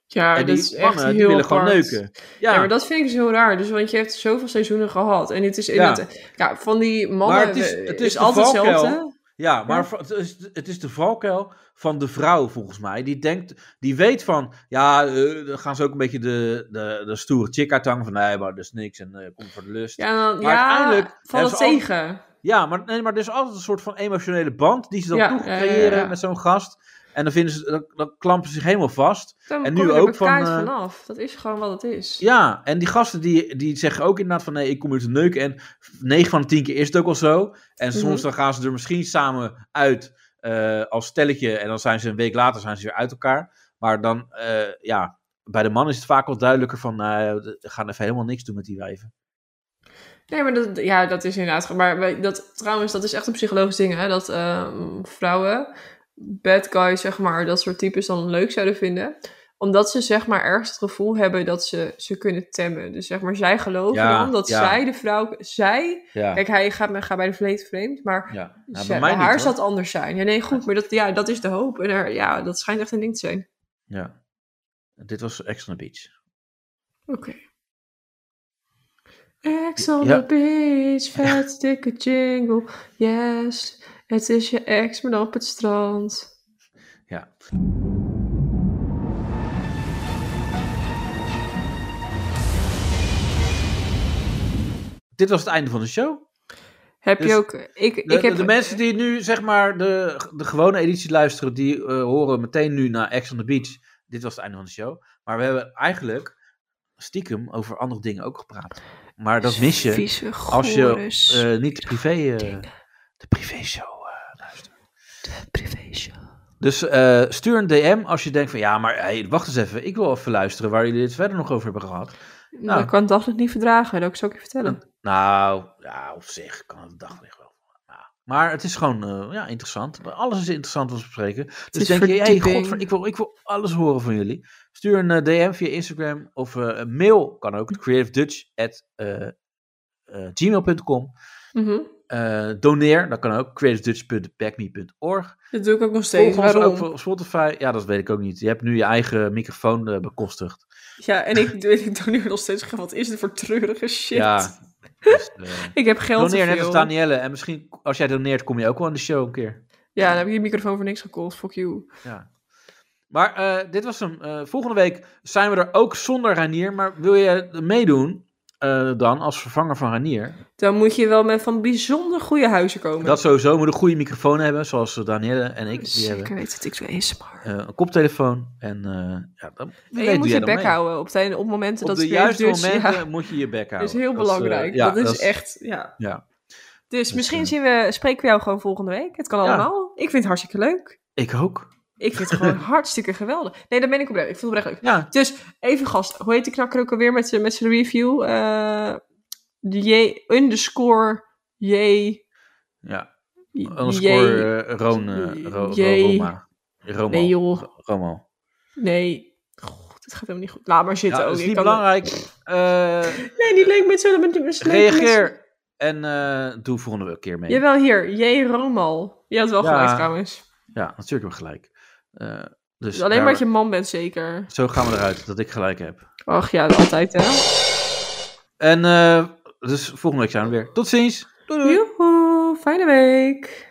Ja, dat
En die
is echt
mannen,
heel
die willen gewoon
apart.
neuken.
Ja.
Ja.
maar dat vind ik zo raar. Dus want je hebt zoveel seizoenen gehad. En het is
Ja.
inderdaad... Ja, van die mannen
maar het is, het is, de
altijd
valkuil.
hetzelfde.
Ja, maar va- het is, het is de valkuil van de vrouw, volgens mij. Die denkt, die weet van, ja, eh, dan gaan ze ook een beetje de, de, de stoere chick uithangen. Van, nee, maar dat is niks en eh kom voor de lust.
Ja, dan,
Maar
ja
hebben
valt het
ze altijd-
tegen.
Ja, maar, nee, maar er is altijd een soort van emotionele band die ze dan
Ja,
toch
ja, ja,
creëren
ja.
met zo'n gast. En dan, vinden ze, dan, dan klampen ze zich helemaal vast.
Dan
en
kom
nu
je er
ook van...
bekaard
eh,
vanaf. Dat is gewoon wat het is.
ja, en die gasten die, die zeggen ook inderdaad van nee, ik kom hier te neuken. En 9 van de 10 keer is het ook al zo. En soms
Mhm.
dan gaan ze er misschien samen uit. eh, als stelletje. En dan zijn ze een week later zijn ze weer uit elkaar. Maar dan, eh, ja, bij de man is het vaak wel duidelijker van, nou, we gaan even helemaal niks doen met die wijven.
Nee, maar dat, ja, dat is inderdaad. ge- Maar wij- dat, trouwens, dat is echt een psychologisch ding, hè? Dat ehm, vrouwen, bad guys, zeg maar, dat soort types dan leuk zouden vinden. Omdat ze, zeg maar, ergens het gevoel hebben dat ze ze kunnen temmen. Dus zeg maar, zij geloven
Ja,
dan dat
ja.
zij de vrouw, zij...
Ja.
Kijk, hij gaat, gaat bij de vleet vreemd, maar
Ja, nou,
zij-
bij
bij
mij niet,
haar
hoor.
zal het anders zijn. Ja, nee, goed, maar dat, ja, dat is de hoop. En er, ja, dat schijnt echt een ding te zijn.
Ja. Dit was Ex on the Beach.
Oké. Ex on
Ja.
the beach, vet dikke jingle. Yes, het is je ex, maar dan op het strand.
Ja. Dit was het einde van de show.
Heb
Dus
je ook... Ik,
de,
ik heb,
de mensen die nu zeg maar de, de gewone editie luisteren, die eh, horen meteen nu naar Ex on the Beach. Dit was het einde van de show. Maar we hebben eigenlijk stiekem over andere dingen ook gepraat. Maar dat mis je
Vieze,
als je
gore,
eh, niet de privé, eh, de privé show Dus eh, stuur een DM als je denkt van ja, maar hey, wacht eens even, ik wil even luisteren waar jullie dit verder nog over hebben gehad.
nou,
Nou,
ik kan het dagelijks niet verdragen, dat zou ik je vertellen.
nou ja, op zich kan het daglicht wel. Ja. Maar het is gewoon eh, ja, interessant. Alles is interessant om te bespreken. Dus
is
denk je, hey,
verdieping.
godver, ik, wil, ik wil alles horen van jullie. Stuur een eh, DM via Instagram of eh, een mail kan ook. eh, creativedutch.gmail.com
Mhm.
Eh, Doneer, dat kan ook. creativedutch.backme.org
Dat doe ik ook nog steeds.
Volg ons
Waarom?
ook voor- op Spotify. Ja, dat weet ik ook niet. Je hebt nu je eigen microfoon eh, bekostigd.
Ja, en ik, [laughs] doe- ik doneer nog steeds geld. Wat is dit voor treurige shit?
Ja.
[laughs] Ik heb geld
Doneer
te
net als
veel.
Danielle. En misschien als jij doneert, kom je ook wel aan de show een keer.
Ja, dan heb ik je microfoon voor niks gekocht. Fuck you.
Ja. Maar eh, dit was hem. Eh, volgende week zijn we er ook zonder Ranier. Maar wil je meedoen eh, dan als vervanger van Ranier?
Dan moet je wel met van bijzonder goede huizen komen.
Dat sowieso moet een goede microfoon hebben, zoals eh, Danielle en ik. Die
Zeker
hebben.
weten, het, ik doe ASMR.
Eh, een koptelefoon. En eh, ja, dan
En
weet
je moet
jij
je
dan
bek
mee.
houden op, tijden, op momenten
Op
dat
de
het weer
juiste
dus,
momenten
[laughs] ja.
moet je je bek houden.
Dat is heel
eh,
belangrijk.
ja,
dat is echt, ja.
Ja.
Dus misschien zien we, spreken we jou gewoon volgende week. Het kan
eh, Ja.
allemaal. Ik vind het hartstikke leuk.
Ik ook.
Ik vind het
[laughs]
gewoon hartstikke geweldig. Nee, dat ben ik oprecht. Ik vind het oprecht leuk. Dus even gast. Hoe heet die knakker ook alweer met zijn met zijn review? Eh, de J underscore J.
Ja. Underscore eh, Roon, eh, Ro- Ro-
Jee.
Roma. Romo.
Nee, joh.
Romo.
Nee. God, het gaat helemaal niet goed. Laat maar
Ja,
zitten ook.
dat is
Ik
niet
kan-
belangrijk. Eh,
[laughs] Nee, niet leuk met zo'n... met- met- met-
reageer en eh, doe volgende keer mee.
Jawel, hier. J. Romal. Je had wel
Ja.
gelijk trouwens.
Ja, natuurlijk heb ik gelijk. Eh, dus
Dus alleen maar
daar-
dat je man bent, zeker.
Zo gaan we eruit, dat ik gelijk heb.
Ach ja, altijd hè.
En eh, dus volgende week zijn we weer. Tot ziens!
Doei doei. Joehoe, fijne week.